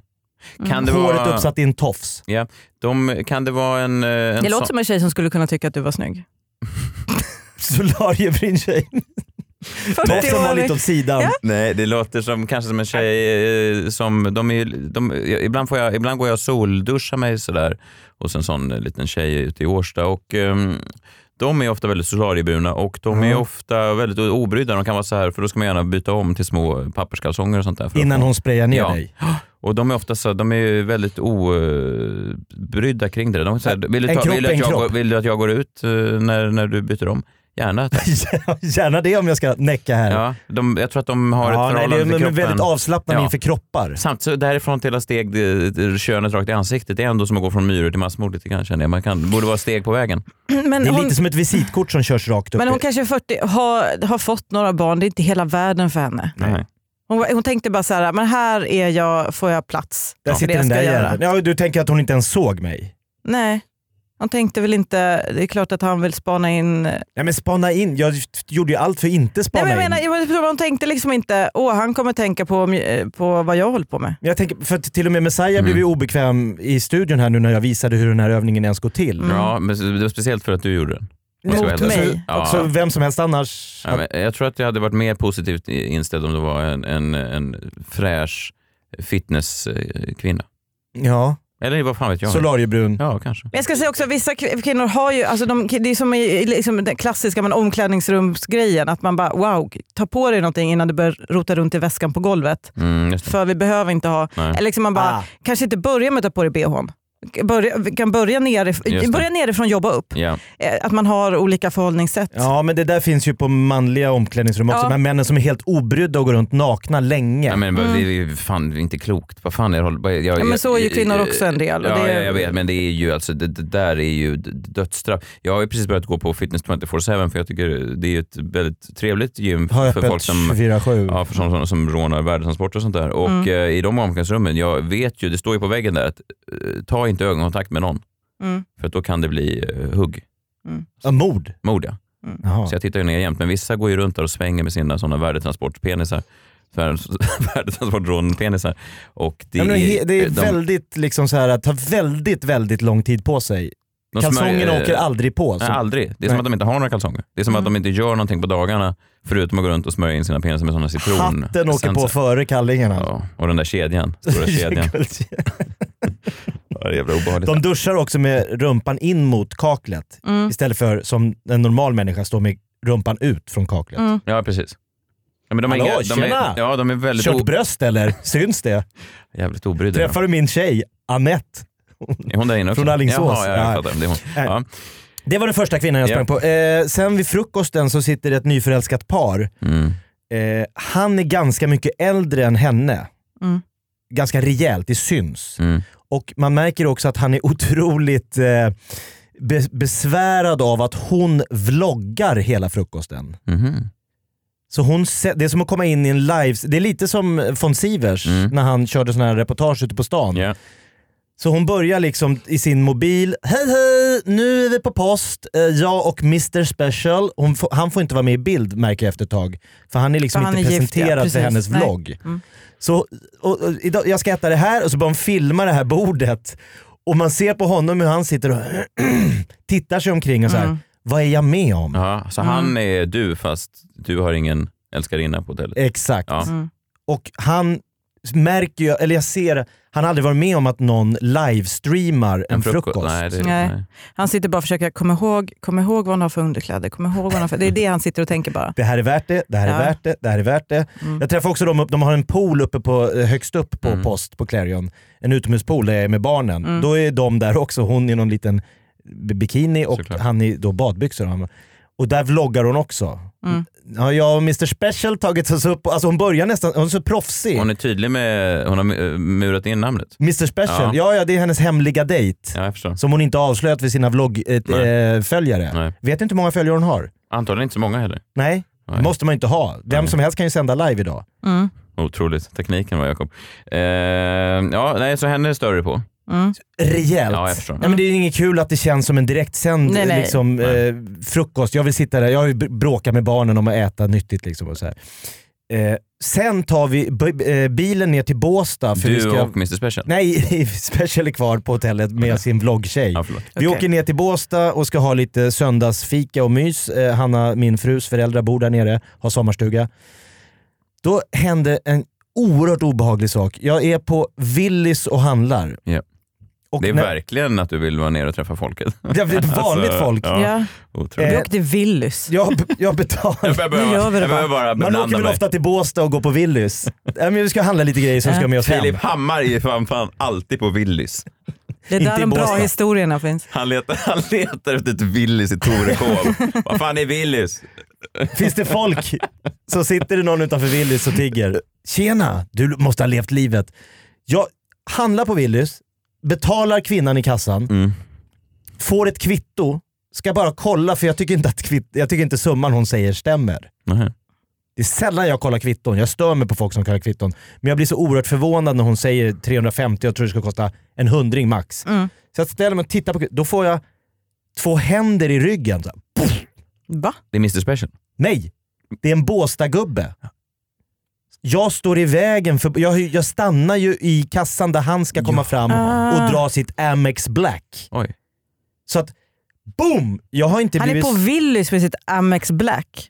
[SPEAKER 1] Kan det
[SPEAKER 2] Håret
[SPEAKER 1] vara-
[SPEAKER 2] uppsatt i en tofs.
[SPEAKER 1] Ja. De, kan det vara en... eh, en
[SPEAKER 4] Det
[SPEAKER 1] sån-
[SPEAKER 4] låter som en tjej som skulle kunna tycka att du var snygg.
[SPEAKER 2] Solariebrun tjej. Tofsen var lite åt sidan.
[SPEAKER 1] Nej, det låter som kanske som en tjej eh, som... De är, ju- de, ibland, får jag, ibland går jag och solduscha mig sådär hos en sån eh, liten tjej ute i Årsta. Och, ehm, de är ofta väldigt solariebruna och de är
[SPEAKER 2] Mm.
[SPEAKER 1] ofta väldigt obrydda. De kan vara så här, för då ska man gärna byta om till små papperskalsonger och sånt där. För att
[SPEAKER 2] Innan
[SPEAKER 1] få-
[SPEAKER 2] hon sprayar ner dig.
[SPEAKER 1] Och de är ofta så, de är ju väldigt obrydda kring det. De säger, vill, du
[SPEAKER 2] En
[SPEAKER 1] ta,
[SPEAKER 2] kropp
[SPEAKER 1] vill,
[SPEAKER 2] är
[SPEAKER 1] du att
[SPEAKER 2] en
[SPEAKER 1] jag
[SPEAKER 2] kropp."
[SPEAKER 1] går, vill du att jag går ut eh, när, när du byter om? Gärna. tack.
[SPEAKER 2] Gärna det om jag ska näcka här.
[SPEAKER 1] Ja, de, jag tror att de har
[SPEAKER 2] Ja,
[SPEAKER 1] ett
[SPEAKER 2] nej,
[SPEAKER 1] förhållande
[SPEAKER 2] det är- men-
[SPEAKER 1] till
[SPEAKER 2] men
[SPEAKER 1] kroppen.
[SPEAKER 2] väldigt avslappnade inför kroppar.
[SPEAKER 1] Samt så därifrån till att steg eh, könet rakt i ansiktet. Det är ändå som att gå från myror till massmord lite grann känner jag. Man kan, borde vara steg på vägen.
[SPEAKER 4] Men
[SPEAKER 2] det är
[SPEAKER 4] hon-
[SPEAKER 2] lite som ett visitkort som körs rakt upp.
[SPEAKER 4] Men hon kanske är 40, har, har fått några barn, det är inte hela världen för henne.
[SPEAKER 1] Nej.
[SPEAKER 4] Hon, var- hon tänkte bara så här, men här är jag, får jag plats?
[SPEAKER 2] Där
[SPEAKER 4] för
[SPEAKER 2] sitter
[SPEAKER 4] det
[SPEAKER 2] den
[SPEAKER 4] jag
[SPEAKER 2] där
[SPEAKER 4] ska göra.
[SPEAKER 2] jäveln. Ja, du tänker att hon inte ens såg mig?
[SPEAKER 4] Nej, hon tänkte väl inte, det är klart att han vill spana in... Nej
[SPEAKER 2] Nej men spana in, jag gjorde ju allt för att inte spana
[SPEAKER 4] men jag
[SPEAKER 2] in.
[SPEAKER 4] menar, jag tror hon tänkte liksom inte, åh han kommer tänka på, mj- på vad jag håller på med.
[SPEAKER 2] Jag tänker, för att till och med Messiah blev
[SPEAKER 1] Mm.
[SPEAKER 2] ju obekväm i studion här nu när jag visade hur den här övningen ens går till.
[SPEAKER 4] Mm.
[SPEAKER 1] Ja, men det var speciellt för att du gjorde den. Om jag ska vara
[SPEAKER 2] Mm. Mot
[SPEAKER 1] helt ärlig.
[SPEAKER 2] mig. Också vem som helst annars.
[SPEAKER 1] Ja, men jag tror att jag hade varit mer positivt i- inställd om det var en, en, en fräsch fitnesskvinna.
[SPEAKER 2] Ja.
[SPEAKER 1] Eller vad fan vet jag?
[SPEAKER 2] Solariebrun.
[SPEAKER 1] Ja, kanske.
[SPEAKER 4] Men jag ska säga också att vissa kv- kvinnor har ju, alltså de, det är som i, i liksom den klassiska men omklädningsrumsgrejen, att man bara wow, ta på dig någonting innan du börjar rota runt i väskan på golvet.
[SPEAKER 1] Mm, just det.
[SPEAKER 4] För vi behöver inte ha,
[SPEAKER 1] Nej.
[SPEAKER 4] eller liksom man bara,
[SPEAKER 1] Ah.
[SPEAKER 4] kanske inte börja med att ta på dig bhn. Börja, vi kan börja,
[SPEAKER 2] Just det.
[SPEAKER 4] nerif- börja nerifrån, jobba upp.
[SPEAKER 1] Ja.
[SPEAKER 4] Eh, Att man har olika förhållningssätt.
[SPEAKER 2] Ja men det där finns ju på manliga omklädningsrum också.
[SPEAKER 4] Ja.
[SPEAKER 2] De här männen som är helt obrydda och går runt nakna länge.
[SPEAKER 1] Ja, men det är ju fan inte klokt. Vad fan är det? håller- vad- Jag, jag,
[SPEAKER 4] Mm.
[SPEAKER 1] eh,
[SPEAKER 4] Ja, men så är ju kvinnor också en del, och
[SPEAKER 1] Ja,
[SPEAKER 4] det-
[SPEAKER 1] jag, jag vet, men det är ju alltså, det, det där är ju d- dödsstraff. Jag har ju precis börjat gå på Fitness 24-7 för jag tycker det är ju ett väldigt trevligt gym
[SPEAKER 2] Har
[SPEAKER 1] för
[SPEAKER 2] öppet
[SPEAKER 1] folk som
[SPEAKER 2] 24-7.
[SPEAKER 1] Ja, för sådana, sådana som rånar värdetransporter och sånt där. Och
[SPEAKER 4] Mm.
[SPEAKER 1] eh, i de omklädningsrummen, jag vet ju, det står ju på väggen där att eh, ta inte ögonkontakt med någon.
[SPEAKER 4] Mm.
[SPEAKER 1] För att då kan det bli eh, hugg.
[SPEAKER 4] Mm.
[SPEAKER 2] Ja, mord?
[SPEAKER 1] Mord ja. Så jag tittar ju ner jämt, men vissa går ju runt där och svänger med sina sådana värdetransportpenisar. Så här, Värdetransportrånpenisar. Och det,
[SPEAKER 2] Ja, men he- det är
[SPEAKER 1] de-
[SPEAKER 2] väldigt liksom så här, att ta väldigt, väldigt lång tid på sig.
[SPEAKER 1] de
[SPEAKER 2] Kalsongerna
[SPEAKER 1] smörjer-
[SPEAKER 2] åker aldrig på.
[SPEAKER 1] Nej, aldrig. Det är som
[SPEAKER 2] Nej. Mm.
[SPEAKER 1] att de inte har några kalsonger. Det är som att de inte gör någonting på dagarna förutom att gå runt och smörja in sina penisar med sådana citron.
[SPEAKER 2] Hatten åker på
[SPEAKER 1] essenser.
[SPEAKER 2] före kallingarna.
[SPEAKER 1] Och den där kedjan, stora kedjan.
[SPEAKER 2] Guldkedjan.
[SPEAKER 1] Ja, det är jävla obehagligt.
[SPEAKER 2] De duschar också med rumpan in mot kaklet
[SPEAKER 1] Mm.
[SPEAKER 2] istället för som en normal människa står med rumpan ut från kaklet.
[SPEAKER 1] Mm. Ja, precis. Ja, men de har
[SPEAKER 2] Hallå,
[SPEAKER 1] inga, de
[SPEAKER 2] tjena!
[SPEAKER 1] är, ja, de är väldigt
[SPEAKER 2] Kört
[SPEAKER 1] o-
[SPEAKER 2] bröst eller? Syns det?
[SPEAKER 1] Jävligt obrydda.
[SPEAKER 2] Träffar du min tjej, Annette?
[SPEAKER 1] Är hon där inne också?
[SPEAKER 2] Från Alingsås.
[SPEAKER 1] Jaha, ja, jag
[SPEAKER 2] Ja.
[SPEAKER 1] fattar. Det är hon. Ja.
[SPEAKER 2] Det var den första kvinnan jag
[SPEAKER 1] Ja.
[SPEAKER 2] sprang på. Eh, sen vid frukosten så sitter ett nyförälskat par.
[SPEAKER 1] Mm.
[SPEAKER 2] Eh, han är ganska mycket äldre än henne.
[SPEAKER 4] Mm.
[SPEAKER 2] Ganska rejält, det syns.
[SPEAKER 1] Mm.
[SPEAKER 2] Och man märker också att han är otroligt eh, be- besvärad av att hon vloggar hela frukosten.
[SPEAKER 1] Mhm.
[SPEAKER 2] Så hon, se- det är som att komma in i en live... Det är lite som von Sivers
[SPEAKER 1] Mm.
[SPEAKER 2] när han körde sådana här reportage ute på stan. Så hon börjar liksom i sin mobil. Hej hej! Nu är vi på post. Eh, Jag och Mr Special. Hon får, han får inte vara med i bild märker jag efter ett tag. För han är liksom
[SPEAKER 4] För han
[SPEAKER 2] inte
[SPEAKER 4] är gift, ja,
[SPEAKER 2] presenterad för
[SPEAKER 4] precis.
[SPEAKER 2] hennes
[SPEAKER 4] Nej.
[SPEAKER 2] vlogg.
[SPEAKER 4] Mm.
[SPEAKER 2] Så och, och, idag, jag ska äta det här och så börjar hon filma det här bordet. Och man ser på honom hur han sitter och tittar sig omkring och så här.
[SPEAKER 4] Mm.
[SPEAKER 2] Vad är jag med om?
[SPEAKER 1] Ja,
[SPEAKER 2] Mm.
[SPEAKER 1] så han är du fast du har ingen älskarinna på hotellet?
[SPEAKER 2] Exakt.
[SPEAKER 1] Ja.
[SPEAKER 2] Och han märker ju, eller jag ser, han har aldrig varit med om att någon livestreamar en, frukost.
[SPEAKER 1] Nej, det,
[SPEAKER 4] Nej.
[SPEAKER 1] nej.
[SPEAKER 4] Han sitter bara och försöker komma ihåg, kom ihåg vad han har för underkläder. Kom ihåg vad han har för, det är det han sitter och tänker bara.
[SPEAKER 2] Det här är värt det, det här är
[SPEAKER 4] Ja. Mm.
[SPEAKER 2] värt det, det här är värt det. Jag träffade också dem, upp- de har en pool uppe på, eh, högst upp
[SPEAKER 1] Mm.
[SPEAKER 2] på Post på Clarion. En utomhuspool där jag är med barnen.
[SPEAKER 4] Mm.
[SPEAKER 2] Då är de där också, hon i någon liten b- bikini och han i då badbyxor. Och han- Och där vloggar hon också.
[SPEAKER 4] Mm.
[SPEAKER 2] Ja, jag och Mr Special tagit oss upp, alltså hon börjar nästan, hon är så proffsig.
[SPEAKER 1] Hon är tydlig med, hon har eh, murat in namnet.
[SPEAKER 2] Mr Special, ja. ja det är hennes hemliga dejt.
[SPEAKER 1] Ja, jag förstår.
[SPEAKER 2] Som hon inte avslöjat för sina eh,
[SPEAKER 1] Nej.
[SPEAKER 2] vloggföljare.
[SPEAKER 1] Nej.
[SPEAKER 2] Vet inte hur många följare hon har?
[SPEAKER 1] Antagligen inte så många heller.
[SPEAKER 2] Nej, det måste man ju inte ha. Vem som helst kan ju sända live idag.
[SPEAKER 4] Mm.
[SPEAKER 1] Otroligt. Tekniken var Jakob. Eh, ja, nej, så henne stör du på.
[SPEAKER 4] Mm.
[SPEAKER 2] Rejält.
[SPEAKER 1] Ja, jag förstår.
[SPEAKER 2] Nej, men det är ju inget kul att det känns som en direktsänd
[SPEAKER 4] Nej, nej.
[SPEAKER 2] Liksom, Eh, frukost. Jag vill sitta där, jag har ju br- bråkat med barnen om att äta nyttigt. Liksom, och så här. Eh, sen tar vi b- eh, bilen ner till Båstad. För vi
[SPEAKER 1] Du
[SPEAKER 2] ska...
[SPEAKER 1] och Mr Special.
[SPEAKER 2] Nej, Special är kvar på hotellet med sin vloggtjej.
[SPEAKER 1] Ja, förlåt.
[SPEAKER 2] Vi
[SPEAKER 4] Okej.
[SPEAKER 2] åker ner till Båstad och ska ha lite söndagsfika och mys. Eh, Hanna, min frus föräldrar, bor där nere, har sommarstuga. Då hände en oerhört obehaglig sak. Jag är på Willys och handlar.
[SPEAKER 1] Ja.
[SPEAKER 2] Och
[SPEAKER 1] det är
[SPEAKER 2] när-
[SPEAKER 1] verkligen att du vill vara nere och träffa folket. Alltså,
[SPEAKER 2] Ja, det är ett vanligt folk.
[SPEAKER 1] Ja,
[SPEAKER 4] Ja.
[SPEAKER 1] Otroligt.
[SPEAKER 4] Vi
[SPEAKER 2] Eh,
[SPEAKER 4] åkte Willys.
[SPEAKER 2] jag, jag betalar.
[SPEAKER 1] Jag behöver
[SPEAKER 4] Nu
[SPEAKER 1] bara,
[SPEAKER 4] gör vi det
[SPEAKER 1] jag behöver bara
[SPEAKER 2] Man åker
[SPEAKER 1] benanda
[SPEAKER 2] väl
[SPEAKER 1] mig.
[SPEAKER 2] ofta till Båstad och går på Willys. Nej, men vi ska handla lite grejer som ska med oss hem.
[SPEAKER 1] Filip Hammar är ju fan, fan alltid på Willys.
[SPEAKER 4] Det är
[SPEAKER 2] inte
[SPEAKER 4] där
[SPEAKER 2] i
[SPEAKER 4] de bra
[SPEAKER 2] Båstad.
[SPEAKER 4] historierna finns.
[SPEAKER 1] Han letar, han letar efter ett Willys i Torekov. Vad fan är Willys?
[SPEAKER 2] Finns det folk så sitter det någon utanför Willys och tigger. Tjena, du måste ha levt livet. Jag handlar på Willys, betalar kvinnan i kassan,
[SPEAKER 1] Mm.
[SPEAKER 2] får ett kvitto, ska bara kolla för jag tycker inte att kvitt, jag tycker inte summan hon säger stämmer.
[SPEAKER 1] Nähä.
[SPEAKER 2] Det är sällan jag kollar kvitton, jag stör mig på folk som kollar kvitton. Men jag blir så oerhört förvånad när hon säger 350 jag tror det ska kosta en hundring max.
[SPEAKER 4] Mm.
[SPEAKER 2] Så jag ställer mig och tittar på kvittot, då får jag två händer i ryggen. Så här,
[SPEAKER 4] Va?
[SPEAKER 1] Det är Mr Special.
[SPEAKER 2] Nej, det är en Båstadgubbe. Jag står i vägen, för jag, jag stannar ju i kassan där han ska komma fram
[SPEAKER 4] Ah.
[SPEAKER 2] och dra sitt Amex Black.
[SPEAKER 1] Oj.
[SPEAKER 2] Så att, boom! Jag har inte
[SPEAKER 4] Han är
[SPEAKER 2] blivit...
[SPEAKER 4] på Willys med sitt Amex Black.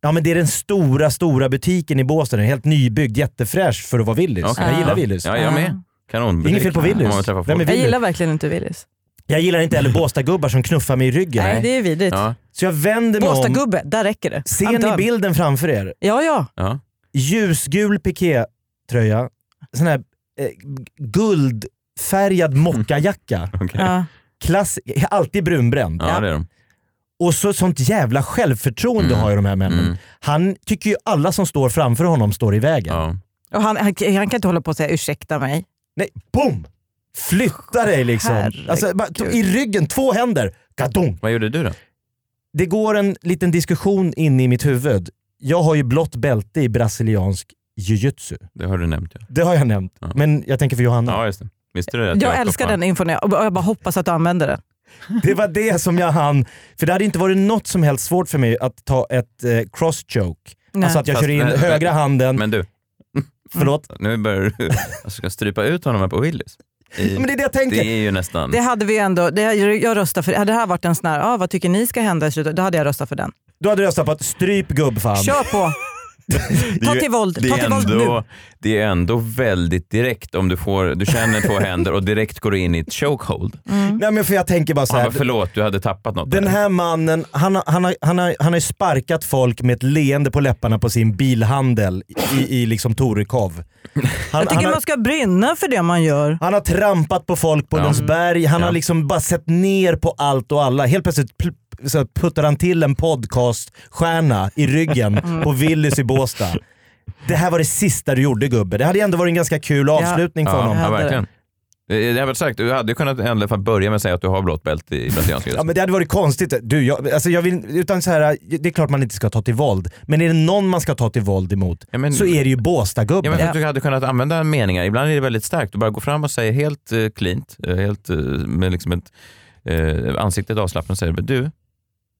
[SPEAKER 2] Ja men det är den stora, stora butiken i Båstad. Den är helt nybyggd, jättefräsch för att vara Willys.
[SPEAKER 1] Okej.
[SPEAKER 2] Jag gillar
[SPEAKER 1] Ja.
[SPEAKER 2] Willys.
[SPEAKER 1] Ja, jag med. Kanon.
[SPEAKER 2] Det är inget fel på Willys.
[SPEAKER 1] Om man vill träffa
[SPEAKER 2] Vem är
[SPEAKER 1] folk.
[SPEAKER 4] Jag
[SPEAKER 2] Willys?
[SPEAKER 4] gillar verkligen inte Willys.
[SPEAKER 2] Jag gillar inte heller Båstadgubbar som knuffar mig i ryggen.
[SPEAKER 4] Nej, det är vidrigt.
[SPEAKER 1] Ja,
[SPEAKER 2] Så jag vänder mig om.
[SPEAKER 4] Båstadgubbe, där räcker det. Han
[SPEAKER 2] Ser ni
[SPEAKER 4] dör.
[SPEAKER 2] bilden framför er?
[SPEAKER 4] Ja, ja.
[SPEAKER 1] ja.
[SPEAKER 2] ljusgul pikétröja, sån här eh, guldfärgad mockajacka.
[SPEAKER 1] okej.
[SPEAKER 4] ja.
[SPEAKER 2] Klass, alltid brunbränd.
[SPEAKER 1] Mm. ja, det är de.
[SPEAKER 2] Och så sånt jävla självförtroende
[SPEAKER 1] Mm.
[SPEAKER 2] har ju de här männen.
[SPEAKER 1] Mm.
[SPEAKER 2] Han tycker ju alla som står framför honom står i vägen.
[SPEAKER 1] Ja.
[SPEAKER 4] Och han, han, han kan inte hålla på och säga ursäkta mig.
[SPEAKER 2] Nej, boom! Flytta dig liksom.
[SPEAKER 4] Herregud.
[SPEAKER 2] Alltså, bara, t- I ryggen, två händer. Gadong.
[SPEAKER 1] Vad gjorde du då?
[SPEAKER 2] Det går en liten diskussion in i mitt huvud. Jag har ju blått bälte i brasiliansk jujutsu.
[SPEAKER 1] Det har du nämnt. Ja,
[SPEAKER 2] Det har jag nämnt,
[SPEAKER 1] Ja.
[SPEAKER 2] men jag tänker för Johanna.
[SPEAKER 1] ja just det. Visste du det? att
[SPEAKER 4] Jag
[SPEAKER 1] Jakob
[SPEAKER 4] älskar
[SPEAKER 1] var-
[SPEAKER 4] den infon och jag bara hoppas att du använder den.
[SPEAKER 2] Det var det som jag hann. För det hade inte varit något som helst svårt för mig att ta ett eh, cross choke.
[SPEAKER 4] Nej.
[SPEAKER 2] Alltså att jag
[SPEAKER 1] Fast-
[SPEAKER 2] kör in
[SPEAKER 1] nej,
[SPEAKER 2] högra handen,
[SPEAKER 1] Men du,
[SPEAKER 2] förlåt.
[SPEAKER 1] nu börjar du... Jag ska strypa ut honom här på Willys. I-
[SPEAKER 2] Men det är det jag tänker.
[SPEAKER 1] Mm. Det är ju nästan...
[SPEAKER 2] Mm.
[SPEAKER 4] Det hade vi ändå, det, jag röstar för, hade det här varit en sån här, ah, vad tycker ni ska hända i slutet? Då hade jag röstat för den.
[SPEAKER 2] Du hade röstat på att stryp gubbfan.
[SPEAKER 4] Kör på!
[SPEAKER 1] Det är
[SPEAKER 4] Ta
[SPEAKER 1] ju-
[SPEAKER 4] till våld,
[SPEAKER 1] Det
[SPEAKER 4] ta
[SPEAKER 1] är,
[SPEAKER 4] till våld nu.
[SPEAKER 1] ändå, det är ändå väldigt direkt om du får, du känner två händer och direkt går du in i ett chokehold.
[SPEAKER 4] Mm.
[SPEAKER 2] Mm. Nej men för jag tänker bara så
[SPEAKER 1] Han bara,
[SPEAKER 2] här.
[SPEAKER 1] förlåt du hade tappat något.
[SPEAKER 2] Den
[SPEAKER 1] där."
[SPEAKER 2] här mannen, han, har- han, har, han, har, han har ju sparkat folk med ett leende på läpparna på sin bilhandel i, i liksom Torekov. Han,
[SPEAKER 4] Jag tycker
[SPEAKER 2] han, har,
[SPEAKER 4] man ska brinna för det man gör.
[SPEAKER 2] han har trampat på folk på
[SPEAKER 1] Ja. Mm.
[SPEAKER 2] Lundsberg, han
[SPEAKER 1] Ja.
[SPEAKER 2] har liksom bara sett ner på allt och alla. Helt plötsligt pl- så här puttar han till en podcaststjärna i ryggen
[SPEAKER 1] Mm.
[SPEAKER 2] på Willys i Båstad. Det här var det sista du gjorde gubbe. Det hade ju ändå varit en ganska kul avslutning för
[SPEAKER 1] ja,
[SPEAKER 2] honom.
[SPEAKER 1] ja,
[SPEAKER 4] hade-
[SPEAKER 1] verkligen. Det det har varit sagt, du hade ju kunnat i alla fall börja med att säga att du har blått bälte i brasiliansk
[SPEAKER 2] Ja, men det hade varit konstigt. Du, jag, alltså jag vill, utan så här, det är klart man inte ska ta till våld, men är det någon man ska ta till våld emot
[SPEAKER 1] Ja, men-
[SPEAKER 2] så är det ju
[SPEAKER 1] Ja,
[SPEAKER 2] Båstadgubben.
[SPEAKER 1] men för att du hade kunnat använda meningar. Ibland är det väldigt starkt. Du bara går fram och säger helt uh, cleant, eh, helt eh, med liksom ett, eh, ansiktet avslappnat och säger du,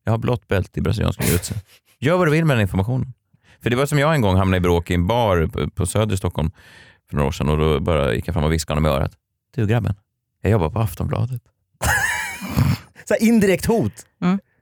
[SPEAKER 1] jag har blått bälte i brasiliansk jujutsu. Gör vad du vill med den informationen. För det var som jag en gång hamnade i bråk i en bar på- på Söder i Stockholm för några år sedan och då bara gick jag fram och viskade honom i örat. Du grabben, jag jobbar på Aftonbladet.
[SPEAKER 2] Så här, indirekt hot.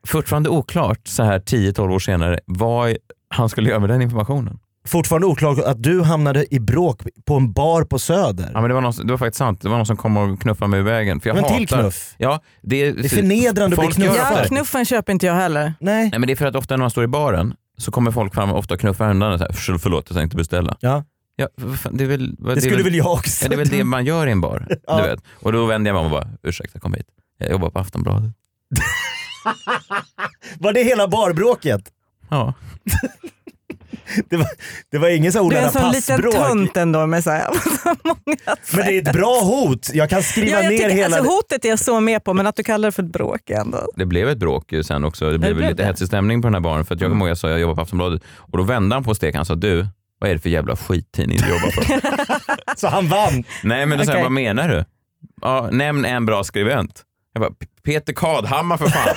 [SPEAKER 1] Fortfarande oklart så här 10-12 år senare vad han skulle göra med den informationen.
[SPEAKER 2] Fortfarande oklart att du hamnade i bråk på en bar på Söder.
[SPEAKER 1] Ja, men det, var någon, det var faktiskt sant. Det var någon som kom och knuffade mig i vägen. För jag
[SPEAKER 2] Det var en till
[SPEAKER 1] hatar-
[SPEAKER 2] knuff.
[SPEAKER 1] Ja, det, är,
[SPEAKER 2] är förnedrande att bli
[SPEAKER 1] Folk gör
[SPEAKER 2] knuffad.
[SPEAKER 1] så
[SPEAKER 4] Ja,
[SPEAKER 1] här.
[SPEAKER 4] knuffen köper inte jag heller.
[SPEAKER 2] Nej.
[SPEAKER 1] Nej, men det är för att ofta när man står i baren så kommer folk fram och ofta knuffar undan och så här, "Försl- förlåt jag tänkte beställa.
[SPEAKER 2] Ja.
[SPEAKER 1] Ja, vad fan, det, är väl, vad-
[SPEAKER 2] Det
[SPEAKER 1] är
[SPEAKER 2] skulle väl jag också.
[SPEAKER 1] ja, det är väl det man gör i en bar.
[SPEAKER 2] Ja.
[SPEAKER 1] du vet. Och då vänder jag mig om och bara, ursäkta kom hit. Jag jobbar på Aftonbladet.
[SPEAKER 2] Var det hela barbråket?
[SPEAKER 1] Ja.
[SPEAKER 2] det, var, det var ingen så här
[SPEAKER 4] Du är en
[SPEAKER 2] olära
[SPEAKER 4] sån liten
[SPEAKER 2] passbråk.
[SPEAKER 4] tunt ändå med så här.
[SPEAKER 2] Men det är ett bra hot. Jag kan skriva
[SPEAKER 4] Ja, jag
[SPEAKER 2] ner
[SPEAKER 4] tycker,
[SPEAKER 2] hela...
[SPEAKER 4] alltså, hotet är jag så med på, men att du kallar det för ett bråk är ändå.
[SPEAKER 1] Det blev ett bråk ju sen också. Det blev,
[SPEAKER 4] blev
[SPEAKER 1] lite
[SPEAKER 4] det?
[SPEAKER 1] hetsig stämning på den här baren. För att jag kommer ihåg jag sa jag jobbar på Aftonbladet och då vände han på steken och sa du, vad är det för jävla skittidning du jobbar på?
[SPEAKER 2] så han vann?
[SPEAKER 1] nej men då sa jag,
[SPEAKER 2] Okej.
[SPEAKER 1] vad menar du? Ja, nämn en bra skribent. Jag bara, "P- Peter Kadhammar för fan.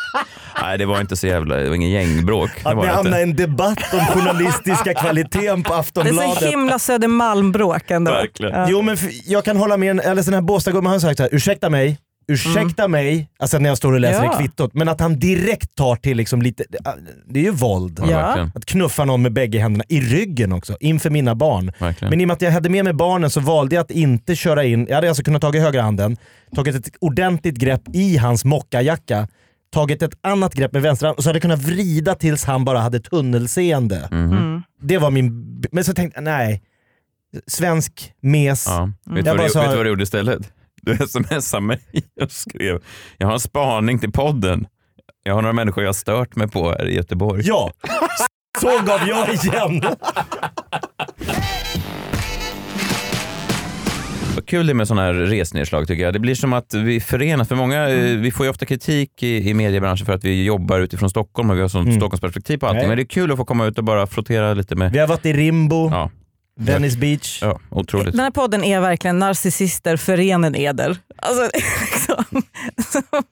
[SPEAKER 1] nej det var inte så jävla, det var ingen gängbråk. Det
[SPEAKER 2] Att
[SPEAKER 1] var
[SPEAKER 2] ni
[SPEAKER 1] det inte.
[SPEAKER 2] hamnar i en debatt om journalistiska kvaliteten på
[SPEAKER 4] Det
[SPEAKER 2] Aftonbladet.
[SPEAKER 4] är så himla Södermalmbråk ändå. Ja.
[SPEAKER 2] Jo men f- jag kan hålla med, en- eller den här Båstadgumman har sagt så här, ursäkta mig, ursäkta mig, alltså när jag står och läser
[SPEAKER 4] Mm. Ja.
[SPEAKER 2] i kvittot, men att han direkt tar till liksom lite, det- det är ju våld.
[SPEAKER 4] Ja, Ja. verkligen.
[SPEAKER 2] Att knuffa någon med bägge händerna, i ryggen också, inför mina barn. Men i och med att jag hade med mig barnen så valde jag att inte köra in, jag hade alltså kunnat tagit högra handen, tagit ett ordentligt grepp i hans mockajacka, tagit ett annat grepp med vänster hand och så hade jag kunnat vrida tills han bara hade tunnelseende.
[SPEAKER 1] Mhm.
[SPEAKER 2] Det var min... b- Men så tänkte jag, nej. Svensk mes.
[SPEAKER 1] Ja. Vet, du
[SPEAKER 2] Mm. Jag
[SPEAKER 1] vad
[SPEAKER 2] bara
[SPEAKER 1] du,
[SPEAKER 2] sa-
[SPEAKER 1] vet du vad du gjorde istället? Du smsade mig och skrev, jag har en spaning till podden. Jag har några människor jag har stört mig på här i Göteborg.
[SPEAKER 2] Ja, så gav jag igen.
[SPEAKER 1] Vad kul det är med sådana här resnedslag tycker jag. Det blir som att vi förenas. För många, eh, Vi får ju ofta kritik i, i mediebranschen för att vi jobbar utifrån Stockholm och vi har sånt
[SPEAKER 2] Mm.
[SPEAKER 1] Stockholmsperspektiv på allting.
[SPEAKER 2] Nej.
[SPEAKER 1] Men det är kul att få komma ut och bara frottera lite med...
[SPEAKER 2] Vi har varit i Rimbo,
[SPEAKER 1] ja.
[SPEAKER 2] Venice Beach.
[SPEAKER 1] Ja, otroligt.
[SPEAKER 4] Den här podden är verkligen narcissister förenen eder. Alltså, liksom, så,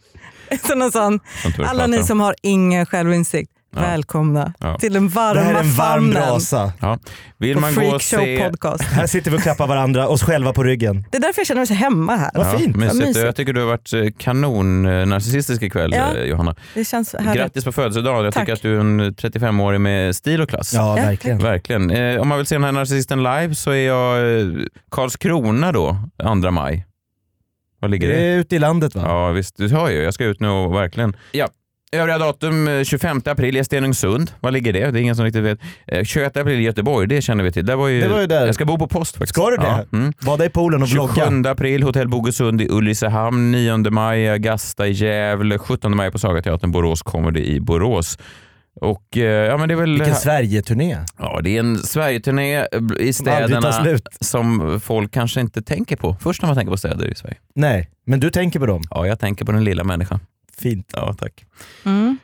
[SPEAKER 4] så någon sån,
[SPEAKER 1] Som tur
[SPEAKER 4] alla ni
[SPEAKER 1] pratar.
[SPEAKER 4] som har ingen självinsikt, välkomna
[SPEAKER 1] Ja.
[SPEAKER 4] till den varma
[SPEAKER 2] Det här är en varm
[SPEAKER 4] famnen.
[SPEAKER 2] brasa.
[SPEAKER 1] Ja. Vill
[SPEAKER 4] På
[SPEAKER 1] man gå och
[SPEAKER 4] Freakshow
[SPEAKER 1] se...
[SPEAKER 4] podcast.
[SPEAKER 2] Här sitter vi och klappar varandra, oss själva på ryggen.
[SPEAKER 4] Det är därför jag känner mig så hemma här.
[SPEAKER 1] Ja, mysigt. Jag tycker du har varit eh, kanon eh, narcissistisk ikväll
[SPEAKER 4] Ja.
[SPEAKER 1] eh, Johanna.
[SPEAKER 4] Det känns härligt.
[SPEAKER 1] Grattis på födelsedagen. Jag
[SPEAKER 4] Tack.
[SPEAKER 1] tycker att du är en 35-årig med stil och klass.
[SPEAKER 2] Ja,
[SPEAKER 4] Ja,
[SPEAKER 2] verkligen.
[SPEAKER 1] Verkligen. Eh, om man vill se den här narcissisten live så är jag eh, Karlskrona då, 2 maj. Var ligger
[SPEAKER 2] Det
[SPEAKER 1] det?
[SPEAKER 2] är ute i landet va?
[SPEAKER 1] Ja visst, du hör ju. Jag ska ut nu och verkligen. Ja. Övriga datum eh, 25 april i Stenungsund. Var ligger det? Det är ingen som riktigt vet. Eh, 21 april i Göteborg, det känner vi till. Där var ju,
[SPEAKER 2] Det var ju där.
[SPEAKER 1] Jag ska bo på post faktiskt.
[SPEAKER 2] Ska du det?
[SPEAKER 1] Ja. Mm.
[SPEAKER 2] Bada i poolen och vlogga.
[SPEAKER 1] 27 april, Hotell Bogesund i Ulricehamn, 9 maj Agasta i Gävle, 17 maj på Sagateatern Borås Comedy i Borås. Och, eh, ja, men det är väl
[SPEAKER 2] Vilken Sverigeturné.
[SPEAKER 1] Ja, det är en Sverigeturné i
[SPEAKER 2] aldrig tar
[SPEAKER 1] städerna
[SPEAKER 2] slut.
[SPEAKER 1] som folk kanske inte tänker på. Först när man tänker på städer i Sverige.
[SPEAKER 2] Nej, men du tänker på dem.
[SPEAKER 1] Ja, jag tänker på den lilla människan.
[SPEAKER 2] Fint.
[SPEAKER 1] Ja, tack.
[SPEAKER 4] Mm.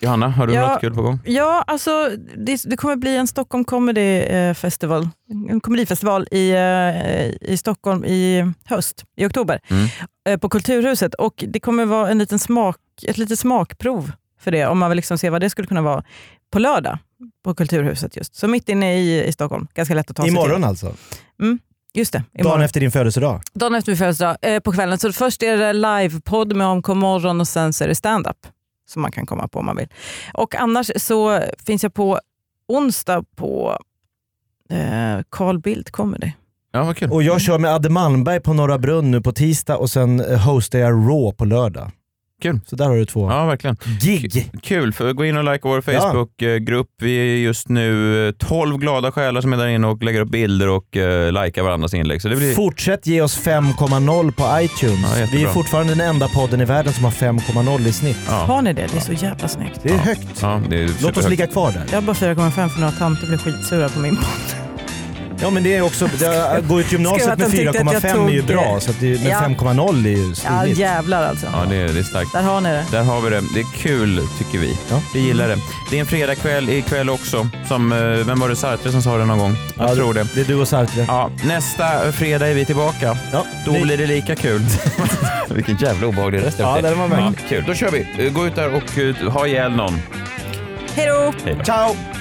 [SPEAKER 1] Johanna, har du
[SPEAKER 4] Ja.
[SPEAKER 1] något kul på gång?
[SPEAKER 4] Ja, alltså det, det kommer bli en Stockholm Comedy eh, Festival, en komedifestival i, eh, i Stockholm i höst, i oktober,
[SPEAKER 1] Mm.
[SPEAKER 4] eh, på Kulturhuset. Och Det kommer vara en liten smak, ett litet smakprov för det, om man vill liksom se vad det skulle kunna vara, på lördag på Kulturhuset. just. Så mitt inne i, i Stockholm, ganska lätt att ta sig
[SPEAKER 2] Imorgon
[SPEAKER 4] till.
[SPEAKER 2] alltså?
[SPEAKER 4] Just det,
[SPEAKER 2] Dagen
[SPEAKER 4] imorgon.
[SPEAKER 2] efter din födelsedag?
[SPEAKER 4] Dagen efter min födelsedag, eh, på kvällen. Så först är det livepodd med Omkom morgon och sen så är det stand-up som man kan komma på om man vill. Och annars så finns jag på onsdag på eh, Carl Bildt Comedy.
[SPEAKER 1] Ja, vad kul.
[SPEAKER 2] Och jag kör med Adde Malmberg på Norra Brunn nu på tisdag och sen eh, hostar jag Raw på lördag.
[SPEAKER 1] Kul.
[SPEAKER 2] Så där har du två
[SPEAKER 1] Ja, verkligen.
[SPEAKER 2] gig.
[SPEAKER 1] Kul, för gå in och like vår Facebookgrupp. Vi är just nu eh, 12 glada själar som är där inne och lägger upp bilder och uh, likar varandras inlägg. Så det blir...
[SPEAKER 2] Fortsätt ge oss 5,0 på
[SPEAKER 1] Ja,
[SPEAKER 2] iTunes.
[SPEAKER 1] jättebra.
[SPEAKER 2] Vi är fortfarande den enda podden i världen som har 5,0 i snitt.
[SPEAKER 1] Ja,
[SPEAKER 4] Har ni det? Det är så jävla snyggt.
[SPEAKER 2] Det är högt.
[SPEAKER 1] ja, det är
[SPEAKER 2] Låt oss ligga kvar där.
[SPEAKER 4] Jag har bara 4,5 för några tanter blev skitsura på min podd.
[SPEAKER 2] Ja men det är också, det, gå ut
[SPEAKER 4] Ska jag
[SPEAKER 2] gymnasiet
[SPEAKER 4] att de
[SPEAKER 2] med
[SPEAKER 4] tyckte att jag
[SPEAKER 2] 4,5 är ju
[SPEAKER 4] tog
[SPEAKER 2] bra,
[SPEAKER 4] det?
[SPEAKER 2] så att det, men
[SPEAKER 4] Ja.
[SPEAKER 2] 5,0 är ju
[SPEAKER 4] Ja
[SPEAKER 2] stiligt.
[SPEAKER 4] jävlar alltså.
[SPEAKER 1] Ja, det är, det är starkt.
[SPEAKER 4] Där har ni det.
[SPEAKER 1] Där har vi det. Det är kul, tycker vi.
[SPEAKER 2] Ja.
[SPEAKER 1] Vi gillar det. Det är en fredagkväll ikväll också. Som, eh, vem var det Sartre som sa det någon gång? Jag
[SPEAKER 2] Ja,
[SPEAKER 1] tror det.
[SPEAKER 2] Det är du och Sartre.
[SPEAKER 1] Ja, nästa fredag är vi tillbaka.
[SPEAKER 2] Ja,
[SPEAKER 1] Då
[SPEAKER 2] ni-
[SPEAKER 1] blir det lika kul. Vilken jävla obehaglig röst
[SPEAKER 2] Ja, den var märklig.
[SPEAKER 1] Kul, då kör vi. Eh, Gå ut där och eh, ha ihjäl någon.
[SPEAKER 4] Hej då!
[SPEAKER 1] Hej då.
[SPEAKER 2] Ciao!